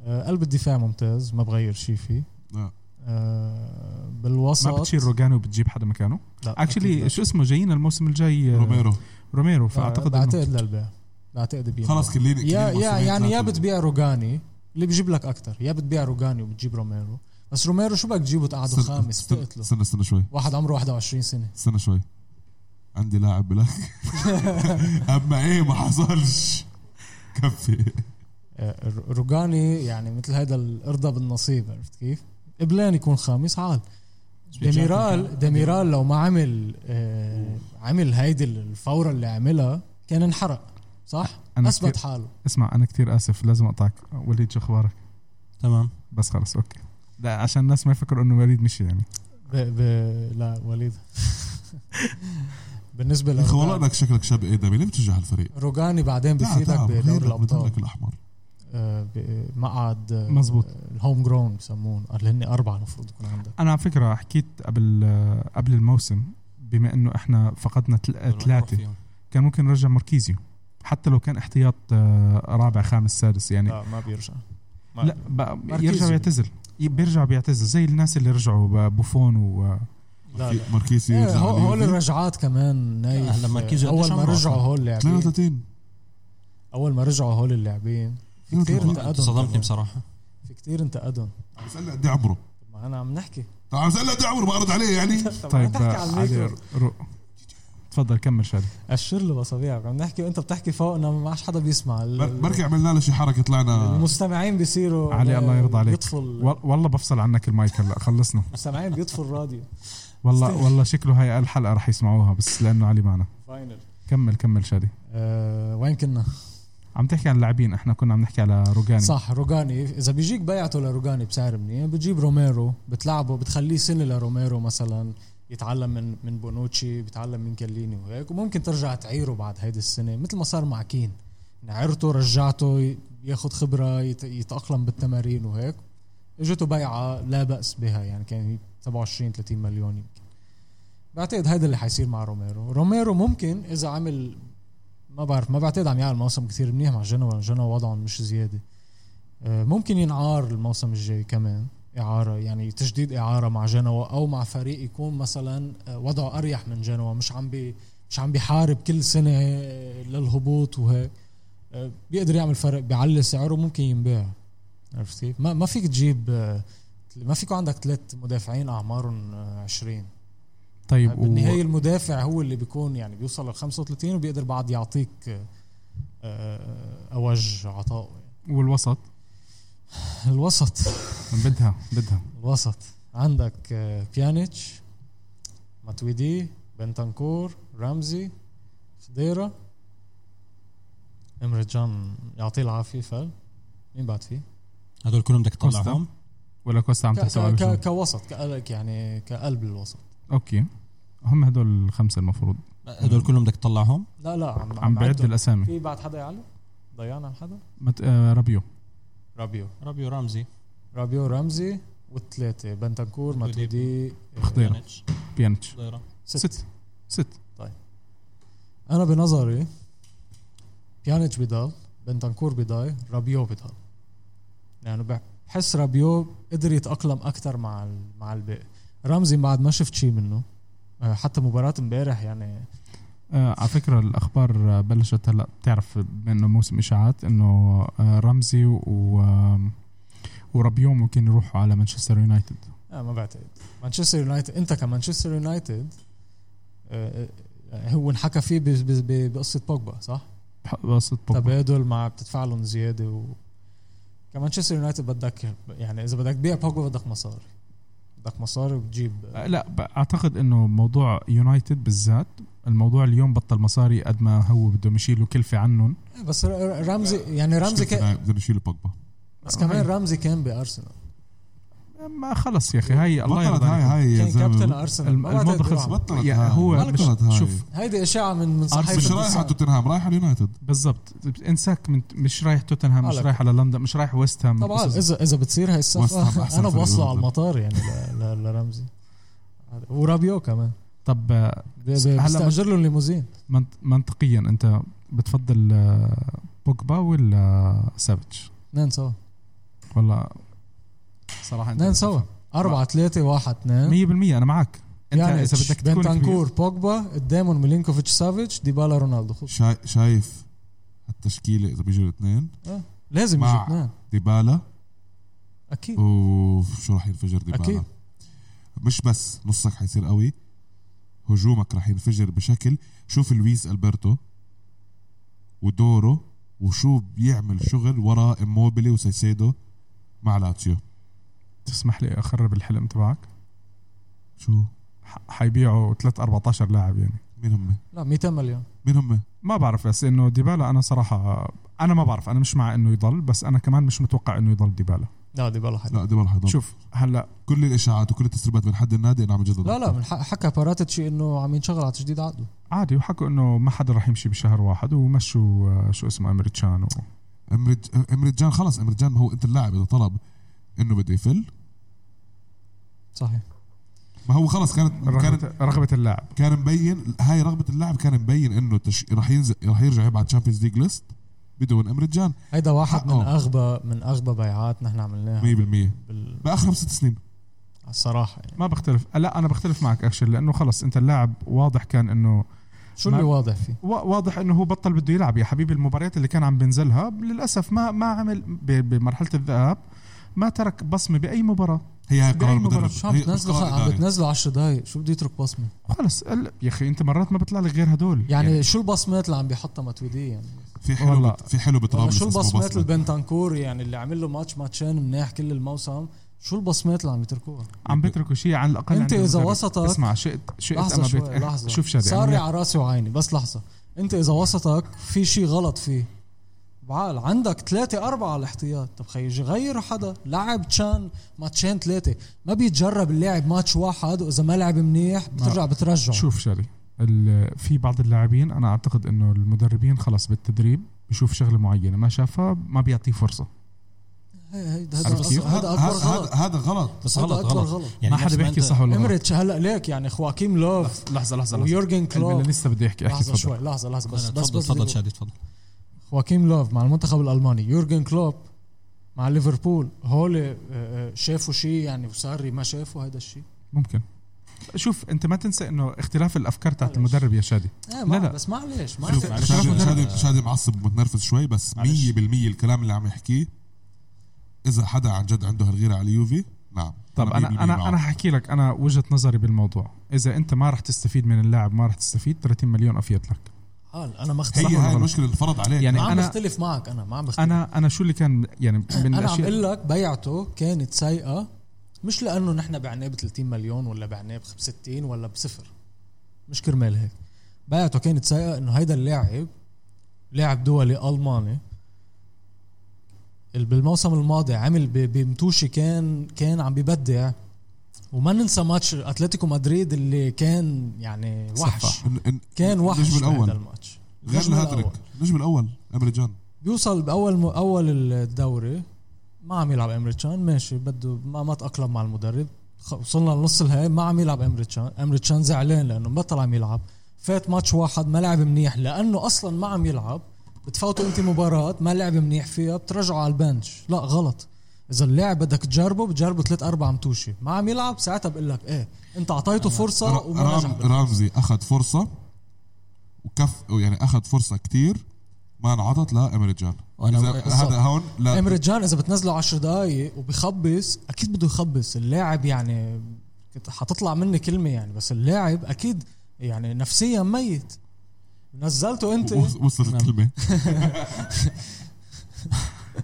[SPEAKER 2] آه، قلب الدفاع ممتاز ما بغير شيء فيه
[SPEAKER 4] آه.
[SPEAKER 2] آه،
[SPEAKER 1] ما
[SPEAKER 2] بالوسط
[SPEAKER 1] بتشيل روجانو وبتجيب حدا مكانه
[SPEAKER 2] لا، أكيد لا.
[SPEAKER 1] اكشلي شو اسمه جايين الموسم الجاي آه،
[SPEAKER 4] روميرو
[SPEAKER 1] روميرو
[SPEAKER 2] آه،
[SPEAKER 1] فاعتقد إنه-
[SPEAKER 2] بعتقد للبيع بعتقد بينباع.
[SPEAKER 4] خلص كليني
[SPEAKER 2] يا يا يعني يا بتبيع روجاني اللي بجيب لك اكثر يا بتبيع روجاني وبتجيب روميرو بس روميرو شو بدك تجيبه تقعده خامس تقتله
[SPEAKER 4] استنى استنى شوي
[SPEAKER 2] واحد عمره 21 سنه
[SPEAKER 4] استنى شوي عندي لاعب بلاك اما ايه ما حصلش كفي
[SPEAKER 2] آه، الر- روجاني يعني مثل هذا الارضى بالنصيب عرفت كيف؟ قبلان يكون خامس عال ديميرال ديميرال لو ما عمل آه، عمل هيدي الفوره اللي عملها كان انحرق صح؟
[SPEAKER 1] أنا
[SPEAKER 2] اثبت
[SPEAKER 1] كتير-
[SPEAKER 2] حاله
[SPEAKER 1] اسمع انا كثير اسف لازم اقطعك وليد شو اخبارك
[SPEAKER 3] تمام
[SPEAKER 1] بس خلص اوكي لا عشان الناس ما يفكروا انه وليد مشي يعني
[SPEAKER 2] ب... ب... لا وليد بالنسبه
[SPEAKER 4] يا اخي والله
[SPEAKER 2] لروجاني
[SPEAKER 4] انك شكلك شاب ادمي ليه بتشجع هالفريق؟
[SPEAKER 2] روجاني بعدين
[SPEAKER 4] لا،
[SPEAKER 2] بفيدك
[SPEAKER 4] تعب،
[SPEAKER 2] بدوري
[SPEAKER 4] غيرك
[SPEAKER 2] الابطال
[SPEAKER 4] بدمك الاحمر
[SPEAKER 2] آه، ب- مقعد آه،
[SPEAKER 1] مزبوط.
[SPEAKER 2] آه، الهوم جراوند بسموه قال هن اربعه المفروض يكون عندك
[SPEAKER 1] انا على فكره حكيت قبل آه، قبل الموسم بما انه احنا فقدنا تل- ثلاثه كان ممكن نرجع ماركيزيو حتى لو كان احتياط آه، رابع خامس سادس يعني
[SPEAKER 2] لا ما بيرجع ما-
[SPEAKER 1] لا بقى
[SPEAKER 2] ماركيزيو.
[SPEAKER 1] يرجع بيعتزل ي- بيرجع بيعتزل زي الناس اللي رجعوا ب- بوفون و آه،
[SPEAKER 2] لا لا
[SPEAKER 4] ماركيسي
[SPEAKER 2] إيه،
[SPEAKER 4] يرجع
[SPEAKER 2] هو- هول
[SPEAKER 4] لليوفي.
[SPEAKER 2] الرجعات كمان
[SPEAKER 3] آه،
[SPEAKER 2] نايف
[SPEAKER 3] لما كيزو
[SPEAKER 2] آه، اول
[SPEAKER 3] قديش
[SPEAKER 2] ما
[SPEAKER 3] عمره
[SPEAKER 2] رجعوا
[SPEAKER 3] أصلاً؟
[SPEAKER 2] هول اللاعبين
[SPEAKER 4] 32
[SPEAKER 2] اول ما رجعوا هول اللاعبين في
[SPEAKER 4] 32.
[SPEAKER 2] كثير انتقدهم
[SPEAKER 3] صدمتني
[SPEAKER 2] كمان.
[SPEAKER 3] بصراحه
[SPEAKER 2] في كثير انتقدهم
[SPEAKER 4] عم بسأل قد إيه عمره
[SPEAKER 2] طب ما انا عم نحكي
[SPEAKER 4] طب عم بسأل قد إيه عمره برد عليه يعني
[SPEAKER 2] طب ما
[SPEAKER 1] طيب
[SPEAKER 2] تحكي على
[SPEAKER 1] آه، علي
[SPEAKER 2] الميكرو
[SPEAKER 1] رو- تفضل كمل شادي
[SPEAKER 2] اشر له بصابيعك عم نحكي وانت بتحكي فوقنا ما عادش حدا بيسمع ال-
[SPEAKER 4] بر- بركي عملنا له شي حركه طلعنا
[SPEAKER 2] المستمعين بيصيروا
[SPEAKER 1] علي
[SPEAKER 2] آه،
[SPEAKER 1] الله يرضى عليك.
[SPEAKER 2] بيطفوا ال-
[SPEAKER 1] وال- والله بفصل عنك المايك هلا خلصنا
[SPEAKER 2] المستمعين بيطفوا الراديو
[SPEAKER 1] والله
[SPEAKER 2] استاذ.
[SPEAKER 1] والله شكله هاي الحلقه رح يسمعوها بس لانه علي معنا
[SPEAKER 2] فاينل
[SPEAKER 1] كمل كمل شادي
[SPEAKER 2] آه، وين كنا؟
[SPEAKER 1] عم تحكي عن لاعبين احنا كنا عم نحكي على روجاني
[SPEAKER 2] صح روجاني اذا بيجيك بيعته لروجاني بسعر منيح بتجيب روميرو بتلعبه بتخليه سنه لروميرو مثلا يتعلم من من بونوتشي بيتعلم من كليني وهيك وممكن ترجع تعيره بعد هيدي السنه مثل ما صار مع كين يعني عيرته رجعته ي- ياخد خبره يت- يتاقلم بالتمارين وهيك اجته بيعه لا باس بها يعني كان هي 27 30 مليون يمكن بعتقد هيدا اللي حيصير مع روميرو روميرو ممكن اذا عمل ما بعرف ما بعتقد عم يعمل موسم كثير منيح مع جنوا جنوا وضعهم مش زياده آه، ممكن ينعار الموسم الجاي كمان إعارة يعني تجديد إعارة مع جنوا أو مع فريق يكون مثلا آه، وضعه أريح من جنوا مش عم بي مش عم بيحارب كل سنة آه، للهبوط وهيك آه، بيقدر يعمل فرق بيعلي سعره ممكن ينباع عرفت كيف؟ ما ما فيك تجيب آه، ما فيكوا عندك ثلاث مدافعين أعمارهم آه، 20
[SPEAKER 1] طيب و-
[SPEAKER 2] آه، بالنهاية المدافع هو اللي بيكون يعني بيوصل لل 35 وبيقدر بعد يعطيك آه، آه، أوج عطائه
[SPEAKER 1] والوسط
[SPEAKER 2] الوسط
[SPEAKER 1] بدها بدها
[SPEAKER 2] الوسط عندك آه، بيانيتش ماتويدي بنتنكور رمزي خضيرة امري جان يعطيه العافية فل مين بعد فيه؟
[SPEAKER 3] هذول كلهم بدك
[SPEAKER 1] كوستا.
[SPEAKER 3] تطلعهم
[SPEAKER 1] ولا كوستا عم
[SPEAKER 2] ك-
[SPEAKER 1] تحسب على
[SPEAKER 2] ك-
[SPEAKER 1] شو؟
[SPEAKER 2] ك- كوسط كقلق يعني كقلب الوسط
[SPEAKER 1] اوكي هم هدول الخمسه المفروض
[SPEAKER 3] هذول كلهم بدك تطلعهم
[SPEAKER 2] لا لا عم,
[SPEAKER 1] عم بعد
[SPEAKER 2] بعدهم.
[SPEAKER 1] الاسامي
[SPEAKER 2] في بعد حدا يعلم؟ ضيعنا عن حدا؟
[SPEAKER 1] مت... آه رابيو
[SPEAKER 2] رابيو
[SPEAKER 3] ربيو رامزي
[SPEAKER 2] رابيو رمزي والثلاثة بنتنكور
[SPEAKER 3] ماتويدي.
[SPEAKER 2] ماتويدي آه،
[SPEAKER 1] خضيرة. غيره.
[SPEAKER 3] بيانيتش،
[SPEAKER 1] بيانيتش
[SPEAKER 3] غيره.
[SPEAKER 1] ست ست
[SPEAKER 2] انا بنظري بيانيتش بضل بنتنكور بضل رابيو بضل يعني بحس رابيو قدر يتاقلم اكثر مع ال- مع الباقي رمزي بعد ما شفت شيء منه آه، حتى مباراة امبارح يعني
[SPEAKER 1] آه على فكره الاخبار آه، بلشت هلا بتعرف بما انه موسم اشاعات انه آه رمزي و آم، ورابيو ممكن يروحوا على مانشستر يونايتد
[SPEAKER 2] آه ما بعتقد مانشستر يونايتد انت كمانشستر يونايتد آه، آه، هو انحكى فيه ب- ب- ب- بقصة بوجبا صح؟
[SPEAKER 1] قصة بوجبا
[SPEAKER 2] تبادل مع بتدفع لهم زيادة و كمانشستر يونايتد بدك يعني اذا بدك تبيع بوجبا بدك مصاري بدك مصاري وبتجيب
[SPEAKER 1] آه، لا ب- اعتقد انه موضوع يونايتد بالذات الموضوع اليوم بطل مصاري قد ما هو بدهم يشيلوا كلفه عنهم
[SPEAKER 2] بس ر- ر- رمزي يعني رمزي كان
[SPEAKER 4] كان بدنا نشيل بوجبا
[SPEAKER 2] بس كمان رمزي كان بارسنال
[SPEAKER 1] آه، ما خلص يا اخي هاي الله
[SPEAKER 4] بطلت
[SPEAKER 1] يرضى
[SPEAKER 4] هاي
[SPEAKER 1] عليكم.
[SPEAKER 4] هاي يا
[SPEAKER 2] كان كابتن
[SPEAKER 4] زلمه
[SPEAKER 2] ارسنال
[SPEAKER 1] الم-
[SPEAKER 2] ما بعتقد
[SPEAKER 1] الموضوع خلص
[SPEAKER 2] بيلعب.
[SPEAKER 4] بطلت
[SPEAKER 1] يا
[SPEAKER 4] هاي.
[SPEAKER 1] هو مش
[SPEAKER 4] بطلت هاي.
[SPEAKER 1] شوف
[SPEAKER 2] هيدي اشاعه من من صحيفه
[SPEAKER 4] مش رايح على
[SPEAKER 2] الإنسان.
[SPEAKER 4] توتنهام رايح على اليونايتد
[SPEAKER 1] بالضبط انساك من مش رايح توتنهام مش
[SPEAKER 2] على
[SPEAKER 1] رايح على لندن مش رايح ويست هام
[SPEAKER 2] طبعا
[SPEAKER 1] قصص-
[SPEAKER 2] اذا اذا بتصير هاي
[SPEAKER 4] وسام
[SPEAKER 2] الصفقه
[SPEAKER 4] أحسن
[SPEAKER 2] انا
[SPEAKER 4] فريق
[SPEAKER 2] بوصله على
[SPEAKER 4] بالضبط.
[SPEAKER 2] المطار يعني ل- ل- لرمزي ورابيو كمان
[SPEAKER 1] طب آه،
[SPEAKER 2] هلا
[SPEAKER 1] هلا
[SPEAKER 2] بستاجر له الليموزين
[SPEAKER 1] منط- منطقيا انت بتفضل آه، بوجبا ولا سافيتش
[SPEAKER 2] اثنين سوا
[SPEAKER 1] والله صراحه
[SPEAKER 2] اثنين سوا أربعة ثلاثة واحد اثنين
[SPEAKER 1] 100% انا معك انت
[SPEAKER 2] يعني
[SPEAKER 1] اذا بدك تكون كبير
[SPEAKER 2] بنتانكور بوجبا قدامهم ميلينكوفيتش سافيتش ديبالا رونالدو خلص
[SPEAKER 4] شا- شايف التشكيله اذا بيجوا الاثنين
[SPEAKER 2] لازم يجوا
[SPEAKER 4] مع-
[SPEAKER 2] اثنين
[SPEAKER 4] ديبالا
[SPEAKER 2] اكيد
[SPEAKER 4] اوف شو راح ينفجر ديبالا
[SPEAKER 2] أكيد.
[SPEAKER 4] مش بس نصك حيصير قوي هجومك راح ينفجر بشكل شوف لويس البرتو ودوره وشو بيعمل شغل ورا اموبيلي وسيسيدو مع لاتسيو
[SPEAKER 1] تسمح لي اخرب الحلم تبعك
[SPEAKER 4] شو
[SPEAKER 1] ح- حيبيعوا 3 14 لاعب يعني
[SPEAKER 4] مين هم
[SPEAKER 2] لا 200 مليون
[SPEAKER 4] مين هم
[SPEAKER 1] ما بعرف بس انه ديبالا انا صراحه انا ما بعرف انا مش مع انه يضل بس انا كمان مش متوقع انه يضل ديبالا
[SPEAKER 2] لا ديبالا حلو
[SPEAKER 4] لا إيه ديبالا حيضل
[SPEAKER 1] شوف هلا
[SPEAKER 4] كل الاشاعات وكل التسريبات من حد النادي انه عم يجدد
[SPEAKER 2] لا لا من حق- حكى باراتيتشي انه عم ينشغل على تجديد عقده
[SPEAKER 1] عادي وحكوا انه ما حدا رح يمشي بشهر واحد ومشوا آه، شو اسمه امريتشان و...
[SPEAKER 4] إمرج- امريتجان خلص امريتجان ما هو انت اللاعب اذا طلب انه بده يفل
[SPEAKER 2] صحيح
[SPEAKER 4] ما هو خلص كانت كانت
[SPEAKER 1] رغبة, رغبة اللاعب
[SPEAKER 4] كان مبين هاي رغبه اللاعب كان مبين انه تش... رح ينزل رح يرجع يبعد تشامبيونز ليج ليست بدون امريتجان
[SPEAKER 2] هيدا واحد من
[SPEAKER 4] حقه.
[SPEAKER 2] اغبى من اغبى بيعات نحن عملناها
[SPEAKER 4] 100%
[SPEAKER 2] بال...
[SPEAKER 4] باخر خمس ست سنين
[SPEAKER 2] الصراحه يعني
[SPEAKER 1] ما بختلف لا انا بختلف معك اكشن لانه خلص انت اللاعب واضح كان انه
[SPEAKER 2] شو
[SPEAKER 1] ما-
[SPEAKER 2] اللي واضح فيه؟
[SPEAKER 1] وا- واضح انه هو بطل بده يلعب يا حبيبي المباريات اللي كان عم بنزلها للاسف ما ما عمل ب- بمرحله الذهاب ما ترك بصمه باي مباراه
[SPEAKER 4] هي هاي
[SPEAKER 1] بأي
[SPEAKER 4] قرار
[SPEAKER 1] مباراة؟
[SPEAKER 4] مدرب
[SPEAKER 2] شو عم
[SPEAKER 4] هي
[SPEAKER 2] بتنزله
[SPEAKER 4] قرار
[SPEAKER 2] خ- عم
[SPEAKER 4] إداري.
[SPEAKER 2] بتنزله 10 دقائق شو بده يترك بصمه؟
[SPEAKER 1] خلص ال- يا اخي انت مرات ما بيطلع لك غير هدول
[SPEAKER 2] يعني, يعني شو البصمات اللي عم بيحطها ماتويدي يعني؟
[SPEAKER 4] في حلو
[SPEAKER 1] والله.
[SPEAKER 4] بت... في حلو
[SPEAKER 2] ولا
[SPEAKER 4] بترابلس
[SPEAKER 2] شو
[SPEAKER 4] اسمه
[SPEAKER 2] البصمات
[SPEAKER 4] بصمة.
[SPEAKER 2] البنتانكور يعني اللي عمل له ماتش ماتشين منيح كل الموسم شو البصمات اللي عم يتركوها؟
[SPEAKER 1] عم بتركوا شيء على الاقل
[SPEAKER 2] أنت
[SPEAKER 1] عند
[SPEAKER 2] إذا
[SPEAKER 1] المدرب.
[SPEAKER 2] وسطك-
[SPEAKER 1] اسمع شئت شئت
[SPEAKER 2] لحظة
[SPEAKER 1] أما
[SPEAKER 2] شوي
[SPEAKER 1] بت-
[SPEAKER 2] لحظة
[SPEAKER 1] شوف شادي
[SPEAKER 2] صار
[SPEAKER 1] أنا-
[SPEAKER 2] على راسي وعيني بس لحظة أنت إذا وسطك في شيء غلط فيه بعال عندك ثلاثة أربعة على الاحتياط طب خيجي غير حدا لعب تشان ماتشين ثلاثة ما بيتجرب اللاعب ماتش واحد وإذا ما لعب منيح بترجع بترجعه
[SPEAKER 1] شوف شادي ال- في بعض اللاعبين انا اعتقد انه المدربين خلص بالتدريب بشوف شغله معينه ما شافها ما بيعطيه فرصه
[SPEAKER 2] هي- هي- هذا
[SPEAKER 4] عرفت كيف؟
[SPEAKER 2] أصلاً- هذا
[SPEAKER 4] هذا
[SPEAKER 2] أكبر
[SPEAKER 4] هذا
[SPEAKER 2] غلط
[SPEAKER 4] هذا غلط
[SPEAKER 3] بس
[SPEAKER 2] هذا
[SPEAKER 3] غلط
[SPEAKER 2] أكبر
[SPEAKER 3] غلط,
[SPEAKER 2] غلط.
[SPEAKER 1] ما حدا
[SPEAKER 3] يعني نفس
[SPEAKER 1] بيحكي
[SPEAKER 3] أنت-
[SPEAKER 1] صح ولا غلط
[SPEAKER 2] امريتش هلا ليك يعني خواكيم لوف
[SPEAKER 1] لحظه لحظه لحظه
[SPEAKER 2] ويورجن كلوب
[SPEAKER 1] الميلانيستا بده يحكي احكي
[SPEAKER 2] لحظة
[SPEAKER 1] تفضل
[SPEAKER 2] شوي لحظة لحظة بس
[SPEAKER 3] بس
[SPEAKER 2] بس
[SPEAKER 3] تفضل
[SPEAKER 2] بس
[SPEAKER 3] تفضل
[SPEAKER 2] دقيقة.
[SPEAKER 3] شادي تفضل
[SPEAKER 2] خواكيم لوف مع المنتخب الالماني يورجن كلوب مع ليفربول هول آه، آه، شافوا شيء يعني وساري ما شافوا هذا الشيء
[SPEAKER 1] ممكن شوف انت ما تنسى انه اختلاف الافكار تاعت
[SPEAKER 2] معلش.
[SPEAKER 1] المدرب يا شادي
[SPEAKER 2] آه
[SPEAKER 1] لا،
[SPEAKER 2] لا
[SPEAKER 1] لا.
[SPEAKER 2] لا بس معليش
[SPEAKER 4] شوف
[SPEAKER 2] معليش
[SPEAKER 3] معلش.
[SPEAKER 4] شادي
[SPEAKER 3] معلش.
[SPEAKER 4] شادي, شادي معصب ومتنرفز شوي بس 100%
[SPEAKER 3] معلش.
[SPEAKER 4] الكلام اللي عم يحكيه اذا حدا عن جد عنده هالغيره على اليوفي نعم
[SPEAKER 1] طب انا
[SPEAKER 4] 100%
[SPEAKER 1] انا
[SPEAKER 4] معه.
[SPEAKER 1] انا حكي لك انا وجهه نظري بالموضوع اذا انت ما رح تستفيد من اللاعب ما رح تستفيد 30 مليون افيد لك
[SPEAKER 2] حال انا ما
[SPEAKER 4] هي يعني
[SPEAKER 2] اختلف
[SPEAKER 1] ولا
[SPEAKER 4] هاي
[SPEAKER 1] غلط؟
[SPEAKER 4] المشكله اللي فرض عليك
[SPEAKER 1] يعني
[SPEAKER 2] ما عم
[SPEAKER 1] أنا-
[SPEAKER 2] بختلف معك انا ما عم بختلف
[SPEAKER 1] انا انا شو اللي كان يعني من
[SPEAKER 2] انا عم
[SPEAKER 1] الاشياء
[SPEAKER 2] بقول لك بيعته كانت سيئة مش لانه نحن بعناه ب 30 مليون ولا بعناه ب 60 ولا بصفر مش كرمال هيك بيعته كانت سيئة انه هيدا اللاعب لاعب دولي الماني ال- بالموسم الماضي عمل ب- بمتوشي كان كان عم ببدع وما ننسى ماتش اتلتيكو مدريد اللي كان يعني وحش
[SPEAKER 1] صفح.
[SPEAKER 4] إن- إن-
[SPEAKER 2] كان وحش
[SPEAKER 4] النجم
[SPEAKER 2] بهذا
[SPEAKER 4] الاول
[SPEAKER 2] الماتش
[SPEAKER 4] غير
[SPEAKER 2] النجم
[SPEAKER 4] الهاتريك النجم الاول امريجان
[SPEAKER 2] بيوصل باول م... اول الدوري ما عم يلعب امريتشان ماشي بده ما ما تاقلم مع المدرب خ- وصلنا لنص النهائي ما عم يلعب امريتشان امريتشان زعلان لانه بطل عم يلعب فات ماتش واحد ما لعب منيح لانه اصلا ما عم يلعب بتفوتوا انت مباراه ما لعب منيح فيها بترجعوا على البنش لا غلط اذا اللاعب بدك تجربه بتجربه ثلاث اربع متوشه ما عم يلعب ساعتها بقول لك ايه انت اعطيته فرصه
[SPEAKER 4] را-
[SPEAKER 2] وما نجح
[SPEAKER 4] رام
[SPEAKER 2] بالفرصة.
[SPEAKER 4] رامزي اخذ فرصه وكف يعني اخذ فرصه كتير ما انعطت لامريجان
[SPEAKER 3] وأنا-
[SPEAKER 4] إذا
[SPEAKER 3] بالضبط.
[SPEAKER 4] هذا هون لا
[SPEAKER 2] امير جان اذا بتنزله 10 دقائق وبخبص اكيد بده يخبص اللاعب يعني كنت حتطلع مني كلمه يعني بس اللاعب اكيد يعني نفسيا ميت نزلته انت
[SPEAKER 4] وص- وصلت
[SPEAKER 3] نعم.
[SPEAKER 4] الكلمه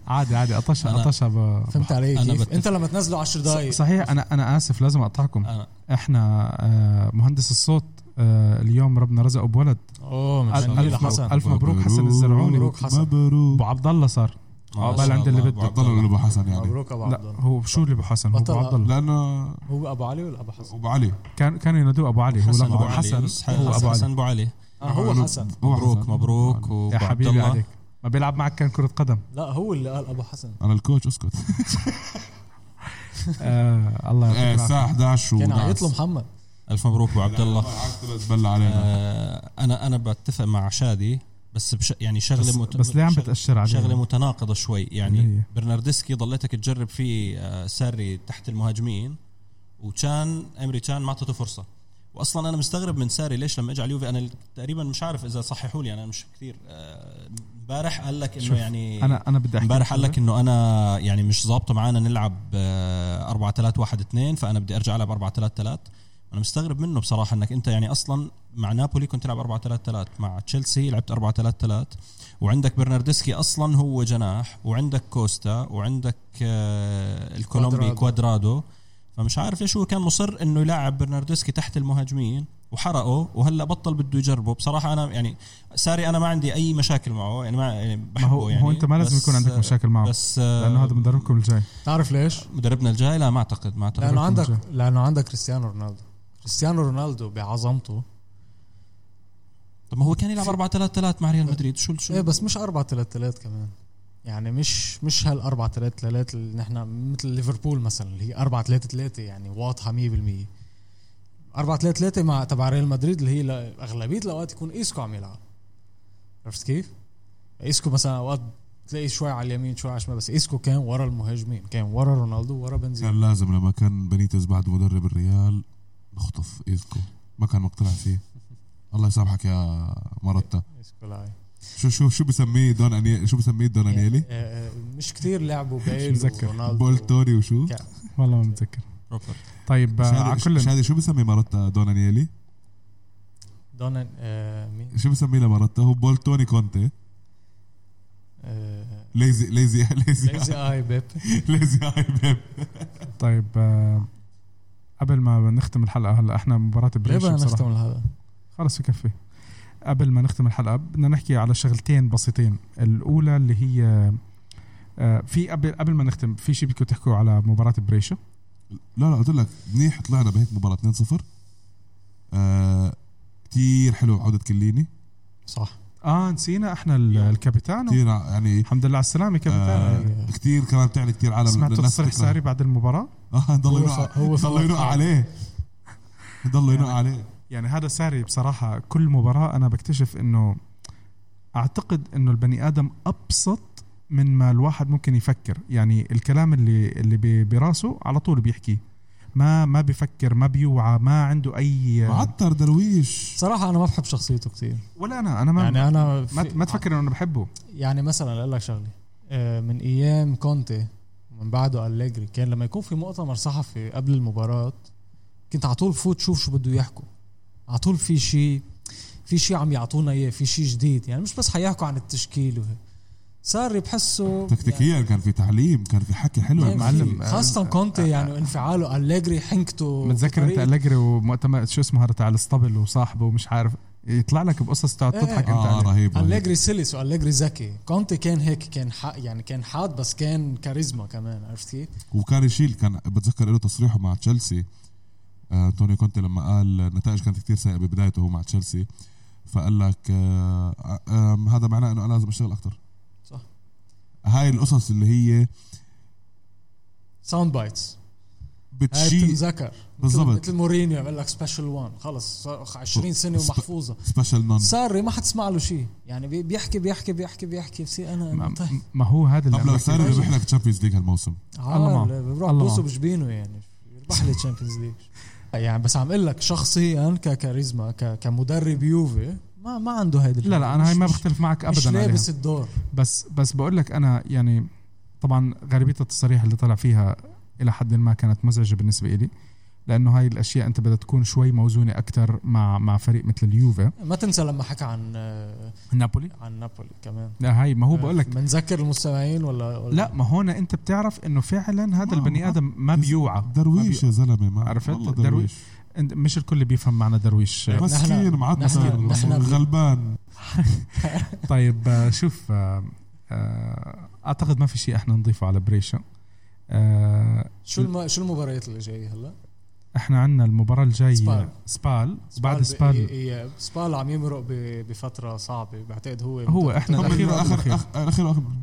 [SPEAKER 1] عادي عادي قطشها
[SPEAKER 3] أنا-
[SPEAKER 1] قطشها ب-
[SPEAKER 2] فهمت علي
[SPEAKER 3] أنا
[SPEAKER 2] كيف
[SPEAKER 3] بتفق.
[SPEAKER 2] انت لما تنزله 10 دقائق
[SPEAKER 1] ص- صحيح انا انا اسف لازم اقطعكم
[SPEAKER 3] أنا
[SPEAKER 1] احنا آه، مهندس الصوت آه، اليوم ربنا رزقه بولد
[SPEAKER 2] اوه
[SPEAKER 1] ألف-
[SPEAKER 2] متشكر
[SPEAKER 1] ألف-
[SPEAKER 2] حسن
[SPEAKER 1] ألف مبروك حسن الزرعوني.
[SPEAKER 2] مبروك حسن.
[SPEAKER 4] مبروك
[SPEAKER 1] ابو عبد الله صار
[SPEAKER 3] ما
[SPEAKER 1] عقبال
[SPEAKER 3] شاء
[SPEAKER 1] عند اللي
[SPEAKER 3] الله،
[SPEAKER 1] بده.
[SPEAKER 3] أبو عبد الله.
[SPEAKER 4] بطلوا ابو حسن يعني
[SPEAKER 2] مبروك ابو عبد
[SPEAKER 1] لا
[SPEAKER 2] الله
[SPEAKER 1] هو شو اللي ابو حسن هو ابو
[SPEAKER 2] بطل.
[SPEAKER 1] عبد الله
[SPEAKER 4] لانه
[SPEAKER 2] هو ابو علي ولا ابو حسن؟
[SPEAKER 4] ابو علي
[SPEAKER 1] كان كانوا ينادوه ابو علي هو
[SPEAKER 3] حسن
[SPEAKER 1] لقبه ابو
[SPEAKER 3] أبو علي. بس
[SPEAKER 1] حسن هو
[SPEAKER 3] حسن-
[SPEAKER 1] ابو
[SPEAKER 3] حسن
[SPEAKER 1] علي
[SPEAKER 3] أبو علي
[SPEAKER 2] آه هو حسن
[SPEAKER 4] هو
[SPEAKER 3] مبروك
[SPEAKER 4] حسن.
[SPEAKER 3] مبروك وابو
[SPEAKER 1] يا
[SPEAKER 3] عبد
[SPEAKER 1] حبيبي
[SPEAKER 3] الله
[SPEAKER 1] عليك ما بيلعب معك كان كره قدم
[SPEAKER 2] لا هو اللي قال ابو حسن
[SPEAKER 4] انا الكوتش اسكت
[SPEAKER 1] آه الله
[SPEAKER 3] إيه،
[SPEAKER 4] آه،
[SPEAKER 1] يعطيك
[SPEAKER 4] الساعه
[SPEAKER 1] العافية.
[SPEAKER 4] 11
[SPEAKER 2] كان
[SPEAKER 4] ونعس.
[SPEAKER 2] عيط محمد
[SPEAKER 3] الف مبروك ابو عبد الله
[SPEAKER 4] بلع علينا
[SPEAKER 3] آه، انا انا بتفق مع شادي بس بش يعني شغله
[SPEAKER 1] بس,
[SPEAKER 3] مت-
[SPEAKER 1] بس ليه عم
[SPEAKER 3] شغلة-
[SPEAKER 1] بتاثر عليه
[SPEAKER 3] شغله متناقضه شوي يعني
[SPEAKER 1] هي.
[SPEAKER 3] برناردسكي ضليتك تجرب فيه آه، ساري تحت المهاجمين وتشان امري تشان ما اعطته فرصه واصلا انا مستغرب من ساري ليش لما اجى على اليوفي انا تقريبا مش عارف اذا صححوا لي انا مش كثير آه، امبارح قال لك انه
[SPEAKER 1] شوف،
[SPEAKER 3] يعني
[SPEAKER 1] انا انا بدي احكي
[SPEAKER 3] امبارح قال
[SPEAKER 1] شغلة.
[SPEAKER 3] لك انه انا يعني مش ظابطه معانا نلعب آه، 4 3 1 2 فانا بدي ارجع العب 4 3 3 انا مستغرب منه بصراحه انك انت يعني اصلا مع نابولي كنت تلعب 4 3 3 مع تشيلسي لعبت 4 3 3 وعندك برناردسكي اصلا هو جناح وعندك كوستا وعندك آه، الكولومبي
[SPEAKER 2] كوادرادو.
[SPEAKER 3] كوادرادو فمش عارف ليش هو كان مصر انه يلعب برناردسكي تحت المهاجمين وحرقه وهلا بطل بده يجربه بصراحه انا يعني ساري انا ما عندي اي مشاكل معه يعني ما يعني
[SPEAKER 1] ما
[SPEAKER 3] بحبه
[SPEAKER 1] هو
[SPEAKER 3] يعني
[SPEAKER 1] هو انت ما لازم
[SPEAKER 3] بس-
[SPEAKER 1] يكون عندك مشاكل معه
[SPEAKER 3] بس آه،
[SPEAKER 1] لانه هذا مدربكم الجاي
[SPEAKER 2] تعرف ليش؟
[SPEAKER 3] مدربنا الجاي لا ما اعتقد ما اعتقد
[SPEAKER 2] لانه عندك
[SPEAKER 1] الجاي.
[SPEAKER 2] لانه عندك كريستيانو رونالدو كريستيانو رونالدو بعظمته
[SPEAKER 3] طب ما هو كان يلعب 4 3 3 مع ريال مدريد شو شو
[SPEAKER 2] ايه بس مش 4 3 3 كمان يعني مش مش هال 4 3 3 اللي نحن مثل ليفربول مثلا اللي هي 4 3 3 يعني واضحه 100% 4 3 3 مع تبع ريال مدريد اللي هي لا- اغلبيه الاوقات يكون ايسكو عم يلعب عرفت كيف؟ ايسكو مثلا اوقات تلاقي شوي على اليمين شوي على الشمال بس ايسكو كان ورا المهاجمين كان ورا رونالدو ورا بنزيما
[SPEAKER 4] كان لازم لما كان بنيتز بعد مدرب الريال نخطف ايزكو ما كان مقتنع فيه الله يسامحك يا مرتا
[SPEAKER 2] ايسكو لاعب
[SPEAKER 4] شو شو شو بسميه دون أني... شو بسميه دون انيلي
[SPEAKER 2] آه، آه، مش كتير لعبوا
[SPEAKER 1] مش
[SPEAKER 2] بيل
[SPEAKER 1] متذكر.
[SPEAKER 2] ورونالدو
[SPEAKER 4] بول توري وشو
[SPEAKER 2] كان-
[SPEAKER 1] والله ما متذكر
[SPEAKER 3] روبرت
[SPEAKER 1] طيب آه، على كل
[SPEAKER 4] شادي شو بسمي مرتا دون انيلي
[SPEAKER 2] دونان آه، مين
[SPEAKER 4] شو بسميه لمرتا هو بول توني كونتي
[SPEAKER 2] آه،
[SPEAKER 4] ليزي ليزي
[SPEAKER 2] ليزي
[SPEAKER 4] ليزي
[SPEAKER 2] اي بيب
[SPEAKER 4] ليزي اي بيب
[SPEAKER 1] طيب آه، قبل ما نختم الحلقه هلا احنا مباراه
[SPEAKER 2] ليه
[SPEAKER 1] بريش
[SPEAKER 2] بدنا
[SPEAKER 1] بصراحه
[SPEAKER 2] نختم هذا
[SPEAKER 1] خلص يكفي قبل ما نختم الحلقه بدنا نحكي على شغلتين بسيطين الاولى اللي هي آه، في قبل قبل ما نختم في شيء بدكم تحكوا على مباراه بريشة
[SPEAKER 4] لا لا قلت لك منيح طلعنا بهيك مباراه 2-0 آه كثير حلو عوده كليني
[SPEAKER 2] صح
[SPEAKER 1] اه نسينا احنا ال- الكابيتانو
[SPEAKER 4] كثير يعني
[SPEAKER 1] الحمد لله على السلامه كابيتانو
[SPEAKER 4] آه كثير كمان بتعني كثير عالم
[SPEAKER 1] سمعتوا
[SPEAKER 4] الناس
[SPEAKER 1] تصريح
[SPEAKER 4] تكره.
[SPEAKER 1] يعني ساري بعد المباراه
[SPEAKER 4] اه ضل
[SPEAKER 2] هو
[SPEAKER 4] ينقع
[SPEAKER 2] ص- هو
[SPEAKER 4] ضل
[SPEAKER 2] صار
[SPEAKER 4] ينقع
[SPEAKER 2] صار.
[SPEAKER 4] عليه ضل ينقع
[SPEAKER 1] يعني-
[SPEAKER 4] عليه
[SPEAKER 1] يعني هذا ساري بصراحة كل مباراة أنا بكتشف إنه أعتقد إنه البني آدم أبسط من ما الواحد ممكن يفكر يعني الكلام اللي اللي بي- براسه على طول بيحكيه ما ما بفكر ما بيوعى ما عنده أي
[SPEAKER 4] معطر درويش
[SPEAKER 2] صراحه انا ما بحب شخصيته كثير
[SPEAKER 1] ولا أنا أنا ما
[SPEAKER 2] يعني
[SPEAKER 1] يعني
[SPEAKER 2] انا
[SPEAKER 1] ما,
[SPEAKER 2] في-
[SPEAKER 1] ما تفكر إنه أنا بحبه
[SPEAKER 2] يعني مثلا اقول لك شغله آه، من ايام كونتي من بعده أليجري كان لما يكون في مؤتمر صحفي قبل المباراة كنت على طول فوت شوف شو بده يحكوا على طول في شيء في شيء عم يعطونا اياه في شيء جديد يعني مش بس حيحكوا عن التشكيل وهيك صار بحسه
[SPEAKER 1] يعني
[SPEAKER 4] تكتيكيا كان في تعليم كان في حكي حلو آه،
[SPEAKER 2] يعني
[SPEAKER 1] معلم.
[SPEAKER 2] خاصة
[SPEAKER 1] آه،
[SPEAKER 2] كونتي يعني انفعاله أليجري حنكته
[SPEAKER 1] متذكر أنت
[SPEAKER 2] بطريقة-
[SPEAKER 1] أليجري ومؤتمر شو اسمه هذا تاع الاسطبل وصاحبه ومش عارف يطلع لك بقصص تقعد
[SPEAKER 2] إيه
[SPEAKER 1] تضحك أنت
[SPEAKER 2] إيه.
[SPEAKER 4] اه
[SPEAKER 1] عليه
[SPEAKER 4] رهيب رهيب.
[SPEAKER 2] أليجري سلس وأليجري ذكي كونتي كان هيك كان حق يعني كان حاد بس كان كاريزما كمان عرفت كيف؟
[SPEAKER 4] وكان يشيل كان بتذكر له تصريحه مع تشيلسي آه، توني كونتي لما قال النتائج كانت كتير سيئه ببدايته هو مع تشيلسي فقال لك آه، آه، آه، هذا معناه انه انا لازم اشتغل اكثر
[SPEAKER 2] صح.
[SPEAKER 4] هاي القصص اللي هي
[SPEAKER 2] ساوند بايتس هاي
[SPEAKER 4] بتشيل
[SPEAKER 2] بتنذكر
[SPEAKER 4] بالضبط.
[SPEAKER 2] مثل مورينيو يعمل لك سبيشال وان خلص صار 20 سنة
[SPEAKER 4] سب-
[SPEAKER 2] ومحفوظة
[SPEAKER 4] سبيشال نون
[SPEAKER 2] ساري ما حتسمع له شيء يعني بي- بيحكي بيحكي بيحكي بيحكي بصير انا
[SPEAKER 1] ما,
[SPEAKER 2] طيب
[SPEAKER 1] ما هو هذا اللي
[SPEAKER 4] طب لو
[SPEAKER 1] أنا
[SPEAKER 4] ساري
[SPEAKER 1] بحكي.
[SPEAKER 4] ربح لك تشامبيونز ليج هالموسم
[SPEAKER 1] الله معه.
[SPEAKER 2] عال بروح
[SPEAKER 1] الله
[SPEAKER 2] بوسه
[SPEAKER 1] معه.
[SPEAKER 2] بجبينه يعني يربح لي تشامبيونز ليج يعني بس عم اقول لك شخصيا ككاريزما ك- كمدرب يوفي ما ما عنده هيدي
[SPEAKER 1] لا لا أنا هاي ما بختلف معك
[SPEAKER 2] ابدا مش
[SPEAKER 1] أبدا عليها.
[SPEAKER 2] لابس الدور
[SPEAKER 1] بس بس بقول لك انا يعني طبعا غالبيه التصاريح اللي طلع فيها الى حد ما كانت مزعجه بالنسبه لي لانه هاي الاشياء انت بدها تكون شوي موزونه اكثر مع مع فريق مثل اليوفا
[SPEAKER 2] ما تنسى لما حكى عن آه،
[SPEAKER 1] نابولي
[SPEAKER 2] عن نابولي كمان
[SPEAKER 1] لا هاي ما هو بقول لك
[SPEAKER 2] بنذكر المستمعين ولا, ولا
[SPEAKER 1] لا ما هون انت بتعرف انه فعلا هذا
[SPEAKER 4] ما-
[SPEAKER 1] البني
[SPEAKER 4] ما-
[SPEAKER 1] ادم ما بيوعى
[SPEAKER 4] درويش يا زلمه ما
[SPEAKER 1] عرفت؟
[SPEAKER 4] والله
[SPEAKER 1] درويش. أنت- مش الكل بيفهم معنى درويش
[SPEAKER 2] لا.
[SPEAKER 4] مسكين
[SPEAKER 2] نحن-
[SPEAKER 4] معطر
[SPEAKER 2] نحن- نحن-
[SPEAKER 4] غلبان
[SPEAKER 1] طيب آه، شوف آه، آه، اعتقد ما في شيء احنا نضيفه على بريشا آه،
[SPEAKER 2] شو الم... شو المباريات اللي جايه هلا؟
[SPEAKER 1] احنا عندنا المباراه الجايه
[SPEAKER 2] سبال.
[SPEAKER 1] سبال بعد
[SPEAKER 2] ب-
[SPEAKER 1] سبال
[SPEAKER 2] إي- إي- سبال عم يمرق ب... بفتره صعبه بعتقد هو
[SPEAKER 1] هو إحنا
[SPEAKER 4] قبل
[SPEAKER 1] الأخير
[SPEAKER 4] الاخير
[SPEAKER 1] وقبل
[SPEAKER 4] اخر
[SPEAKER 1] الأخير.
[SPEAKER 4] أخ- الاخير وقبل-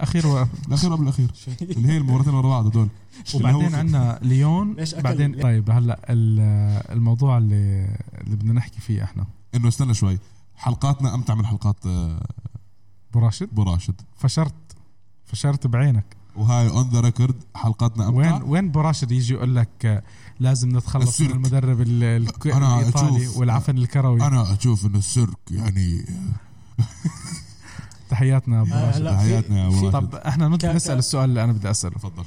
[SPEAKER 1] اخير و...
[SPEAKER 4] الاخير قبل الاخير اللي هي المباراتين ورا بعض هدول
[SPEAKER 1] وبعدين عندنا ليون
[SPEAKER 2] ليش أكل-
[SPEAKER 1] بعدين
[SPEAKER 2] ليه؟
[SPEAKER 1] طيب هلا ال- الموضوع اللي اللي بدنا نحكي فيه احنا
[SPEAKER 4] انه استنى شوي حلقاتنا امتع من حلقات آه،
[SPEAKER 1] ابو راشد
[SPEAKER 4] ابو راشد
[SPEAKER 1] فشرت فشرت بعينك
[SPEAKER 4] وهاي اون ذا ريكورد حلقاتنا امتع
[SPEAKER 1] وين وين ابو راشد يجي يقول لك آه، لازم نتخلص من
[SPEAKER 4] السيرك.
[SPEAKER 1] المدرب ال- ال-
[SPEAKER 4] أنا
[SPEAKER 1] الايطالي
[SPEAKER 4] أشوف-
[SPEAKER 1] والعفن الكروي
[SPEAKER 4] انا اشوف انه السيرك يعني
[SPEAKER 1] تحياتنا ابو
[SPEAKER 2] آه،
[SPEAKER 1] راشد
[SPEAKER 2] هلا في-
[SPEAKER 4] حياتنا يا أبو
[SPEAKER 2] في-
[SPEAKER 4] راشد.
[SPEAKER 1] طب احنا نط-
[SPEAKER 2] ك- ك-
[SPEAKER 1] نسال السؤال اللي انا بدي اساله
[SPEAKER 4] تفضل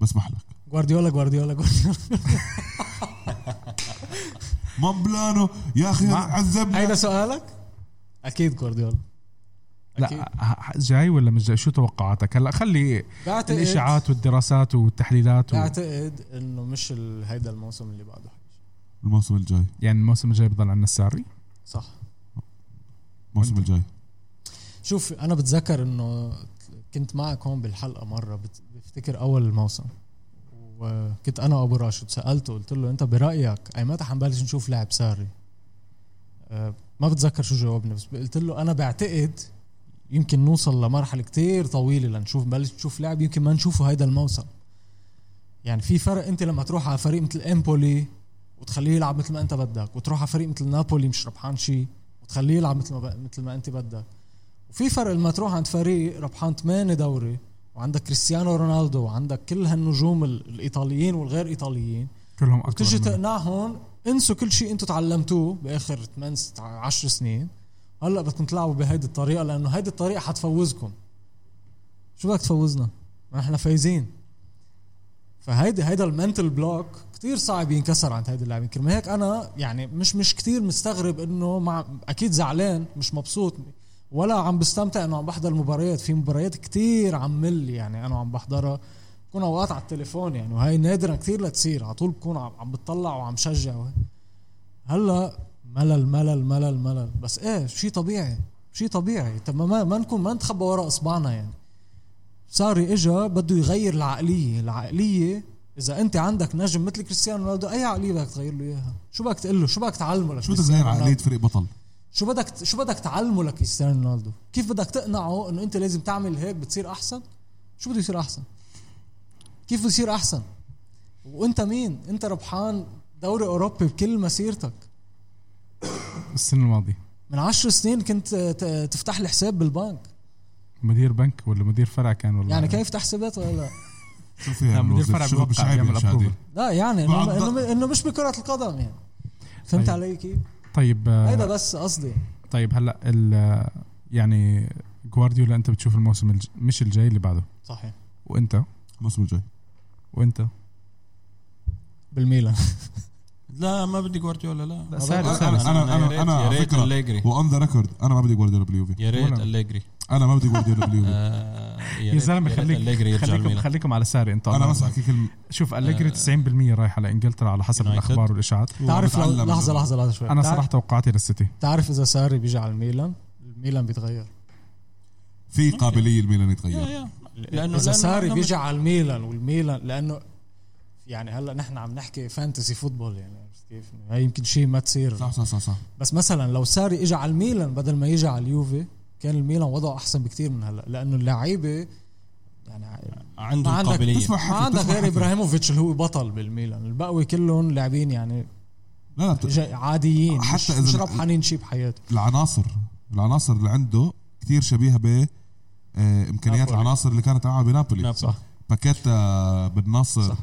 [SPEAKER 4] بسمح لك
[SPEAKER 2] جوارديولا جوارديولا جوارديولا
[SPEAKER 4] مون بلانو يا اخي
[SPEAKER 1] ما-
[SPEAKER 4] عذبنا
[SPEAKER 2] هيدا سؤالك؟ اكيد جوارديولا أكيد.
[SPEAKER 1] لا ه- جاي ولا مش جاي شو توقعاتك هلا خلي
[SPEAKER 2] بعتقد
[SPEAKER 1] الاشاعات والدراسات والتحليلات و...
[SPEAKER 2] بعتقد انه مش ال- هيدا الموسم اللي بعده
[SPEAKER 4] الموسم الجاي
[SPEAKER 1] يعني الموسم الجاي بضل عندنا السعري
[SPEAKER 2] صح
[SPEAKER 4] الموسم
[SPEAKER 1] وأنت؟
[SPEAKER 4] الجاي
[SPEAKER 2] شوف انا بتذكر انه كنت معك هون بالحلقه مره بت- بفتكر اول الموسم وكنت انا وابو راشد سالته قلت له انت برايك اي متى حنبلش نشوف لاعب ساري أه، ما بتذكر شو جاوبني بس قلت له انا بعتقد يمكن نوصل لمرحله كتير طويله لنشوف نبلش نشوف لاعب يمكن ما نشوفه هيدا الموسم يعني في فرق انت لما تروح على فريق مثل امبولي وتخليه يلعب مثل ما انت بدك وتروح على فريق مثل نابولي مش ربحان شيء وتخليه يلعب مثل ما ب- مثل ما انت بدك وفي فرق لما تروح عند فريق ربحان 8 دوري وعندك كريستيانو رونالدو وعندك كل هالنجوم ال- الايطاليين والغير ايطاليين
[SPEAKER 1] كلهم اكبر
[SPEAKER 2] وتجي
[SPEAKER 1] منه.
[SPEAKER 2] تقنعهم انسوا كل شيء انتم تعلمتوه باخر 8 10 سنين هلا بدكم تلعبوا بهيدي الطريقه لانه هيدي الطريقه حتفوزكم شو بدك تفوزنا؟ ما احنا فايزين فهيدي هيدا المنتل بلوك كتير صعب ينكسر عند هيدي اللاعبين كرمال هيك انا يعني مش مش كتير مستغرب انه مع اكيد زعلان مش مبسوط ولا عم بستمتع انه عم بحضر المباريات في مباريات كتير عم مل يعني انا عم بحضرها بكون اوقات على التليفون يعني وهي نادرا كثير لتصير على طول بكون عم عم بتطلع وعم شجع وهي. هلا ملل ملل ملل ملل بس ايه شيء طبيعي شيء طبيعي طب ما- ما ما نكون ما نتخبى وراء اصبعنا يعني ساري اجا بده يغير العقليه العقليه اذا انت عندك نجم مثل كريستيانو رونالدو اي عقليه بدك تغير له اياها شو بدك تقول له شو بدك تعلمه
[SPEAKER 4] شو بدك
[SPEAKER 2] لكريستيانو
[SPEAKER 4] تغير عقليه
[SPEAKER 2] رونالدو؟
[SPEAKER 4] فريق بطل
[SPEAKER 2] شو بدك شو بدك تعلمه لكريستيانو رونالدو كيف بدك تقنعه انه انت لازم تعمل هيك بتصير احسن شو بده يصير احسن كيف بصير احسن وانت مين انت ربحان دوري اوروبي بكل مسيرتك
[SPEAKER 1] السنه الماضيه
[SPEAKER 2] من عشر سنين كنت ت- تفتح لي حساب بالبنك
[SPEAKER 1] مدير بنك ولا يعني مدير فرع كان والله
[SPEAKER 2] يعني كيف تفتح حسابات ولا لا
[SPEAKER 4] شو فيها
[SPEAKER 1] لا، مدير
[SPEAKER 4] الوزير؟
[SPEAKER 1] فرع
[SPEAKER 4] شو
[SPEAKER 1] بيوقع،
[SPEAKER 4] مش عيب
[SPEAKER 1] بيعمل
[SPEAKER 4] يا شادي
[SPEAKER 1] approval.
[SPEAKER 2] لا يعني انه
[SPEAKER 4] بعد-
[SPEAKER 2] انه, إنه مش بكره القدم يعني فهمت
[SPEAKER 1] طيب.
[SPEAKER 2] علي كيف؟
[SPEAKER 1] طيب آه،
[SPEAKER 2] هيدا بس قصدي
[SPEAKER 1] طيب هلا ال- يعني جوارديولا انت بتشوف الموسم الج... مش الجاي اللي بعده
[SPEAKER 2] صحيح
[SPEAKER 1] وانت
[SPEAKER 4] الموسم الجاي
[SPEAKER 1] وانت
[SPEAKER 2] بالميلان
[SPEAKER 3] لا ما بدي جوارديولا لا
[SPEAKER 1] ساري،
[SPEAKER 4] أنا-
[SPEAKER 1] ساري.
[SPEAKER 4] انا انا
[SPEAKER 3] يا
[SPEAKER 4] انا
[SPEAKER 3] ريت-
[SPEAKER 4] انا
[SPEAKER 3] يا
[SPEAKER 4] على
[SPEAKER 3] ريت
[SPEAKER 4] فكره
[SPEAKER 3] أليجري.
[SPEAKER 4] وان ذا ريكورد انا ما بدي جوارديولا باليوفي
[SPEAKER 3] يا ريت
[SPEAKER 1] ولا-
[SPEAKER 3] أليجري
[SPEAKER 4] انا E. ما بدي جوارديولا باليوفي
[SPEAKER 3] آه، يا
[SPEAKER 1] يا
[SPEAKER 3] ريت-
[SPEAKER 1] زلمه
[SPEAKER 3] يا ريت أليجري
[SPEAKER 1] خليك
[SPEAKER 3] يرجع
[SPEAKER 1] خليكم
[SPEAKER 3] الميلان
[SPEAKER 1] خليكم على ساري انت
[SPEAKER 4] انا
[SPEAKER 1] الله
[SPEAKER 4] بس
[SPEAKER 1] يرضى
[SPEAKER 4] احكي كلمه
[SPEAKER 1] عليك. شوف أليجري
[SPEAKER 3] آه.
[SPEAKER 1] 90% رايح على انجلترا على حسب
[SPEAKER 3] يونايتد.
[SPEAKER 1] الاخبار والاشاعات
[SPEAKER 2] تعرف لو
[SPEAKER 4] بتعلم
[SPEAKER 2] لحظه
[SPEAKER 4] منه.
[SPEAKER 2] لحظه لحظه شوي
[SPEAKER 1] انا
[SPEAKER 2] تعرف-
[SPEAKER 1] صراحه توقعاتي للسيتي
[SPEAKER 2] تعرف اذا ساري بيجي على الميلان الميلان بيتغير
[SPEAKER 4] في قابليه الميلان
[SPEAKER 3] يا-
[SPEAKER 4] يتغير
[SPEAKER 3] يا. لأنه-
[SPEAKER 2] لانه اذا
[SPEAKER 3] لأنه
[SPEAKER 2] ساري
[SPEAKER 3] نحن
[SPEAKER 2] بيجي على الميلان والميلان لانه يعني هلا نحن عم نحكي فانتسي فوتبول يعني عرفت كيف؟ هي يمكن شيء ما تصير
[SPEAKER 4] صح صح صح صح
[SPEAKER 2] بس مثلا لو ساري اجى على الميلان بدل ما يجي على اليوفي كان الميلان وضعه احسن بكتير من هلا لانه اللعيبه يعني ما
[SPEAKER 3] عندهم
[SPEAKER 2] عندك-
[SPEAKER 3] قابليه
[SPEAKER 4] تسمع
[SPEAKER 2] ما
[SPEAKER 4] حكي
[SPEAKER 2] عندك
[SPEAKER 4] تسمع
[SPEAKER 2] غير
[SPEAKER 4] حكي.
[SPEAKER 2] ابراهيموفيتش اللي هو بطل بالميلان الباقي كلهم لاعبين يعني
[SPEAKER 4] لا لا بت-
[SPEAKER 2] جا- عاديين مش,
[SPEAKER 4] طيب. حتى إذا
[SPEAKER 2] مش
[SPEAKER 4] ال-
[SPEAKER 2] ربحانين شيء بحياتهم
[SPEAKER 4] العناصر العناصر اللي عنده كثير شبيهه ب آه، امكانيات
[SPEAKER 2] نابولي.
[SPEAKER 4] العناصر اللي كانت معها بنابولي
[SPEAKER 3] نابولي.
[SPEAKER 4] باكيتا بالناصر
[SPEAKER 3] صح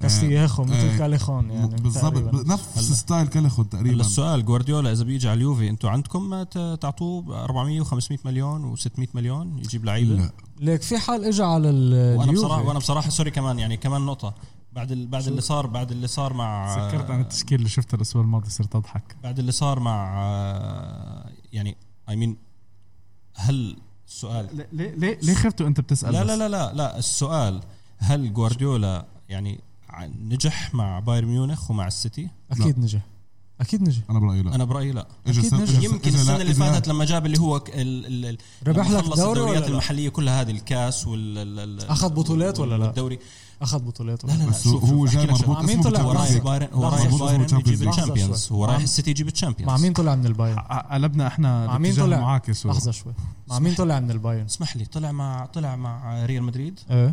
[SPEAKER 2] كاستياخو مثل
[SPEAKER 4] آه،
[SPEAKER 2] كاليخون يعني
[SPEAKER 4] بالضبط
[SPEAKER 2] تقريباً.
[SPEAKER 4] نفس
[SPEAKER 3] هلا.
[SPEAKER 4] ستايل كاليخون
[SPEAKER 3] هلا
[SPEAKER 4] تقريبا
[SPEAKER 3] السؤال جوارديولا اذا بيجي على اليوفي انتم عندكم ما ت- تعطوه 400 و500 مليون و600 مليون يجيب لعيبه
[SPEAKER 4] لا
[SPEAKER 2] ليك في حال اجى على
[SPEAKER 3] وانا
[SPEAKER 2] اليوفي
[SPEAKER 3] بصراحه وانا بصراحه سوري كمان يعني كمان نقطه بعد ال... بعد اللي صار بعد اللي صار مع
[SPEAKER 1] سكرت انا التشكيل اللي شفته الاسبوع الماضي صرت اضحك
[SPEAKER 3] بعد اللي صار مع يعني اي I مين mean هل السؤال
[SPEAKER 1] ليه ليه ليه خفتوا انت بتسال
[SPEAKER 3] لا
[SPEAKER 1] بس؟
[SPEAKER 3] لا لا لا لا السؤال هل جوارديولا يعني ع- نجح مع بايرن ميونخ ومع السيتي؟
[SPEAKER 2] اكيد نجح اكيد نجح
[SPEAKER 4] انا برايي لا
[SPEAKER 3] انا برايي لا
[SPEAKER 4] إجا
[SPEAKER 2] أكيد
[SPEAKER 4] السنة-
[SPEAKER 2] نجح.
[SPEAKER 4] إجا-
[SPEAKER 3] يمكن
[SPEAKER 4] إجا-
[SPEAKER 3] السنه
[SPEAKER 4] لا-
[SPEAKER 3] اللي
[SPEAKER 4] إجا-
[SPEAKER 3] فاتت لما جاب اللي هو ك- ال ال ال-
[SPEAKER 2] ربح
[SPEAKER 3] لما
[SPEAKER 2] لك
[SPEAKER 3] خلص
[SPEAKER 2] دوري
[SPEAKER 3] الدوريات
[SPEAKER 2] ولا لا؟
[SPEAKER 3] المحليه كلها هذه الكاس وال ال- ال-
[SPEAKER 2] أخذ بطولات ولا لا؟
[SPEAKER 3] والدوري
[SPEAKER 2] اخذ بطولات
[SPEAKER 3] لا لا لا
[SPEAKER 4] بس هو
[SPEAKER 3] أحكي
[SPEAKER 4] جاي
[SPEAKER 3] لك شغلة.
[SPEAKER 4] مربوط
[SPEAKER 2] مع مين
[SPEAKER 4] اسمه
[SPEAKER 2] طلع
[SPEAKER 3] هو
[SPEAKER 4] بالتشامبيونز
[SPEAKER 2] برايك؟
[SPEAKER 3] رايح
[SPEAKER 4] ليج.
[SPEAKER 3] بايرن هو
[SPEAKER 2] لحظة
[SPEAKER 3] رايح
[SPEAKER 4] شوي.
[SPEAKER 3] بايرن يجيب
[SPEAKER 2] شوي.
[SPEAKER 4] لحظة
[SPEAKER 3] الشامبيونز هو رايح السيتي يجيب الشامبيونز
[SPEAKER 2] مع مين طلع من البايرن
[SPEAKER 1] ع- قلبنا احنا
[SPEAKER 2] مع مين
[SPEAKER 1] باتجاه
[SPEAKER 2] طلع؟
[SPEAKER 1] معاكس و-
[SPEAKER 2] لحظه شوي مع مين طلع من البايرن
[SPEAKER 4] إيه.
[SPEAKER 3] اسمح لي طلع مع طلع مع ريال مدريد
[SPEAKER 2] ايه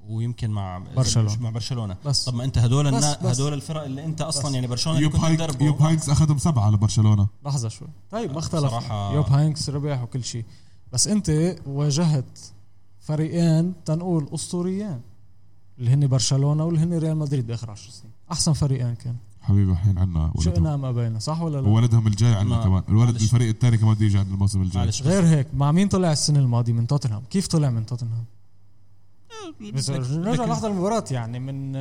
[SPEAKER 3] و- ويمكن مع
[SPEAKER 2] برشلونة.
[SPEAKER 3] مع برشلونه
[SPEAKER 2] بس.
[SPEAKER 3] طب ما انت هذول
[SPEAKER 2] بس-
[SPEAKER 3] النا-
[SPEAKER 2] بس.
[SPEAKER 3] هذول الفرق اللي انت اصلا
[SPEAKER 2] بس.
[SPEAKER 3] يعني برشلونه اللي
[SPEAKER 4] يوب
[SPEAKER 3] كنت
[SPEAKER 4] هاينكس يوب
[SPEAKER 3] تدربه
[SPEAKER 4] هاينكس اخذهم سبعه لبرشلونه
[SPEAKER 2] لحظه شوي طيب ما
[SPEAKER 3] آه،
[SPEAKER 2] اختلف
[SPEAKER 3] بصراحة-
[SPEAKER 2] يوب هانكس ربح وكل شيء بس انت واجهت فريقين تنقول اسطوريين اللي هن برشلونه واللي هن ريال مدريد باخر 10 سنين احسن فريقين كان
[SPEAKER 4] حبيبي الحين عنا
[SPEAKER 2] شئنا
[SPEAKER 4] ولدهم
[SPEAKER 2] ام ابينا صح ولا لا
[SPEAKER 4] وولدهم الجاي عنا
[SPEAKER 3] ما-
[SPEAKER 4] كمان الولد
[SPEAKER 3] معلش.
[SPEAKER 4] الفريق الثاني كمان بده يجي عندنا الموسم الجاي
[SPEAKER 3] معلش
[SPEAKER 2] غير هيك مع مين طلع السنه الماضيه من توتنهام كيف طلع من توتنهام بس نرجع
[SPEAKER 3] لكن-
[SPEAKER 2] لحظه المباراه يعني من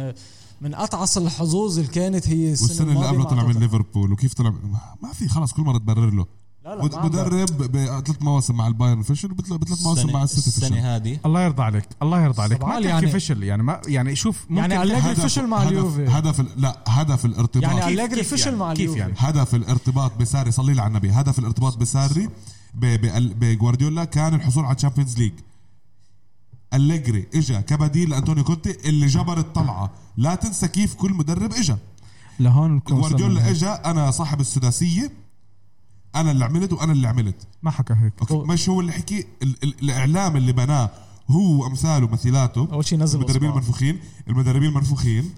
[SPEAKER 2] من اطعس الحظوظ اللي كانت هي السنه,
[SPEAKER 4] والسنه اللي
[SPEAKER 2] الماضية
[SPEAKER 4] قبله
[SPEAKER 2] مع
[SPEAKER 4] طلع من
[SPEAKER 2] توتنهام.
[SPEAKER 4] ليفربول وكيف طلع ما- ما في خلص كل مره تبرر له
[SPEAKER 2] لا لا
[SPEAKER 4] مد-
[SPEAKER 2] ما عم بقول.
[SPEAKER 4] مدرب بثلاث آه، مواسم مع البايرن فشل بثلاث مواسم
[SPEAKER 3] السنة-
[SPEAKER 4] مع السيتي فشل
[SPEAKER 3] السنه هذه
[SPEAKER 1] الله يرضى عليك الله يرضى عليك
[SPEAKER 2] طبعاً
[SPEAKER 1] ما تحكي
[SPEAKER 2] يعني-
[SPEAKER 1] يعني فشل يعني ما يعني شوف ممكن
[SPEAKER 2] يعني أليجري
[SPEAKER 4] هدف-
[SPEAKER 2] فشل مع
[SPEAKER 4] هدف-
[SPEAKER 2] اليوفي.
[SPEAKER 4] هدف ال- لا هدف الارتباط
[SPEAKER 2] يعني
[SPEAKER 1] كيف-
[SPEAKER 2] أليجري
[SPEAKER 1] كيف
[SPEAKER 2] فشل
[SPEAKER 1] يعني؟
[SPEAKER 2] مع
[SPEAKER 1] كيف
[SPEAKER 2] اليوفي
[SPEAKER 1] يعني؟
[SPEAKER 4] هدف الارتباط بساري صلي لي على النبي هدف الارتباط بساري ب- ب- بجوارديولا كان الحصول على الشامبيونز ليج أليجري اجا كبديل لانتونيو كونتي اللي جبر الطلعه لا تنسى كيف كل مدرب اجا
[SPEAKER 1] لهون نكون
[SPEAKER 4] جوارديولا
[SPEAKER 1] وصلنا.
[SPEAKER 4] اجا انا صاحب السداسيه انا اللي عملت وانا اللي عملت
[SPEAKER 1] ما حكى هيك
[SPEAKER 4] اوكي مش هو اللي حكي ال- ال- الاعلام اللي بناه هو امثاله مثيلاته
[SPEAKER 2] اول شيء نزل أصبعه.
[SPEAKER 4] المدربين المنفوخين المدربين المنفوخين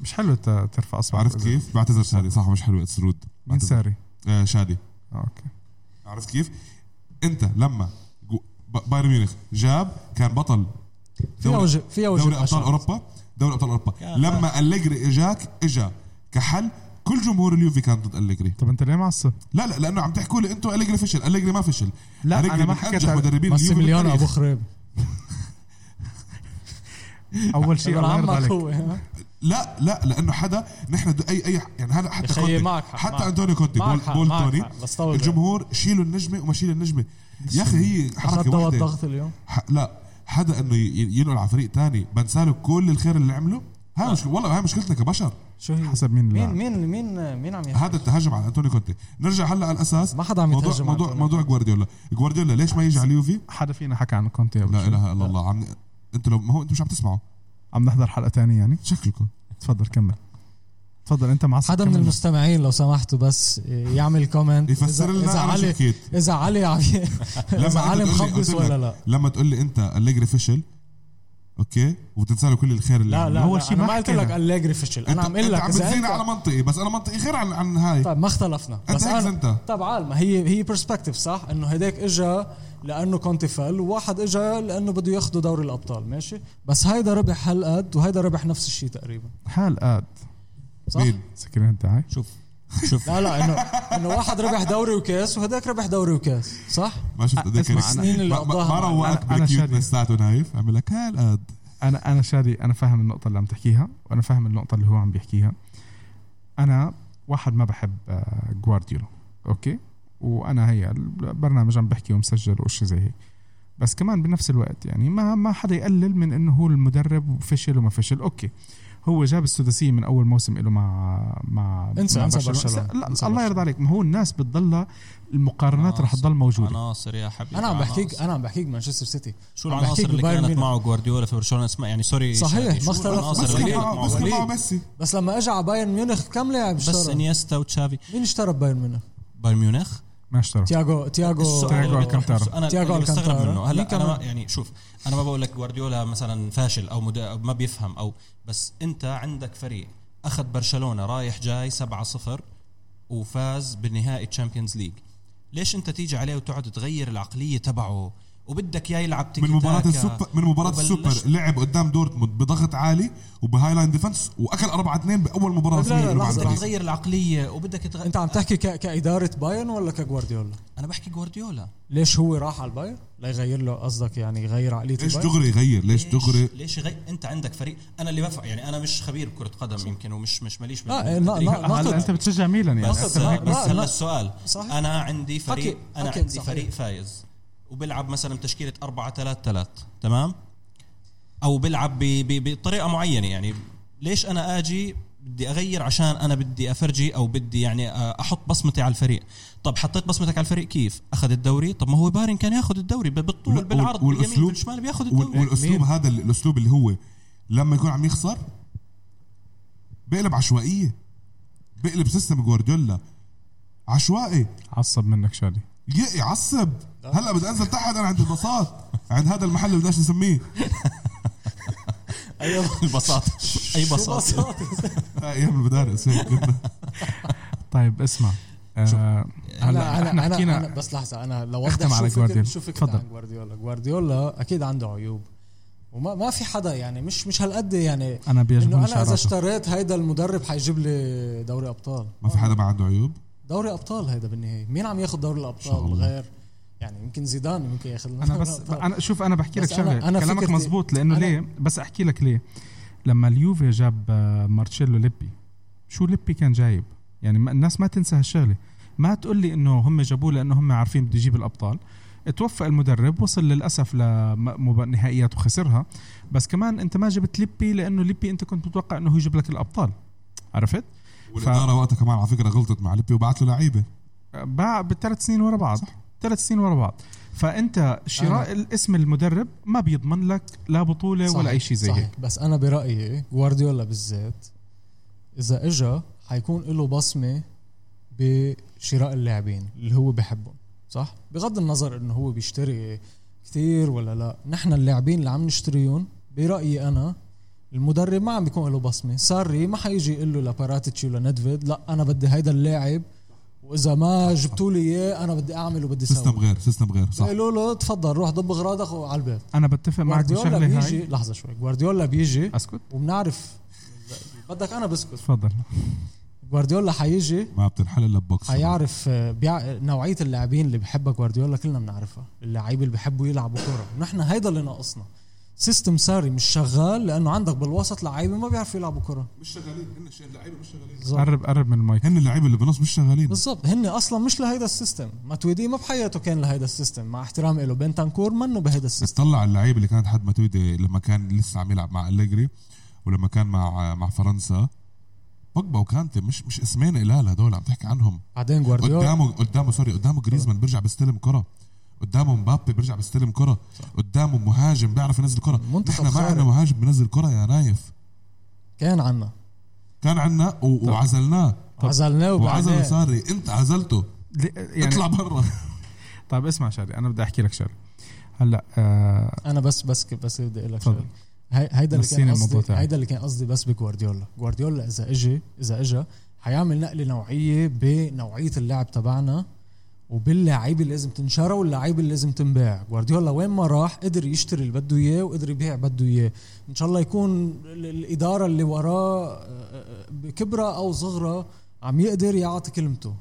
[SPEAKER 1] مش حلو ت- ترفع اصبعك
[SPEAKER 4] عرفت كيف بعتذر ساري صح مش حلو اتسرود
[SPEAKER 1] مين ساري
[SPEAKER 4] آه شادي
[SPEAKER 1] آه، اوكي
[SPEAKER 4] عرفت كيف انت لما جو- ب- بايرن ميونخ جاب كان بطل
[SPEAKER 2] فيها
[SPEAKER 4] دوري-
[SPEAKER 2] وجه فيها وجه
[SPEAKER 4] دوري ابطال
[SPEAKER 2] عشان.
[SPEAKER 4] اوروبا دوري ابطال اوروبا
[SPEAKER 3] يا
[SPEAKER 4] لما أليجري اجاك اجا كحل كل جمهور اليوفي كان ضد أليجري
[SPEAKER 1] طب انت ليه معصب؟
[SPEAKER 4] لا لا لانه عم تحكوا لي انتم أليجري فشل أليجري ما فشل
[SPEAKER 1] لا،
[SPEAKER 4] أليجري
[SPEAKER 1] أنا ما
[SPEAKER 4] من
[SPEAKER 1] حكيت
[SPEAKER 4] انجح
[SPEAKER 1] عن-
[SPEAKER 4] مدربين اليوفي
[SPEAKER 2] ماسيميليانو
[SPEAKER 4] بالتاريخ.
[SPEAKER 2] ابو خريب
[SPEAKER 1] اول شيء
[SPEAKER 2] ابن
[SPEAKER 1] الله يرضى
[SPEAKER 2] عمك
[SPEAKER 1] عليك
[SPEAKER 2] هو ها؟
[SPEAKER 4] لا لا لانه حدا نحن د- اي اي يعني هذا
[SPEAKER 2] يا
[SPEAKER 4] حتى
[SPEAKER 2] أخي،
[SPEAKER 4] كونتي
[SPEAKER 2] معك حق، معك.
[SPEAKER 4] حتى انتونيو كونتي
[SPEAKER 2] معك
[SPEAKER 4] بول,
[SPEAKER 2] حق،
[SPEAKER 4] بول
[SPEAKER 2] معك
[SPEAKER 4] توني
[SPEAKER 2] حق، بس طول
[SPEAKER 4] الجمهور شيلوا النجمه وما شيل النجمه يا اخي هي
[SPEAKER 2] اخذت
[SPEAKER 4] حركه
[SPEAKER 2] دواء
[SPEAKER 4] واحده
[SPEAKER 2] الضغط اليوم
[SPEAKER 4] ح- لا حدا انه ي- ي- ينقل على فريق تاني بنساله كل الخير اللي عمله هاي مش والله هاي مشكلتنا كبشر
[SPEAKER 2] شو هي
[SPEAKER 1] حسب مين
[SPEAKER 2] مين
[SPEAKER 1] لا
[SPEAKER 2] مين مين مين عم يحكي
[SPEAKER 4] هذا التهجم على انتونيو كونتي نرجع هلا على الاساس
[SPEAKER 2] ما حدا عم
[SPEAKER 4] موضوع
[SPEAKER 2] يتهجم على
[SPEAKER 4] موضوع
[SPEAKER 2] أنتونيو
[SPEAKER 4] موضوع جوارديولا جوارديولا ليش ما يجي على اليوفي
[SPEAKER 1] حدا فينا حكى عن كونتي أول
[SPEAKER 4] لا
[SPEAKER 1] شيء.
[SPEAKER 4] اله الا الله عم انتوا لو ما هو انتوا مش عم تسمعوا
[SPEAKER 1] عم نحضر حلقه ثانيه يعني
[SPEAKER 4] شكلكم
[SPEAKER 1] تفضل كمل تفضل انت معصب
[SPEAKER 2] حدا من
[SPEAKER 1] كمل.
[SPEAKER 2] المستمعين لو سمحتوا بس يعمل كومنت
[SPEAKER 4] يفسر لنا
[SPEAKER 2] اذا
[SPEAKER 4] أنا شو
[SPEAKER 2] علي
[SPEAKER 4] حكيت.
[SPEAKER 2] اذا علي عم ي- اذا علي
[SPEAKER 4] أنت تقول لي-
[SPEAKER 2] مخبص
[SPEAKER 4] قلت لك
[SPEAKER 2] ولا لا
[SPEAKER 4] لما تقول لي انت أليجري فشل اوكي وبتنسى له كل الخير اللي
[SPEAKER 2] لا
[SPEAKER 4] عمله.
[SPEAKER 2] لا
[SPEAKER 1] هو
[SPEAKER 2] هو
[SPEAKER 1] شي
[SPEAKER 2] شيء ما
[SPEAKER 1] ما
[SPEAKER 2] قلت
[SPEAKER 1] حكينا.
[SPEAKER 2] لك أليجري فشل انا
[SPEAKER 4] أنت-
[SPEAKER 2] عم اقول لك
[SPEAKER 4] انت
[SPEAKER 2] إذا
[SPEAKER 4] عم بتزين
[SPEAKER 2] أنت-
[SPEAKER 4] على منطقي بس انا منطقي غير عن عن هاي
[SPEAKER 2] طيب ما اختلفنا
[SPEAKER 4] أنت
[SPEAKER 2] بس
[SPEAKER 4] هيك
[SPEAKER 2] انا
[SPEAKER 4] أنت.
[SPEAKER 2] طيب عال ما هي هي برسبكتيف صح انه هداك اجى لانه كنت فل وواحد اجى لانه بده ياخذوا دوري الابطال ماشي بس هيدا ربح هالقد وهيدا ربح نفس الشيء تقريبا
[SPEAKER 1] حال قاد
[SPEAKER 2] صح
[SPEAKER 4] مين؟
[SPEAKER 1] سكرين الدعاية
[SPEAKER 3] شوف شوف
[SPEAKER 2] لا لا انه انه واحد ربح دوري وكاس وهداك ربح دوري وكاس صح
[SPEAKER 4] ما شفت قد إيه
[SPEAKER 1] اسمع،
[SPEAKER 4] كان-
[SPEAKER 1] أنا-
[SPEAKER 2] مين اللي
[SPEAKER 4] ما- ما- ما
[SPEAKER 2] قضاها مع-
[SPEAKER 4] روقك
[SPEAKER 1] أنا- أنا
[SPEAKER 4] بالكيوتنس تاعته نايف عم لك هالقد
[SPEAKER 1] انا انا شادي انا فاهم النقطه اللي عم تحكيها وانا فاهم النقطه اللي هو عم بيحكيها انا واحد ما بحب آه، جوارديولا اوكي وانا هي البرنامج عم بحكي ومسجل وشي زي هيك بس كمان بنفس الوقت يعني ما ما حدا يقلل من انه هو المدرب وفشل وما فشل اوكي هو جاب السداسيه من اول موسم له مع مع
[SPEAKER 2] انسى-
[SPEAKER 1] مع
[SPEAKER 2] انسى برشلونة.
[SPEAKER 1] لا
[SPEAKER 2] انسى
[SPEAKER 1] الله يرضى
[SPEAKER 2] برشلونة.
[SPEAKER 1] عليك ما هو الناس بتضلها المقارنات
[SPEAKER 3] عناصر.
[SPEAKER 1] رح تضل موجوده
[SPEAKER 3] عناصر يا حبيبي
[SPEAKER 2] انا عم بحكيك
[SPEAKER 3] عناصر.
[SPEAKER 2] انا عم بحكيك مانشستر سيتي
[SPEAKER 3] شو
[SPEAKER 2] عم
[SPEAKER 3] العناصر
[SPEAKER 2] بحكيك
[SPEAKER 3] اللي
[SPEAKER 2] ببايرن
[SPEAKER 3] كانت
[SPEAKER 2] ميونخ.
[SPEAKER 3] معه جوارديولا في برشلونه اسمها يعني سوري
[SPEAKER 2] صحيح،
[SPEAKER 3] شادي، شو
[SPEAKER 2] ما اختلفنا.
[SPEAKER 3] العناصر
[SPEAKER 4] بس
[SPEAKER 3] اللي
[SPEAKER 4] كان
[SPEAKER 2] ليه؟
[SPEAKER 3] كانت
[SPEAKER 4] معه-
[SPEAKER 3] معه
[SPEAKER 4] بس كان
[SPEAKER 2] ليه؟
[SPEAKER 4] معه ميسي
[SPEAKER 2] بس لما اجى على بايرن ميونخ كم لاعب
[SPEAKER 3] بس
[SPEAKER 2] اشترى
[SPEAKER 3] انيستا وتشافي
[SPEAKER 2] مين اشترى بايرن ميونخ
[SPEAKER 3] بايرن ميونخ
[SPEAKER 1] ما اشترى
[SPEAKER 2] تياغو تياغو
[SPEAKER 1] تياغو
[SPEAKER 3] اللي-
[SPEAKER 1] الكانتارا.
[SPEAKER 3] انا
[SPEAKER 2] تياغو
[SPEAKER 3] اللي بستغرب
[SPEAKER 2] الكانتارا.
[SPEAKER 3] منه
[SPEAKER 2] مين
[SPEAKER 3] هلا انا
[SPEAKER 2] كمان؟
[SPEAKER 3] ما- يعني شوف انا ما بقول لك جوارديولا مثلا فاشل او مدا- أو ما بيفهم او بس انت عندك فريق اخذ برشلونه رايح جاي 7-0 وفاز بالنهائي تشامبيونز ليج ليش انت تيجي عليه وتقعد تغير العقليه تبعه وبدك اياه يلعب تيكي
[SPEAKER 4] من مباراة
[SPEAKER 3] تاكا
[SPEAKER 4] السوبر من مباراة
[SPEAKER 3] وبلشت-
[SPEAKER 4] السوبر لعب قدام دورتموند بضغط عالي وبهايلاين ديفنس واكل 4 2 باول مباراة
[SPEAKER 2] لا،
[SPEAKER 4] رسمية
[SPEAKER 2] لا،
[SPEAKER 4] له مع
[SPEAKER 2] لحظة،
[SPEAKER 4] الفريق.
[SPEAKER 3] بدك تغير العقليه وبدك تغير
[SPEAKER 2] انت عم تحكي ك... كاداره بايرن ولا كجوارديولا
[SPEAKER 3] انا بحكي جوارديولا
[SPEAKER 2] ليش هو راح على البايرن ليغير له قصدك يعني يغير عقليه
[SPEAKER 4] ليش
[SPEAKER 2] البايرن
[SPEAKER 4] دغري يغير ليش دغري
[SPEAKER 3] ليش غي... انت عندك فريق انا اللي بفهم يعني انا مش خبير بكره قدم يمكن ومش مش ماليش بال-
[SPEAKER 2] آه، لا، لا،
[SPEAKER 3] بالتدريب.
[SPEAKER 2] لا، لا. نقطة.
[SPEAKER 1] هلا انت بتشجع ميلان يعني
[SPEAKER 3] بس
[SPEAKER 2] نقطة.
[SPEAKER 1] أحسن
[SPEAKER 3] هلا
[SPEAKER 1] هيك
[SPEAKER 2] لا،
[SPEAKER 3] بس
[SPEAKER 1] بس.
[SPEAKER 2] لا.
[SPEAKER 3] هلا السؤال
[SPEAKER 2] صحيح.
[SPEAKER 3] انا عندي فريق
[SPEAKER 2] أكيد،
[SPEAKER 3] انا
[SPEAKER 2] أكيد،
[SPEAKER 3] عندي
[SPEAKER 2] صحيح.
[SPEAKER 3] فريق فايز وبلعب مثلا تشكيله 4 3 3 تمام او بلعب ب... ب... بطريقه معينه يعني ليش انا اجي بدي اغير عشان انا بدي افرجي او بدي يعني آه، احط بصمتي على الفريق طب حطيت بصمتك على الفريق كيف اخذ الدوري طب ما هو بارن كان ياخذ الدوري ب- بالطول
[SPEAKER 4] وال-
[SPEAKER 3] بالعرض باليمين
[SPEAKER 4] والأسلوب-
[SPEAKER 3] بالشمال بياخذ
[SPEAKER 4] وال-
[SPEAKER 3] الدوري
[SPEAKER 4] والاسلوب هذا ال- الاسلوب اللي هو لما يكون عم يخسر بقلب عشوائيه بقلب سيستم جوارديولا عشوائي
[SPEAKER 1] عصب منك شادي
[SPEAKER 4] ي- يعصب هلا بدي انزل تحت انا عند البساط عند هذا المحل اللي بدناش نسميه
[SPEAKER 3] اي
[SPEAKER 2] أيوة.
[SPEAKER 3] البساطه اي بساطه
[SPEAKER 4] ايام المدارس هيك كنا.
[SPEAKER 1] طيب اسمع آه هلا
[SPEAKER 2] انا
[SPEAKER 1] احنا
[SPEAKER 2] انا انا, أنا
[SPEAKER 1] حكينا
[SPEAKER 2] بس لحظه انا
[SPEAKER 1] اختم
[SPEAKER 2] لوضح شو
[SPEAKER 1] على
[SPEAKER 2] فكرة
[SPEAKER 1] جوارديولا.
[SPEAKER 2] شو فكرة
[SPEAKER 1] تفضل.
[SPEAKER 2] عن جوارديولا جوارديولا اكيد عنده عيوب وما ما في حدا يعني مش مش هالقد يعني
[SPEAKER 1] انا
[SPEAKER 2] انه
[SPEAKER 1] بيعجبني
[SPEAKER 2] انا اذا
[SPEAKER 1] شعراته
[SPEAKER 2] اشتريت هيدا المدرب حيجيب لي دوري ابطال
[SPEAKER 4] ما في حدا ما عنده عيوب
[SPEAKER 2] دوري ابطال هيدا بالنهايه مين عم ياخذ دوري
[SPEAKER 4] شاء
[SPEAKER 2] الابطال
[SPEAKER 4] الله.
[SPEAKER 2] غير يعني يمكن زيدان ممكن ياخذ لنا
[SPEAKER 1] انا
[SPEAKER 2] دوري
[SPEAKER 1] بس
[SPEAKER 2] الأبطال.
[SPEAKER 1] انا شوف انا بحكي لك
[SPEAKER 2] بس أنا-
[SPEAKER 1] شغله
[SPEAKER 2] أنا
[SPEAKER 1] كلامك
[SPEAKER 2] فكرتي-
[SPEAKER 1] مزبوط لانه
[SPEAKER 2] أنا-
[SPEAKER 1] ليه بس احكي لك ليه لما اليوفي جاب آه، مارتشيلو ليبي شو ليبي كان جايب يعني ما- الناس ما تنسى هالشغله ما تقول لي انه هم جابوه لانه هم عارفين بده يجيب الابطال توفى المدرب وصل للاسف لنهائيات وخسرها بس كمان انت ما جبت ليبي لانه ليبي انت كنت متوقع انه هو يجيب لك الابطال عرفت
[SPEAKER 4] والاداره وقتها كمان على فكره غلطت مع ليبي وبعت له لعيبه
[SPEAKER 1] باع بالثلاث سنين ورا بعض صح. ثلاث سنين ورا بعض فانت شراء أنا. اسم المدرب ما بيضمن لك لا بطوله صحيح. ولا اي شيء زي
[SPEAKER 2] صحيح.
[SPEAKER 1] هيك
[SPEAKER 2] بس انا برايي جوارديولا بالذات اذا اجا حيكون له بصمه بشراء اللاعبين اللي هو بحبهم صح بغض النظر انه هو بيشتري كثير ولا لا نحن اللاعبين اللي عم نشتريهم برايي انا المدرب ما عم بيكون له بصمه ساري ما حيجي يقول له لباراتيتشي ولا ندفيد لا انا بدي هيدا اللاعب واذا ما جبتوا لي اياه انا بدي اعمل وبدي
[SPEAKER 4] سيستم
[SPEAKER 2] اسوي
[SPEAKER 4] غير سيستم غير صح
[SPEAKER 2] قالوا له تفضل روح ضب اغراضك وعلى الباب
[SPEAKER 1] انا بتفق معك
[SPEAKER 2] جوارديولا
[SPEAKER 1] بالشغله
[SPEAKER 2] بيجي
[SPEAKER 1] هاي
[SPEAKER 2] لحظه شوي جوارديولا بيجي
[SPEAKER 1] اسكت
[SPEAKER 2] وبنعرف بدك انا بسكت
[SPEAKER 1] تفضل
[SPEAKER 2] جوارديولا حيجي
[SPEAKER 4] ما بتنحل الا ببوكس
[SPEAKER 2] حيعرف آه، بيع... نوعيه اللاعبين اللي بحبها جوارديولا كلنا بنعرفها اللعيبه اللي بحبوا يلعبوا كره ونحن هيدا اللي ناقصنا سيستم ساري مش شغال لانه عندك بالوسط لعيبه ما بيعرفوا يلعبوا كره
[SPEAKER 4] مش شغالين هن اللعيبه مش شغالين
[SPEAKER 2] بالظبط
[SPEAKER 1] قرب قرب من المايك
[SPEAKER 4] هن اللعيبه اللي بالنص مش شغالين
[SPEAKER 2] بالظبط هن اصلا مش لهيدا السيستم ماتويدي ما بحياته كان لهيدا السيستم مع احترامي له بنتانكور منه بهيدا السيستم
[SPEAKER 4] بتطلع اللعيبه اللي كانت حد ماتويدي لما كان لسه عم يلعب مع أليجري ولما كان مع مع فرنسا بوجبا وكانتي مش مش اسمين قلال هدول عم تحكي عنهم
[SPEAKER 2] بعدين جوارديولا
[SPEAKER 4] قدامه قدامه سوري قدامه جريزمان بيرجع بيستلم كره قدامه مبابي بيرجع بيستلم كره قدامه مهاجم بيعرف ينزل كره
[SPEAKER 2] منتخب
[SPEAKER 4] نحن ما
[SPEAKER 2] خارق.
[SPEAKER 4] عندنا مهاجم بينزل كره يا نايف
[SPEAKER 2] كان عنا
[SPEAKER 4] كان عندنا و- وعزلناه
[SPEAKER 2] عزلناه
[SPEAKER 4] وعزله
[SPEAKER 2] وبعدين
[SPEAKER 4] ساري انت عزلته
[SPEAKER 1] لي-
[SPEAKER 4] يعني
[SPEAKER 1] يعني
[SPEAKER 4] اطلع برا
[SPEAKER 1] طيب اسمع شغله انا بدي احكي لك شغله هلا آه
[SPEAKER 2] انا بس بس بس بدي اقول لك
[SPEAKER 1] تفضل.
[SPEAKER 2] شغله هي- هيدا اللي
[SPEAKER 1] نسينا
[SPEAKER 2] كان
[SPEAKER 1] الموضوع
[SPEAKER 2] قصدي
[SPEAKER 1] تاعي.
[SPEAKER 2] هيدا اللي كان قصدي بس بجوارديولا جوارديولا اذا اجى اذا اجى حيعمل نقله نوعيه بنوعيه اللعب تبعنا وباللعيبه اللي لازم تنشرى واللعيبه اللي لازم تنباع جوارديولا وين ما راح قدر يشتري اللي بده اياه وقدر يبيع بده اياه ان شاء الله يكون ال- الاداره اللي وراه آه، آه، بكبرها او صغرى عم يقدر يعطي كلمته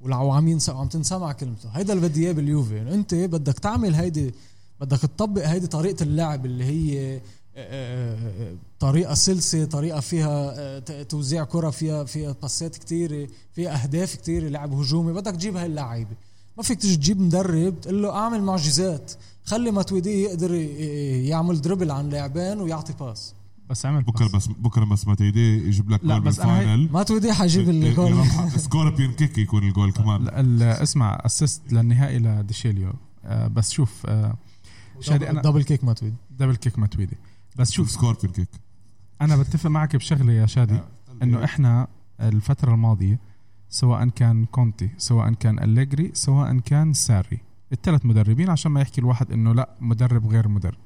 [SPEAKER 2] ولو عم ينسى عم تنسمع كلمته هيدا اللي بدي اياه باليوفي يعني انت بدك تعمل هيدي بدك تطبق هيدي طريقه اللعب اللي هي آه، آه، آه، طريقه سلسه طريقه فيها آه، ت- توزيع كره فيها فيها باسات كتيرة فيها اهداف كتيرة لعب هجومي بدك تجيب هاي اللعيبه ما فيك تجي تجيب مدرب تقول له اعمل معجزات خلي ماتويدي يقدر ي- ي- يعمل دربل عن لاعبين ويعطي باس
[SPEAKER 1] بس عمل
[SPEAKER 4] بكره
[SPEAKER 1] بس
[SPEAKER 4] بس بكره بس ما تيدي يجيب لك
[SPEAKER 1] لا،
[SPEAKER 4] جول
[SPEAKER 1] بس أنا هي-
[SPEAKER 4] بالفاينل
[SPEAKER 2] ماتويدي حيجيب الجول
[SPEAKER 4] يرمح- سكوربيون كيك يكون الجول كمان
[SPEAKER 1] لا، ال- اسمع اسيست للنهائي لديشيليو آه بس شوف آه شادي انا
[SPEAKER 2] دبل كيك ماتويدي
[SPEAKER 1] دبل كيك متويدي بس
[SPEAKER 4] شوف
[SPEAKER 1] شوف
[SPEAKER 4] سكوربيون كيك
[SPEAKER 1] انا بتفق معك بشغله يا
[SPEAKER 4] آه.
[SPEAKER 1] شادي
[SPEAKER 4] أمم.
[SPEAKER 1] انه احنا الفتره الماضيه سواء كان كونتي سواء كان أليجري سواء كان ساري الثلاث مدربين عشان ما يحكي الواحد انه لا مدرب غير مدرب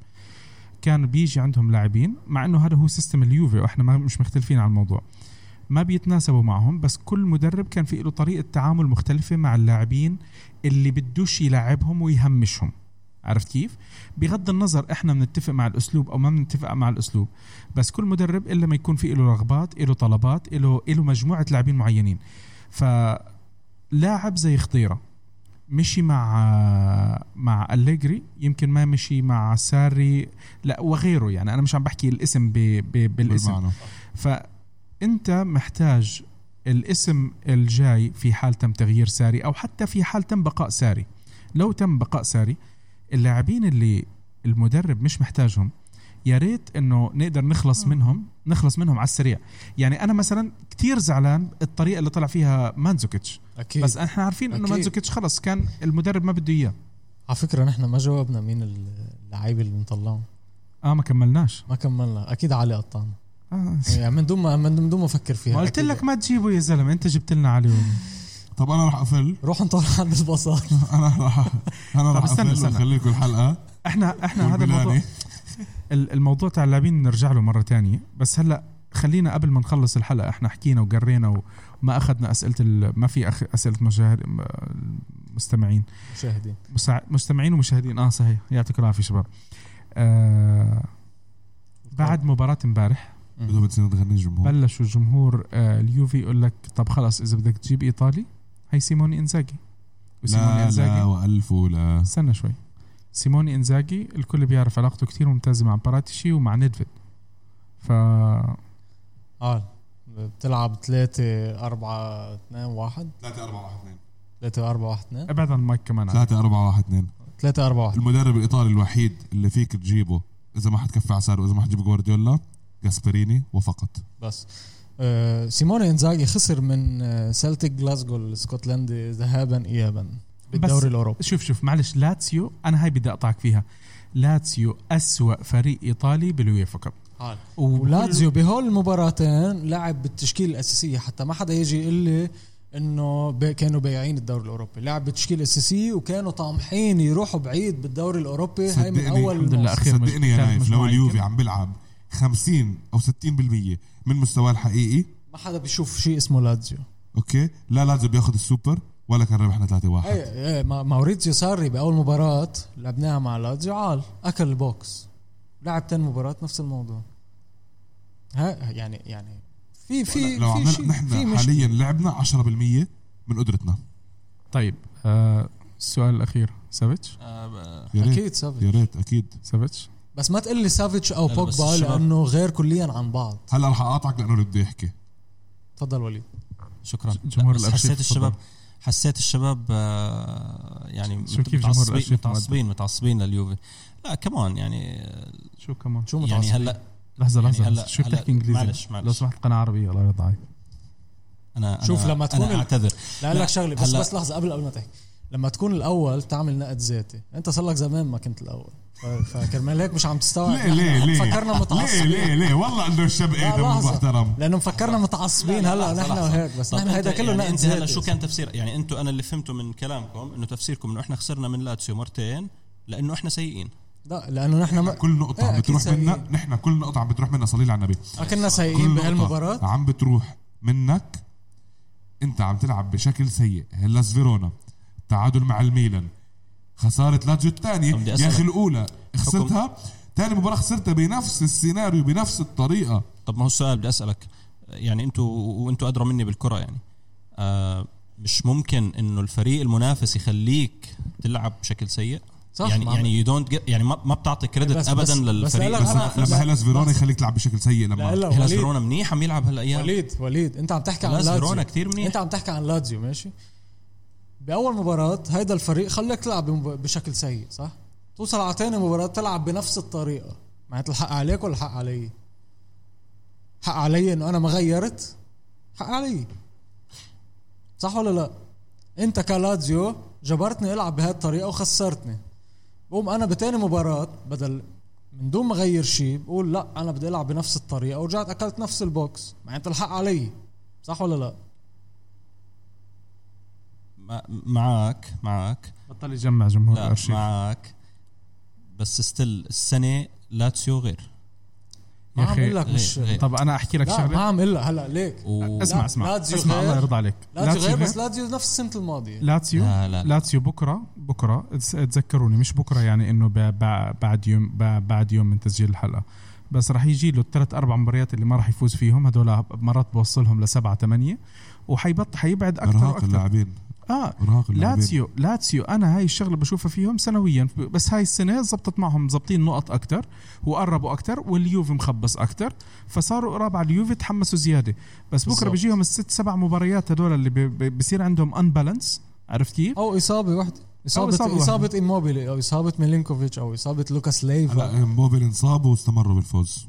[SPEAKER 1] كان بيجي عندهم لاعبين مع انه هذا هو سيستم اليوفي واحنا ما مش مختلفين على الموضوع ما بيتناسبوا معهم بس كل مدرب كان في له طريقه تعامل مختلفه مع اللاعبين اللي بدوش يلعبهم ويهمشهم عرفت كيف؟ بغض النظر احنا بنتفق مع الاسلوب او ما بنتفق مع الاسلوب بس كل مدرب الا ما يكون في له رغبات له طلبات له له مجموعه لاعبين معينين فلاعب زي خضيره مشي مع مع أليجري يمكن ما مشي مع ساري لا وغيره يعني انا مش عم بحكي الاسم ب ب بالاسم
[SPEAKER 4] بالمعنى
[SPEAKER 1] فانت محتاج الاسم الجاي في حال تم تغيير ساري او حتى في حال تم بقاء ساري لو تم بقاء ساري اللاعبين اللي المدرب مش محتاجهم يا ريت انه نقدر نخلص منهم نخلص منهم على السريع يعني انا مثلا كتير زعلان الطريقه اللي طلع فيها مانزوكيتش
[SPEAKER 2] اكيد
[SPEAKER 1] بس احنا عارفين انه
[SPEAKER 2] إيه. أكيد.
[SPEAKER 1] مانزوكيتش خلص كان المدرب ما بده اياه
[SPEAKER 2] على فكره نحن ما جاوبنا مين اللعيبه اللي بنطلعهم
[SPEAKER 1] اه ما كملناش
[SPEAKER 2] ما كملنا اكيد علي قطان
[SPEAKER 1] آه.
[SPEAKER 2] يعني من دون ما من دون ما افكر فيها
[SPEAKER 1] ما قلت
[SPEAKER 2] إيه، أكيد.
[SPEAKER 1] لك ما تجيبه يا زلمه انت جبت لنا عليه
[SPEAKER 4] طب انا راح اقفل
[SPEAKER 2] روح انطر عند البصر
[SPEAKER 4] انا راح انا راح
[SPEAKER 1] استنى،
[SPEAKER 4] اقفل
[SPEAKER 1] استنى.
[SPEAKER 4] واخلي لكم الحلقه
[SPEAKER 1] احنا احنا هذا الموضوع
[SPEAKER 4] والبلاني
[SPEAKER 1] ال- الموضوع تاع اللاعبين نرجع له مره تانية بس هلا خلينا قبل ما نخلص الحلقه احنا حكينا وقرينا وما اخذنا اسئله ال- ما في أخ- اسئله مشاهد م- المستمعين
[SPEAKER 2] مشاهدين
[SPEAKER 1] مسا- مستمعين ومشاهدين اه صحيح يعطيكم العافيه شباب آه بعد مباراة امبارح
[SPEAKER 4] بدهم تصير تغني الجمهور
[SPEAKER 1] بلشوا الجمهور آه اليوفي يقول لك طب خلص اذا بدك تجيب ايطالي هي سيموني انزاجي وسيموني
[SPEAKER 4] لا لا
[SPEAKER 1] انزاجي
[SPEAKER 4] والف ولا
[SPEAKER 1] استنى شوي سيموني انزاجي الكل بيعرف علاقته كتير ممتازة مع باراتيشي ومع نيدفيد ف
[SPEAKER 2] اه بتلعب 3 4 2 1
[SPEAKER 4] 3 4 1 2
[SPEAKER 2] 3 4 1 2
[SPEAKER 1] ابعد عن المايك كمان عاد.
[SPEAKER 4] 3 4 1 2
[SPEAKER 2] 3 4 1
[SPEAKER 4] المدرب الايطالي الوحيد اللي فيك تجيبه اذا ما حتكفي عساره واذا ما حتجيب جوارديولا جاسبريني وفقط
[SPEAKER 2] بس آه، سيموني انزاجي خسر من آه، سلتيك جلاسجو الاسكتلندي ذهابا ايابا
[SPEAKER 1] بس-
[SPEAKER 2] بالدوري الاوروبي
[SPEAKER 1] شوف شوف معلش لاتسيو انا هاي بدي اقطعك فيها لاتسيو أسوأ فريق ايطالي بالويفا كاب
[SPEAKER 2] ولاتزيو بهول المباراتين لعب بالتشكيل الاساسيه حتى ما حدا يجي يقول لي انه بي- كانوا بايعين الدوري الاوروبي لعب بالتشكيل الاساسيه وكانوا طامحين يروحوا بعيد بالدوري الاوروبي إيه، هاي من
[SPEAKER 4] صدقني،
[SPEAKER 2] اول
[SPEAKER 1] الحمد لله
[SPEAKER 2] الموسم.
[SPEAKER 1] أخير مج-
[SPEAKER 4] صدقني يا
[SPEAKER 1] ثالث
[SPEAKER 4] نايف لو
[SPEAKER 1] مجموعة
[SPEAKER 4] اليوفي
[SPEAKER 1] يمكن.
[SPEAKER 4] عم بيلعب 50 او 60% من مستواه الحقيقي
[SPEAKER 2] ما حدا بيشوف شيء اسمه لاتزيو
[SPEAKER 4] اوكي لا لازم بياخذ السوبر ولا كان ربحنا 3 1
[SPEAKER 2] اي اي ما- ماوريتسيو ساري باول مباراه لعبناها مع لاتزيو عال اكل البوكس لعب تاني مباراه نفس الموضوع ها يعني يعني في في
[SPEAKER 4] لو
[SPEAKER 2] في
[SPEAKER 4] عملنا
[SPEAKER 2] شيء في
[SPEAKER 4] نحن
[SPEAKER 2] مشكله
[SPEAKER 4] حاليا لعبنا 10% من قدرتنا
[SPEAKER 1] طيب آه السؤال الاخير سافيتش
[SPEAKER 3] آه،
[SPEAKER 4] يا ريت
[SPEAKER 2] اكيد سافيتش
[SPEAKER 4] يا ريت اكيد
[SPEAKER 1] سافيتش
[SPEAKER 2] بس ما تقول لي سافيتش او
[SPEAKER 3] لا، لا، بس
[SPEAKER 2] بوجبا
[SPEAKER 3] الشباب-
[SPEAKER 2] لانه غير كليا عن بعض
[SPEAKER 4] هلا رح اقاطعك لانه بدي احكي
[SPEAKER 2] تفضل وليد
[SPEAKER 3] شكرا
[SPEAKER 1] جمهور
[SPEAKER 3] لا، بس
[SPEAKER 1] الأرشيف،
[SPEAKER 3] حسيت الشباب
[SPEAKER 1] تفضل.
[SPEAKER 3] حسيت الشباب آه، يعني
[SPEAKER 1] شو كيف جمهور
[SPEAKER 3] متعصبين-
[SPEAKER 1] الأرشيف
[SPEAKER 3] متعصبين متعصبين لليوفي لا كمان يعني
[SPEAKER 1] شو كمان
[SPEAKER 2] شو متعصب
[SPEAKER 3] يعني هلا
[SPEAKER 1] لحظه
[SPEAKER 3] يعني
[SPEAKER 1] لحظه
[SPEAKER 3] هلا-
[SPEAKER 1] شو
[SPEAKER 3] هلا-
[SPEAKER 1] بتحكي انجليزي
[SPEAKER 3] معلش- معلش.
[SPEAKER 1] لو سمحت قناه عربيه الله يرضى عليك
[SPEAKER 3] انا
[SPEAKER 2] شوف
[SPEAKER 3] أنا
[SPEAKER 2] لما تكون
[SPEAKER 3] أنا
[SPEAKER 2] ال-
[SPEAKER 3] اعتذر
[SPEAKER 2] لا
[SPEAKER 3] لا،
[SPEAKER 2] لك شغله بس
[SPEAKER 3] هلا-
[SPEAKER 2] بس لحظه قبل قبل ما تحكي لما تكون الاول تعمل نقد ذاتي انت صار لك زمان ما كنت الاول ف- فكرمال هيك مش عم تستوعب
[SPEAKER 4] ليه ليه
[SPEAKER 2] نحن
[SPEAKER 4] ليه
[SPEAKER 2] طيب، يعني فكرنا
[SPEAKER 4] ليه
[SPEAKER 2] متعصبين
[SPEAKER 4] ليه ليه والله انه الشاب ادم
[SPEAKER 2] لحظة.
[SPEAKER 4] محترم
[SPEAKER 2] لانه مفكرنا متعصبين هلا نحن وهيك بس
[SPEAKER 3] طب
[SPEAKER 2] نحن
[SPEAKER 3] أنت-
[SPEAKER 2] هيدا كله
[SPEAKER 3] يعني
[SPEAKER 2] نقد
[SPEAKER 3] انت هلا
[SPEAKER 2] ذاتي.
[SPEAKER 3] شو كان تفسير يعني انتم انا اللي فهمته من كلامكم انه تفسيركم انه احنا خسرنا من لاتسيو مرتين لانه احنا سيئين
[SPEAKER 2] لا لانه نحن ما
[SPEAKER 4] كل نقطة
[SPEAKER 2] إيه،
[SPEAKER 4] عم
[SPEAKER 2] أكيد إيه،
[SPEAKER 4] بتروح
[SPEAKER 2] سيئين.
[SPEAKER 4] منا نحن كل نقطة عم بتروح منا صليل على النبي
[SPEAKER 2] كنا
[SPEAKER 4] كل
[SPEAKER 2] سيئين
[SPEAKER 4] نقطة
[SPEAKER 2] بهالمباراه
[SPEAKER 4] عم بتروح منك انت عم تلعب بشكل سيء هلاس فيرونا تعادل مع الميلان خسارة لاتزيو الثانية
[SPEAKER 3] طب بدي
[SPEAKER 4] يا
[SPEAKER 3] أسألك.
[SPEAKER 4] اخي الأولى خسرتها ثاني مباراة خسرتها بنفس السيناريو بنفس الطريقة
[SPEAKER 3] طب ما هو السؤال بدي اسالك يعني انتم وانتم ادرى مني بالكره يعني آه مش ممكن انه الفريق المنافس يخليك تلعب بشكل سيء
[SPEAKER 2] صح،
[SPEAKER 3] يعني
[SPEAKER 2] ما عم-
[SPEAKER 3] يعني يو دونت يعني ما ما بتعطي كريدت
[SPEAKER 2] بس-
[SPEAKER 3] ابدا
[SPEAKER 2] بس- بس
[SPEAKER 3] للفريق
[SPEAKER 2] لا،
[SPEAKER 4] بس
[SPEAKER 2] لا،
[SPEAKER 3] المنافس.
[SPEAKER 2] لا، لا،
[SPEAKER 4] لما هلاس فيرونا يخليك تلعب بشكل سيء
[SPEAKER 2] لا
[SPEAKER 4] لما
[SPEAKER 2] لا
[SPEAKER 3] هلاس
[SPEAKER 2] وليد
[SPEAKER 3] فيرونا منيح عم يلعب هالايام
[SPEAKER 2] وليد وليد انت عم تحكي عن
[SPEAKER 3] هلاس
[SPEAKER 2] لاتزيو
[SPEAKER 3] فيرونا كتير منيح.
[SPEAKER 2] انت عم تحكي عن لاتزيو ماشي باول مباراه هيدا الفريق خلاك تلعب بمب- بشكل سيء صح توصل على تاني مباراه تلعب بنفس الطريقه معناتها الحق عليك ولا الحق علي حق علي انه انا ما غيرت حق علي صح ولا لا انت كلاتزيو جبرتني العب بهذه الطريقه وخسرتني بقوم انا بتاني مباراه بدل من دون ما اغير شيء بقول لا انا بدي العب بنفس الطريقه ورجعت اكلت نفس البوكس معناتها الحق علي صح ولا لا؟
[SPEAKER 3] مع- معك معك
[SPEAKER 1] بطل يجمع جمهور
[SPEAKER 3] لا
[SPEAKER 1] الارشيف
[SPEAKER 3] معك بس ستيل السنه لاتسيو غير
[SPEAKER 2] ما
[SPEAKER 1] يا
[SPEAKER 2] عم
[SPEAKER 1] أخي،
[SPEAKER 2] اقول لك مش
[SPEAKER 3] غير- غير.
[SPEAKER 1] طب انا احكي لك
[SPEAKER 2] لا ما
[SPEAKER 1] شغله
[SPEAKER 2] عم اقول لك هلا ليك
[SPEAKER 3] و...
[SPEAKER 1] اسمع
[SPEAKER 2] لا،
[SPEAKER 1] اسمع
[SPEAKER 2] لاتسيو
[SPEAKER 1] اسمع
[SPEAKER 2] غير.
[SPEAKER 1] الله يرضى عليك
[SPEAKER 2] لاتسيو غير بس لاتسيو نفس السنه الماضيه
[SPEAKER 1] لاتسيو
[SPEAKER 3] لا، لا، لا.
[SPEAKER 1] لاتسيو بكره بكره تس- تذكروني مش بكره يعني انه ب- ب- بعد يوم ب- بعد يوم من تسجيل الحلقه بس راح يجي له الثلاث اربع مباريات اللي ما راح يفوز فيهم هدول مرات بوصلهم لسبعه ثمانيه وحيبط حيبعد اكثر
[SPEAKER 4] ارهاق
[SPEAKER 1] واكثر
[SPEAKER 4] اللاعبين
[SPEAKER 1] اه
[SPEAKER 4] ارهاق اللاعبين
[SPEAKER 1] لاتسيو لاتسيو انا هاي الشغله بشوفها فيهم سنويا بس هاي السنه زبطت معهم زبطين نقط اكثر وقربوا اكثر واليوفي مخبص اكثر فصاروا قراب على اليوفي تحمسوا زياده بس بكره
[SPEAKER 2] بالظبط.
[SPEAKER 1] بيجيهم الست سبع مباريات هدول اللي بي- بي- بصير عندهم انبالانس عرفت كيف؟
[SPEAKER 2] او اصابه وحده
[SPEAKER 1] إصابة
[SPEAKER 2] اصابه اصابه,
[SPEAKER 1] واحدة.
[SPEAKER 2] إصابة ايموبيلي او اصابه ميلينكوفيتش او اصابه لوكاس ليفا
[SPEAKER 4] هلا موبيل انصاب واستمروا بالفوز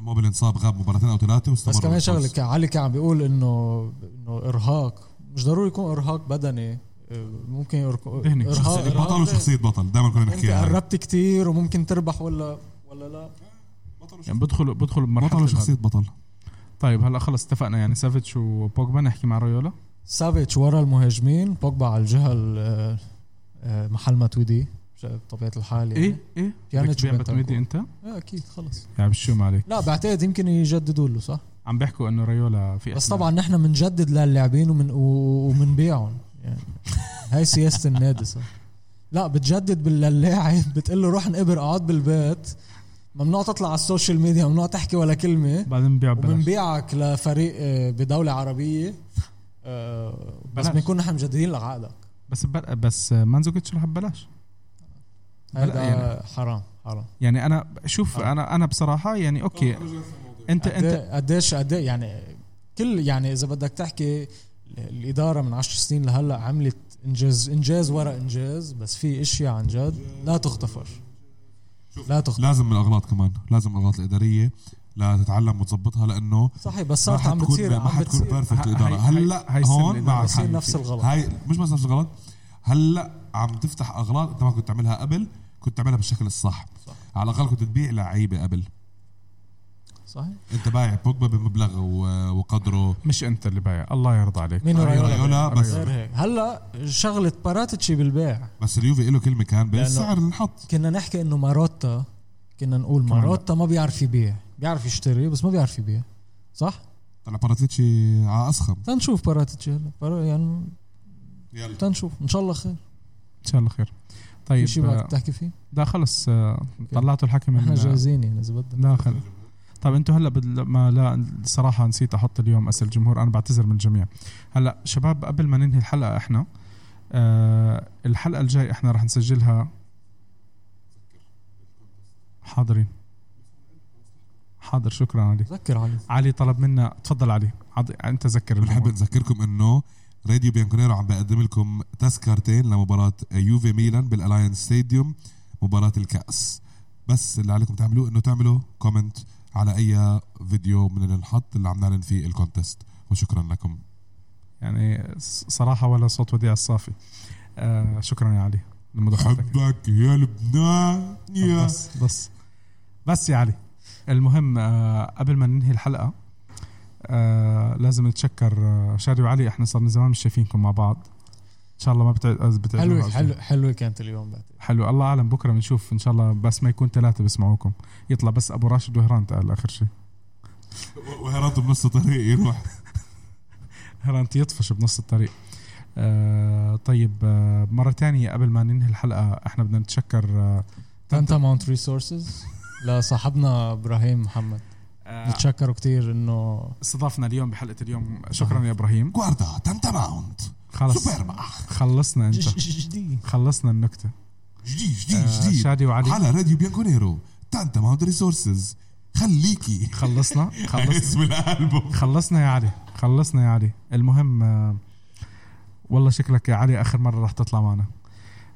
[SPEAKER 4] موبيل انصاب غاب مباراتين او ثلاثه واستمروا
[SPEAKER 2] بس كمان
[SPEAKER 4] بالفوز.
[SPEAKER 2] شغله ك- علي كان عم بيقول انه انه ارهاق مش ضروري يكون ارهاق بدني آه، ممكن يرك-
[SPEAKER 1] ذهني.
[SPEAKER 2] ارهاق
[SPEAKER 4] يعني بطل وشخصيه بطل دائما كنا يعني.
[SPEAKER 2] انت
[SPEAKER 4] نحكيها هاي.
[SPEAKER 2] قربت كتير وممكن تربح ولا ولا لا
[SPEAKER 1] يعني بدخلوا بدخلوا بمرحله
[SPEAKER 4] بطل وشخصيه
[SPEAKER 1] الغد.
[SPEAKER 4] بطل
[SPEAKER 1] طيب هلا خلص اتفقنا يعني سافيتش وبوجبا نحكي مع ريولا
[SPEAKER 2] سافيتش ورا المهاجمين بوجبا على الجهه ال- آه، محل ماتويدي مش- بطبيعه الحال يعني
[SPEAKER 1] ايه ايه بدك
[SPEAKER 2] بيانيتش
[SPEAKER 1] تبيع
[SPEAKER 2] وبنتنكور.
[SPEAKER 1] متمدي انت
[SPEAKER 2] آه، اكيد خلص
[SPEAKER 1] يعني بشو ما عليك
[SPEAKER 2] لا بعتقد يمكن يجددوا له صح
[SPEAKER 1] عم بيحكوا انه ريولا في
[SPEAKER 2] بس
[SPEAKER 1] أسماء.
[SPEAKER 2] طبعا نحن بنجدد للاعبين ومن و- ومنبيعهم يعني هاي سياسه النادي صح لا بتجدد بال- للاعب بتقول له روح انقبر اقعد بالبيت ممنوع تطلع على السوشيال ميديا ممنوع تحكي ولا كلمه
[SPEAKER 1] بعدين بيع ببلاش
[SPEAKER 2] وبنبيعك لفريق آه، بدوله عربيه آه، بس
[SPEAKER 1] بلاش.
[SPEAKER 2] بنكون نحن مجددين لك عقدك
[SPEAKER 1] بس بل... بس مانزوكيتش رح ببلاش
[SPEAKER 2] هذا
[SPEAKER 1] بلا يعني.
[SPEAKER 2] حرام حرام
[SPEAKER 1] يعني انا شوف
[SPEAKER 2] آه.
[SPEAKER 1] انا انا بصراحه يعني
[SPEAKER 4] آه.
[SPEAKER 1] اوكي انت انت
[SPEAKER 2] قد- قديش قد يعني كل يعني اذا بدك تحكي الاداره من 10 سنين لهلا عملت انجاز انجاز ورا انجاز بس في اشياء عن جد لا تغتفر لا تغتفر
[SPEAKER 4] لازم من الاغلاط كمان لازم الاغلاط الاداريه لا تتعلم وتظبطها لانه
[SPEAKER 2] صحيح بس
[SPEAKER 4] ما
[SPEAKER 2] صارت عم
[SPEAKER 4] حتكون
[SPEAKER 2] بتصير
[SPEAKER 4] ما
[SPEAKER 2] عم
[SPEAKER 4] حتكون
[SPEAKER 2] بتصير
[SPEAKER 4] بيرفكت
[SPEAKER 1] ه-
[SPEAKER 4] الاداره
[SPEAKER 1] هي-
[SPEAKER 4] هلا
[SPEAKER 1] هي السنة
[SPEAKER 4] هون
[SPEAKER 1] اللي
[SPEAKER 4] معك
[SPEAKER 2] بصير
[SPEAKER 4] حق.
[SPEAKER 2] نفس الغلط
[SPEAKER 4] هاي مش بس نفس الغلط هلا عم تفتح اغلاط انت ما كنت تعملها قبل كنت تعملها بالشكل الصح
[SPEAKER 2] صح.
[SPEAKER 4] على الاقل كنت تبيع لعيبه قبل
[SPEAKER 2] صحيح
[SPEAKER 4] انت بايع بوجبا بمبلغ و- وقدره
[SPEAKER 1] مش انت اللي بايع الله يرضى عليك
[SPEAKER 2] مين رايولا
[SPEAKER 4] رايولا بس
[SPEAKER 2] غير هيك هلا شغله باراتيتشي بالبيع
[SPEAKER 4] بس اليوفي له كلمه كان
[SPEAKER 2] لأنه-
[SPEAKER 4] بالسعر اللي انحط
[SPEAKER 2] كنا نحكي انه ماروتا كنا نقول
[SPEAKER 1] كمان لا.
[SPEAKER 2] ماروتا ما بيعرف يبيع بيعرف يشتري بس ما بيعرف يبيع صح
[SPEAKER 4] طلع باراتيتشي على اسخم
[SPEAKER 2] تنشوف باراتيتشي هلا بارا- يعني
[SPEAKER 4] يلا
[SPEAKER 2] تنشوف ان شاء الله خير
[SPEAKER 1] ان شاء الله خير
[SPEAKER 2] في
[SPEAKER 1] طيب
[SPEAKER 2] شيء
[SPEAKER 1] آه،
[SPEAKER 2] بدك تحكي فيه
[SPEAKER 1] لا خلص آه، طلعتوا الحكي
[SPEAKER 2] احنا
[SPEAKER 1] من
[SPEAKER 2] جاهزين يعني اذا بدك
[SPEAKER 1] لا خل طب انتوا هلا بد... ما لا صراحه نسيت احط اليوم اسئله الجمهور انا بعتذر من الجميع هلا شباب قبل ما ننهي الحلقه احنا آه الحلقه الجاي احنا رح نسجلها حاضرين حاضر شكرا علي
[SPEAKER 2] تذكر علي
[SPEAKER 1] علي طلب منا تفضل علي عض... انت ذكر
[SPEAKER 4] بنحب
[SPEAKER 1] الجمهور.
[SPEAKER 4] نذكركم انه راديو بيانكونيرو عم بقدم لكم تذكرتين لمباراة يوفي ميلان بالالاينس ستاديوم مباراة الكأس بس اللي عليكم تعملوه انه تعملوا كومنت على اي فيديو من اللي نحط اللي عم نعلن فيه الكونتست وشكرا لكم
[SPEAKER 1] يعني ص- صراحه ولا صوت وديع الصافي آه شكرا يا علي لمداخلتك
[SPEAKER 4] حبك يا لبنان يا
[SPEAKER 1] بس بس بس يا علي المهم آه، قبل ما ننهي الحلقه آه، لازم نتشكر آه، شادي وعلي احنا صرنا زمان مش شايفينكم مع بعض ان شاء الله ما بتع- بتعدوا
[SPEAKER 2] حلوة
[SPEAKER 1] بعض.
[SPEAKER 2] حلو حلوة كانت اليوم بعتقد
[SPEAKER 1] حلو الله اعلم بكره بنشوف ان شاء الله بس ما يكون ثلاثه بسمعوكم يطلع بس ابو راشد وهران تقال اخر شيء
[SPEAKER 4] وهربت بنص الطريق يروح
[SPEAKER 1] هران يطفش بنص الطريق آه طيب آه مره تانية قبل ما ننهي الحلقه احنا بدنا نتشكر آه
[SPEAKER 2] تانتا ماونت ريسورسز لصاحبنا ابراهيم محمد
[SPEAKER 1] آه
[SPEAKER 2] نتشكره كثير انه
[SPEAKER 1] استضافنا اليوم بحلقه اليوم شكرا يا ابراهيم
[SPEAKER 4] جواردا تنتا ماوند
[SPEAKER 1] خلص
[SPEAKER 4] سوبرما
[SPEAKER 1] خلصنا انت
[SPEAKER 2] جديد
[SPEAKER 1] خلصنا النكته
[SPEAKER 4] جديد جديد
[SPEAKER 1] آه،
[SPEAKER 4] جديد
[SPEAKER 1] شادي وعلي
[SPEAKER 4] على راديو بيانكونيرو تنتا ماوند ريسورسز خليكي
[SPEAKER 1] خلصنا خلصنا
[SPEAKER 4] اسم الالبوم
[SPEAKER 1] خلصنا يا علي خلصنا يا علي المهم آه، والله شكلك يا علي اخر مره راح تطلع معنا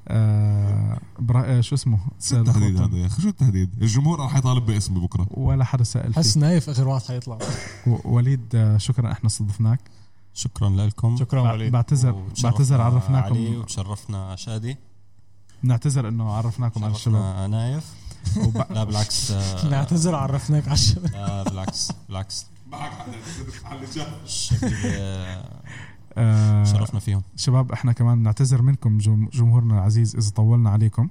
[SPEAKER 1] آه برا... آه، شو اسمه
[SPEAKER 4] شو التهديد هذا يا اخي شو التهديد الجمهور راح يطالب باسمي بكره
[SPEAKER 1] ولا حدا سال فيه
[SPEAKER 2] حس نايف اخر واحد حيطلع
[SPEAKER 1] و- وليد آه، شكرا احنا استضفناك
[SPEAKER 3] شكرا لكم
[SPEAKER 2] شكرا
[SPEAKER 1] بع-
[SPEAKER 2] وليد
[SPEAKER 1] بعتذر
[SPEAKER 3] وتشرفنا
[SPEAKER 1] بعتذر
[SPEAKER 3] علي
[SPEAKER 1] عرفناكم
[SPEAKER 3] وتشرفنا شادي
[SPEAKER 1] نعتذر انه عرفناكم على الشباب
[SPEAKER 3] شرفنا نايف
[SPEAKER 1] وب-
[SPEAKER 3] لا بالعكس آه،
[SPEAKER 2] نعتذر عرفناك على الشباب
[SPEAKER 3] لا آه، بالعكس بالعكس شكلي آه،
[SPEAKER 1] آه،
[SPEAKER 3] شرفنا فيهم
[SPEAKER 1] شباب احنا كمان بنعتذر منكم جم- جمهورنا العزيز اذا طولنا عليكم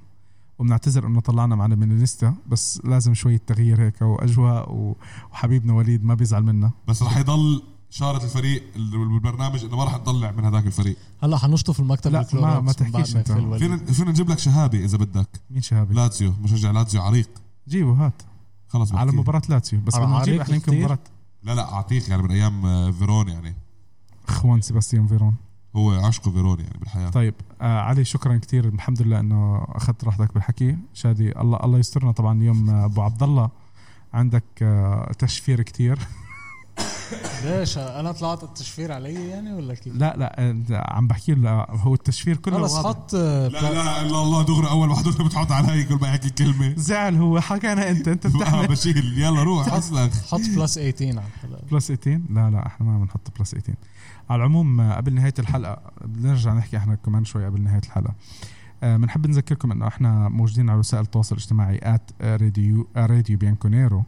[SPEAKER 1] وبنعتذر انه طلعنا معنا من الليسته بس لازم شويه تغيير هيك واجواء و- وحبيبنا وليد ما بيزعل منا
[SPEAKER 4] بس راح يضل شارة الفريق بالبرنامج انه ما راح نطلع من هذاك الفريق
[SPEAKER 2] هلا حنشطف المكتب
[SPEAKER 1] لا،
[SPEAKER 2] بالكلوروكس
[SPEAKER 1] ما- ما
[SPEAKER 2] من
[SPEAKER 1] تحكيش
[SPEAKER 2] بعد ما
[SPEAKER 1] انت.
[SPEAKER 2] يقفل وليد.
[SPEAKER 4] فينا فينا نجيب لك شهابه اذا بدك
[SPEAKER 1] مين شهابي
[SPEAKER 4] لاتسيو مشجع لاتسيو عريق
[SPEAKER 1] جيبه هات
[SPEAKER 4] خلص
[SPEAKER 1] على
[SPEAKER 4] بحكي.
[SPEAKER 1] مباراه لاتسيو بس
[SPEAKER 2] على
[SPEAKER 1] بدنا نجيب
[SPEAKER 2] عريق
[SPEAKER 1] احنا يمكن
[SPEAKER 2] كتير.
[SPEAKER 1] مباراه
[SPEAKER 4] لا لا اعطيك يعني من ايام آه، فيرون يعني
[SPEAKER 1] اخوان سيباستيان فيرون
[SPEAKER 4] هو عشقه فيرون يعني بالحياه
[SPEAKER 1] طيب آه علي شكرا كثير الحمد لله انه اخذت راحتك بالحكي شادي الله الله يسترنا طبعا يوم آه، ابو عبد الله عندك آه تشفير كثير
[SPEAKER 2] ليش انا طلعت التشفير علي يعني ولا كيف؟
[SPEAKER 1] لا لا آه، عم بحكي له هو التشفير كله
[SPEAKER 2] خلص
[SPEAKER 1] واضح.
[SPEAKER 2] حط آه،
[SPEAKER 4] لا لا الا الله دغري اول واحد بتحط علي كل ما يحكي كلمه
[SPEAKER 1] زعل هو حكانا انت انت
[SPEAKER 4] آه،
[SPEAKER 1] بتحمل
[SPEAKER 4] بشيل يلا روح
[SPEAKER 1] طيب.
[SPEAKER 4] اصلك
[SPEAKER 2] حط بلس 18 على الحلقه
[SPEAKER 1] بلس 18 لا لا احنا ما بنحط بلس 18 على العموم آه، قبل نهايه الحلقه بدنا نرجع نحكي احنا كمان شوي قبل نهايه الحلقه آه، بنحب نذكركم انه احنا موجودين على وسائل التواصل الاجتماعي آه، @راديو راديو بيانكونيرو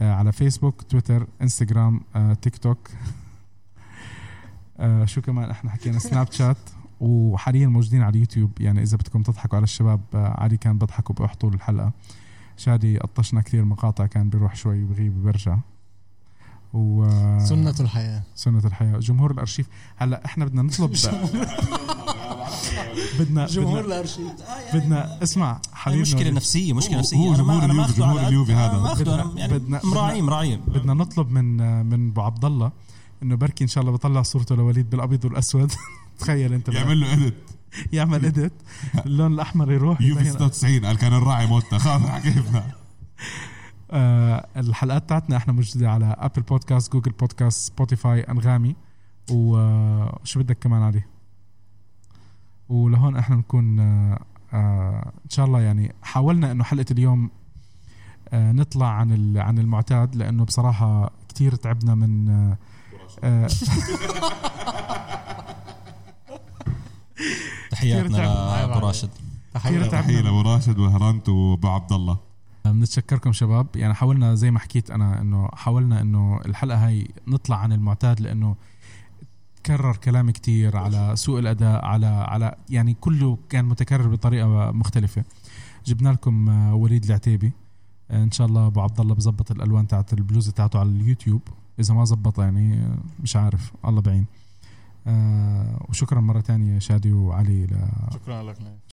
[SPEAKER 1] آه، على فيسبوك تويتر انستغرام آه، تيك توك آه شو كمان احنا حكينا سناب شات وحاليا موجودين على اليوتيوب يعني اذا بدكم تضحكوا على الشباب آه عادي كان بضحكوا بحطوا الحلقه شادي قطشنا كثير مقاطع كان بيروح شوي بغيب وبرجع و آه،
[SPEAKER 2] سنة الحياة
[SPEAKER 1] سنة الحياة جمهور الأرشيف هلا احنا بدنا نطلب بدنا
[SPEAKER 2] جمهور
[SPEAKER 1] بدنا,
[SPEAKER 2] الارشيد
[SPEAKER 1] بدنا اسمع حبيبنا
[SPEAKER 3] مشكلة نفسية مشكلة
[SPEAKER 4] هو-
[SPEAKER 3] نفسية
[SPEAKER 4] هو
[SPEAKER 3] أنا ما-
[SPEAKER 4] جمهور
[SPEAKER 3] أنا ما
[SPEAKER 4] اليوفي،
[SPEAKER 3] أخده
[SPEAKER 4] جمهور
[SPEAKER 3] على-
[SPEAKER 4] اليوفي هذا.
[SPEAKER 3] ما أخده أنا
[SPEAKER 1] بدنا-
[SPEAKER 3] يعني
[SPEAKER 1] بدنا-
[SPEAKER 3] مراعيه مراعيه
[SPEAKER 1] بدنا نطلب من من ابو عبد الله انه بركي ان شاء الله بطلع صورته لوليد بالابيض والاسود تخيل انت بقى.
[SPEAKER 4] يعمل له اديت
[SPEAKER 1] يعمل اديت اللون الاحمر يروح
[SPEAKER 4] يوفي
[SPEAKER 1] يبين-
[SPEAKER 4] 96 قال كان الراعي موتنا خلص حكينا
[SPEAKER 1] آه الحلقات تاعتنا احنا موجوده على ابل بودكاست جوجل بودكاست سبوتيفاي انغامي وشو آه، بدك كمان علي ولهون احنا نكون آه آه ان شاء الله يعني حاولنا انه حلقه اليوم آه نطلع عن ال- عن المعتاد لانه بصراحه كتير تعبنا من آه آه
[SPEAKER 3] تحياتنا
[SPEAKER 1] كثير تعب.
[SPEAKER 3] لأبو راشد
[SPEAKER 1] كثير
[SPEAKER 2] تحية
[SPEAKER 1] تعبنا
[SPEAKER 4] تحيه لابو راشد وهرنت وابو عبد الله
[SPEAKER 1] بنتشكركم شباب يعني حاولنا زي ما حكيت انا انه حاولنا انه الحلقه هاي نطلع عن المعتاد لانه تكرر كلام كتير على سوء الاداء على على يعني كله كان متكرر بطريقه مختلفه جبنا لكم آه، وليد العتيبي آه، ان شاء الله ابو عبد الله بظبط الالوان تاعت البلوزه تاعته على اليوتيوب اذا ما زبط يعني آه، مش عارف الله بعين آه، وشكرا مره تانية شادي وعلي ل-
[SPEAKER 2] شكرا لك نايف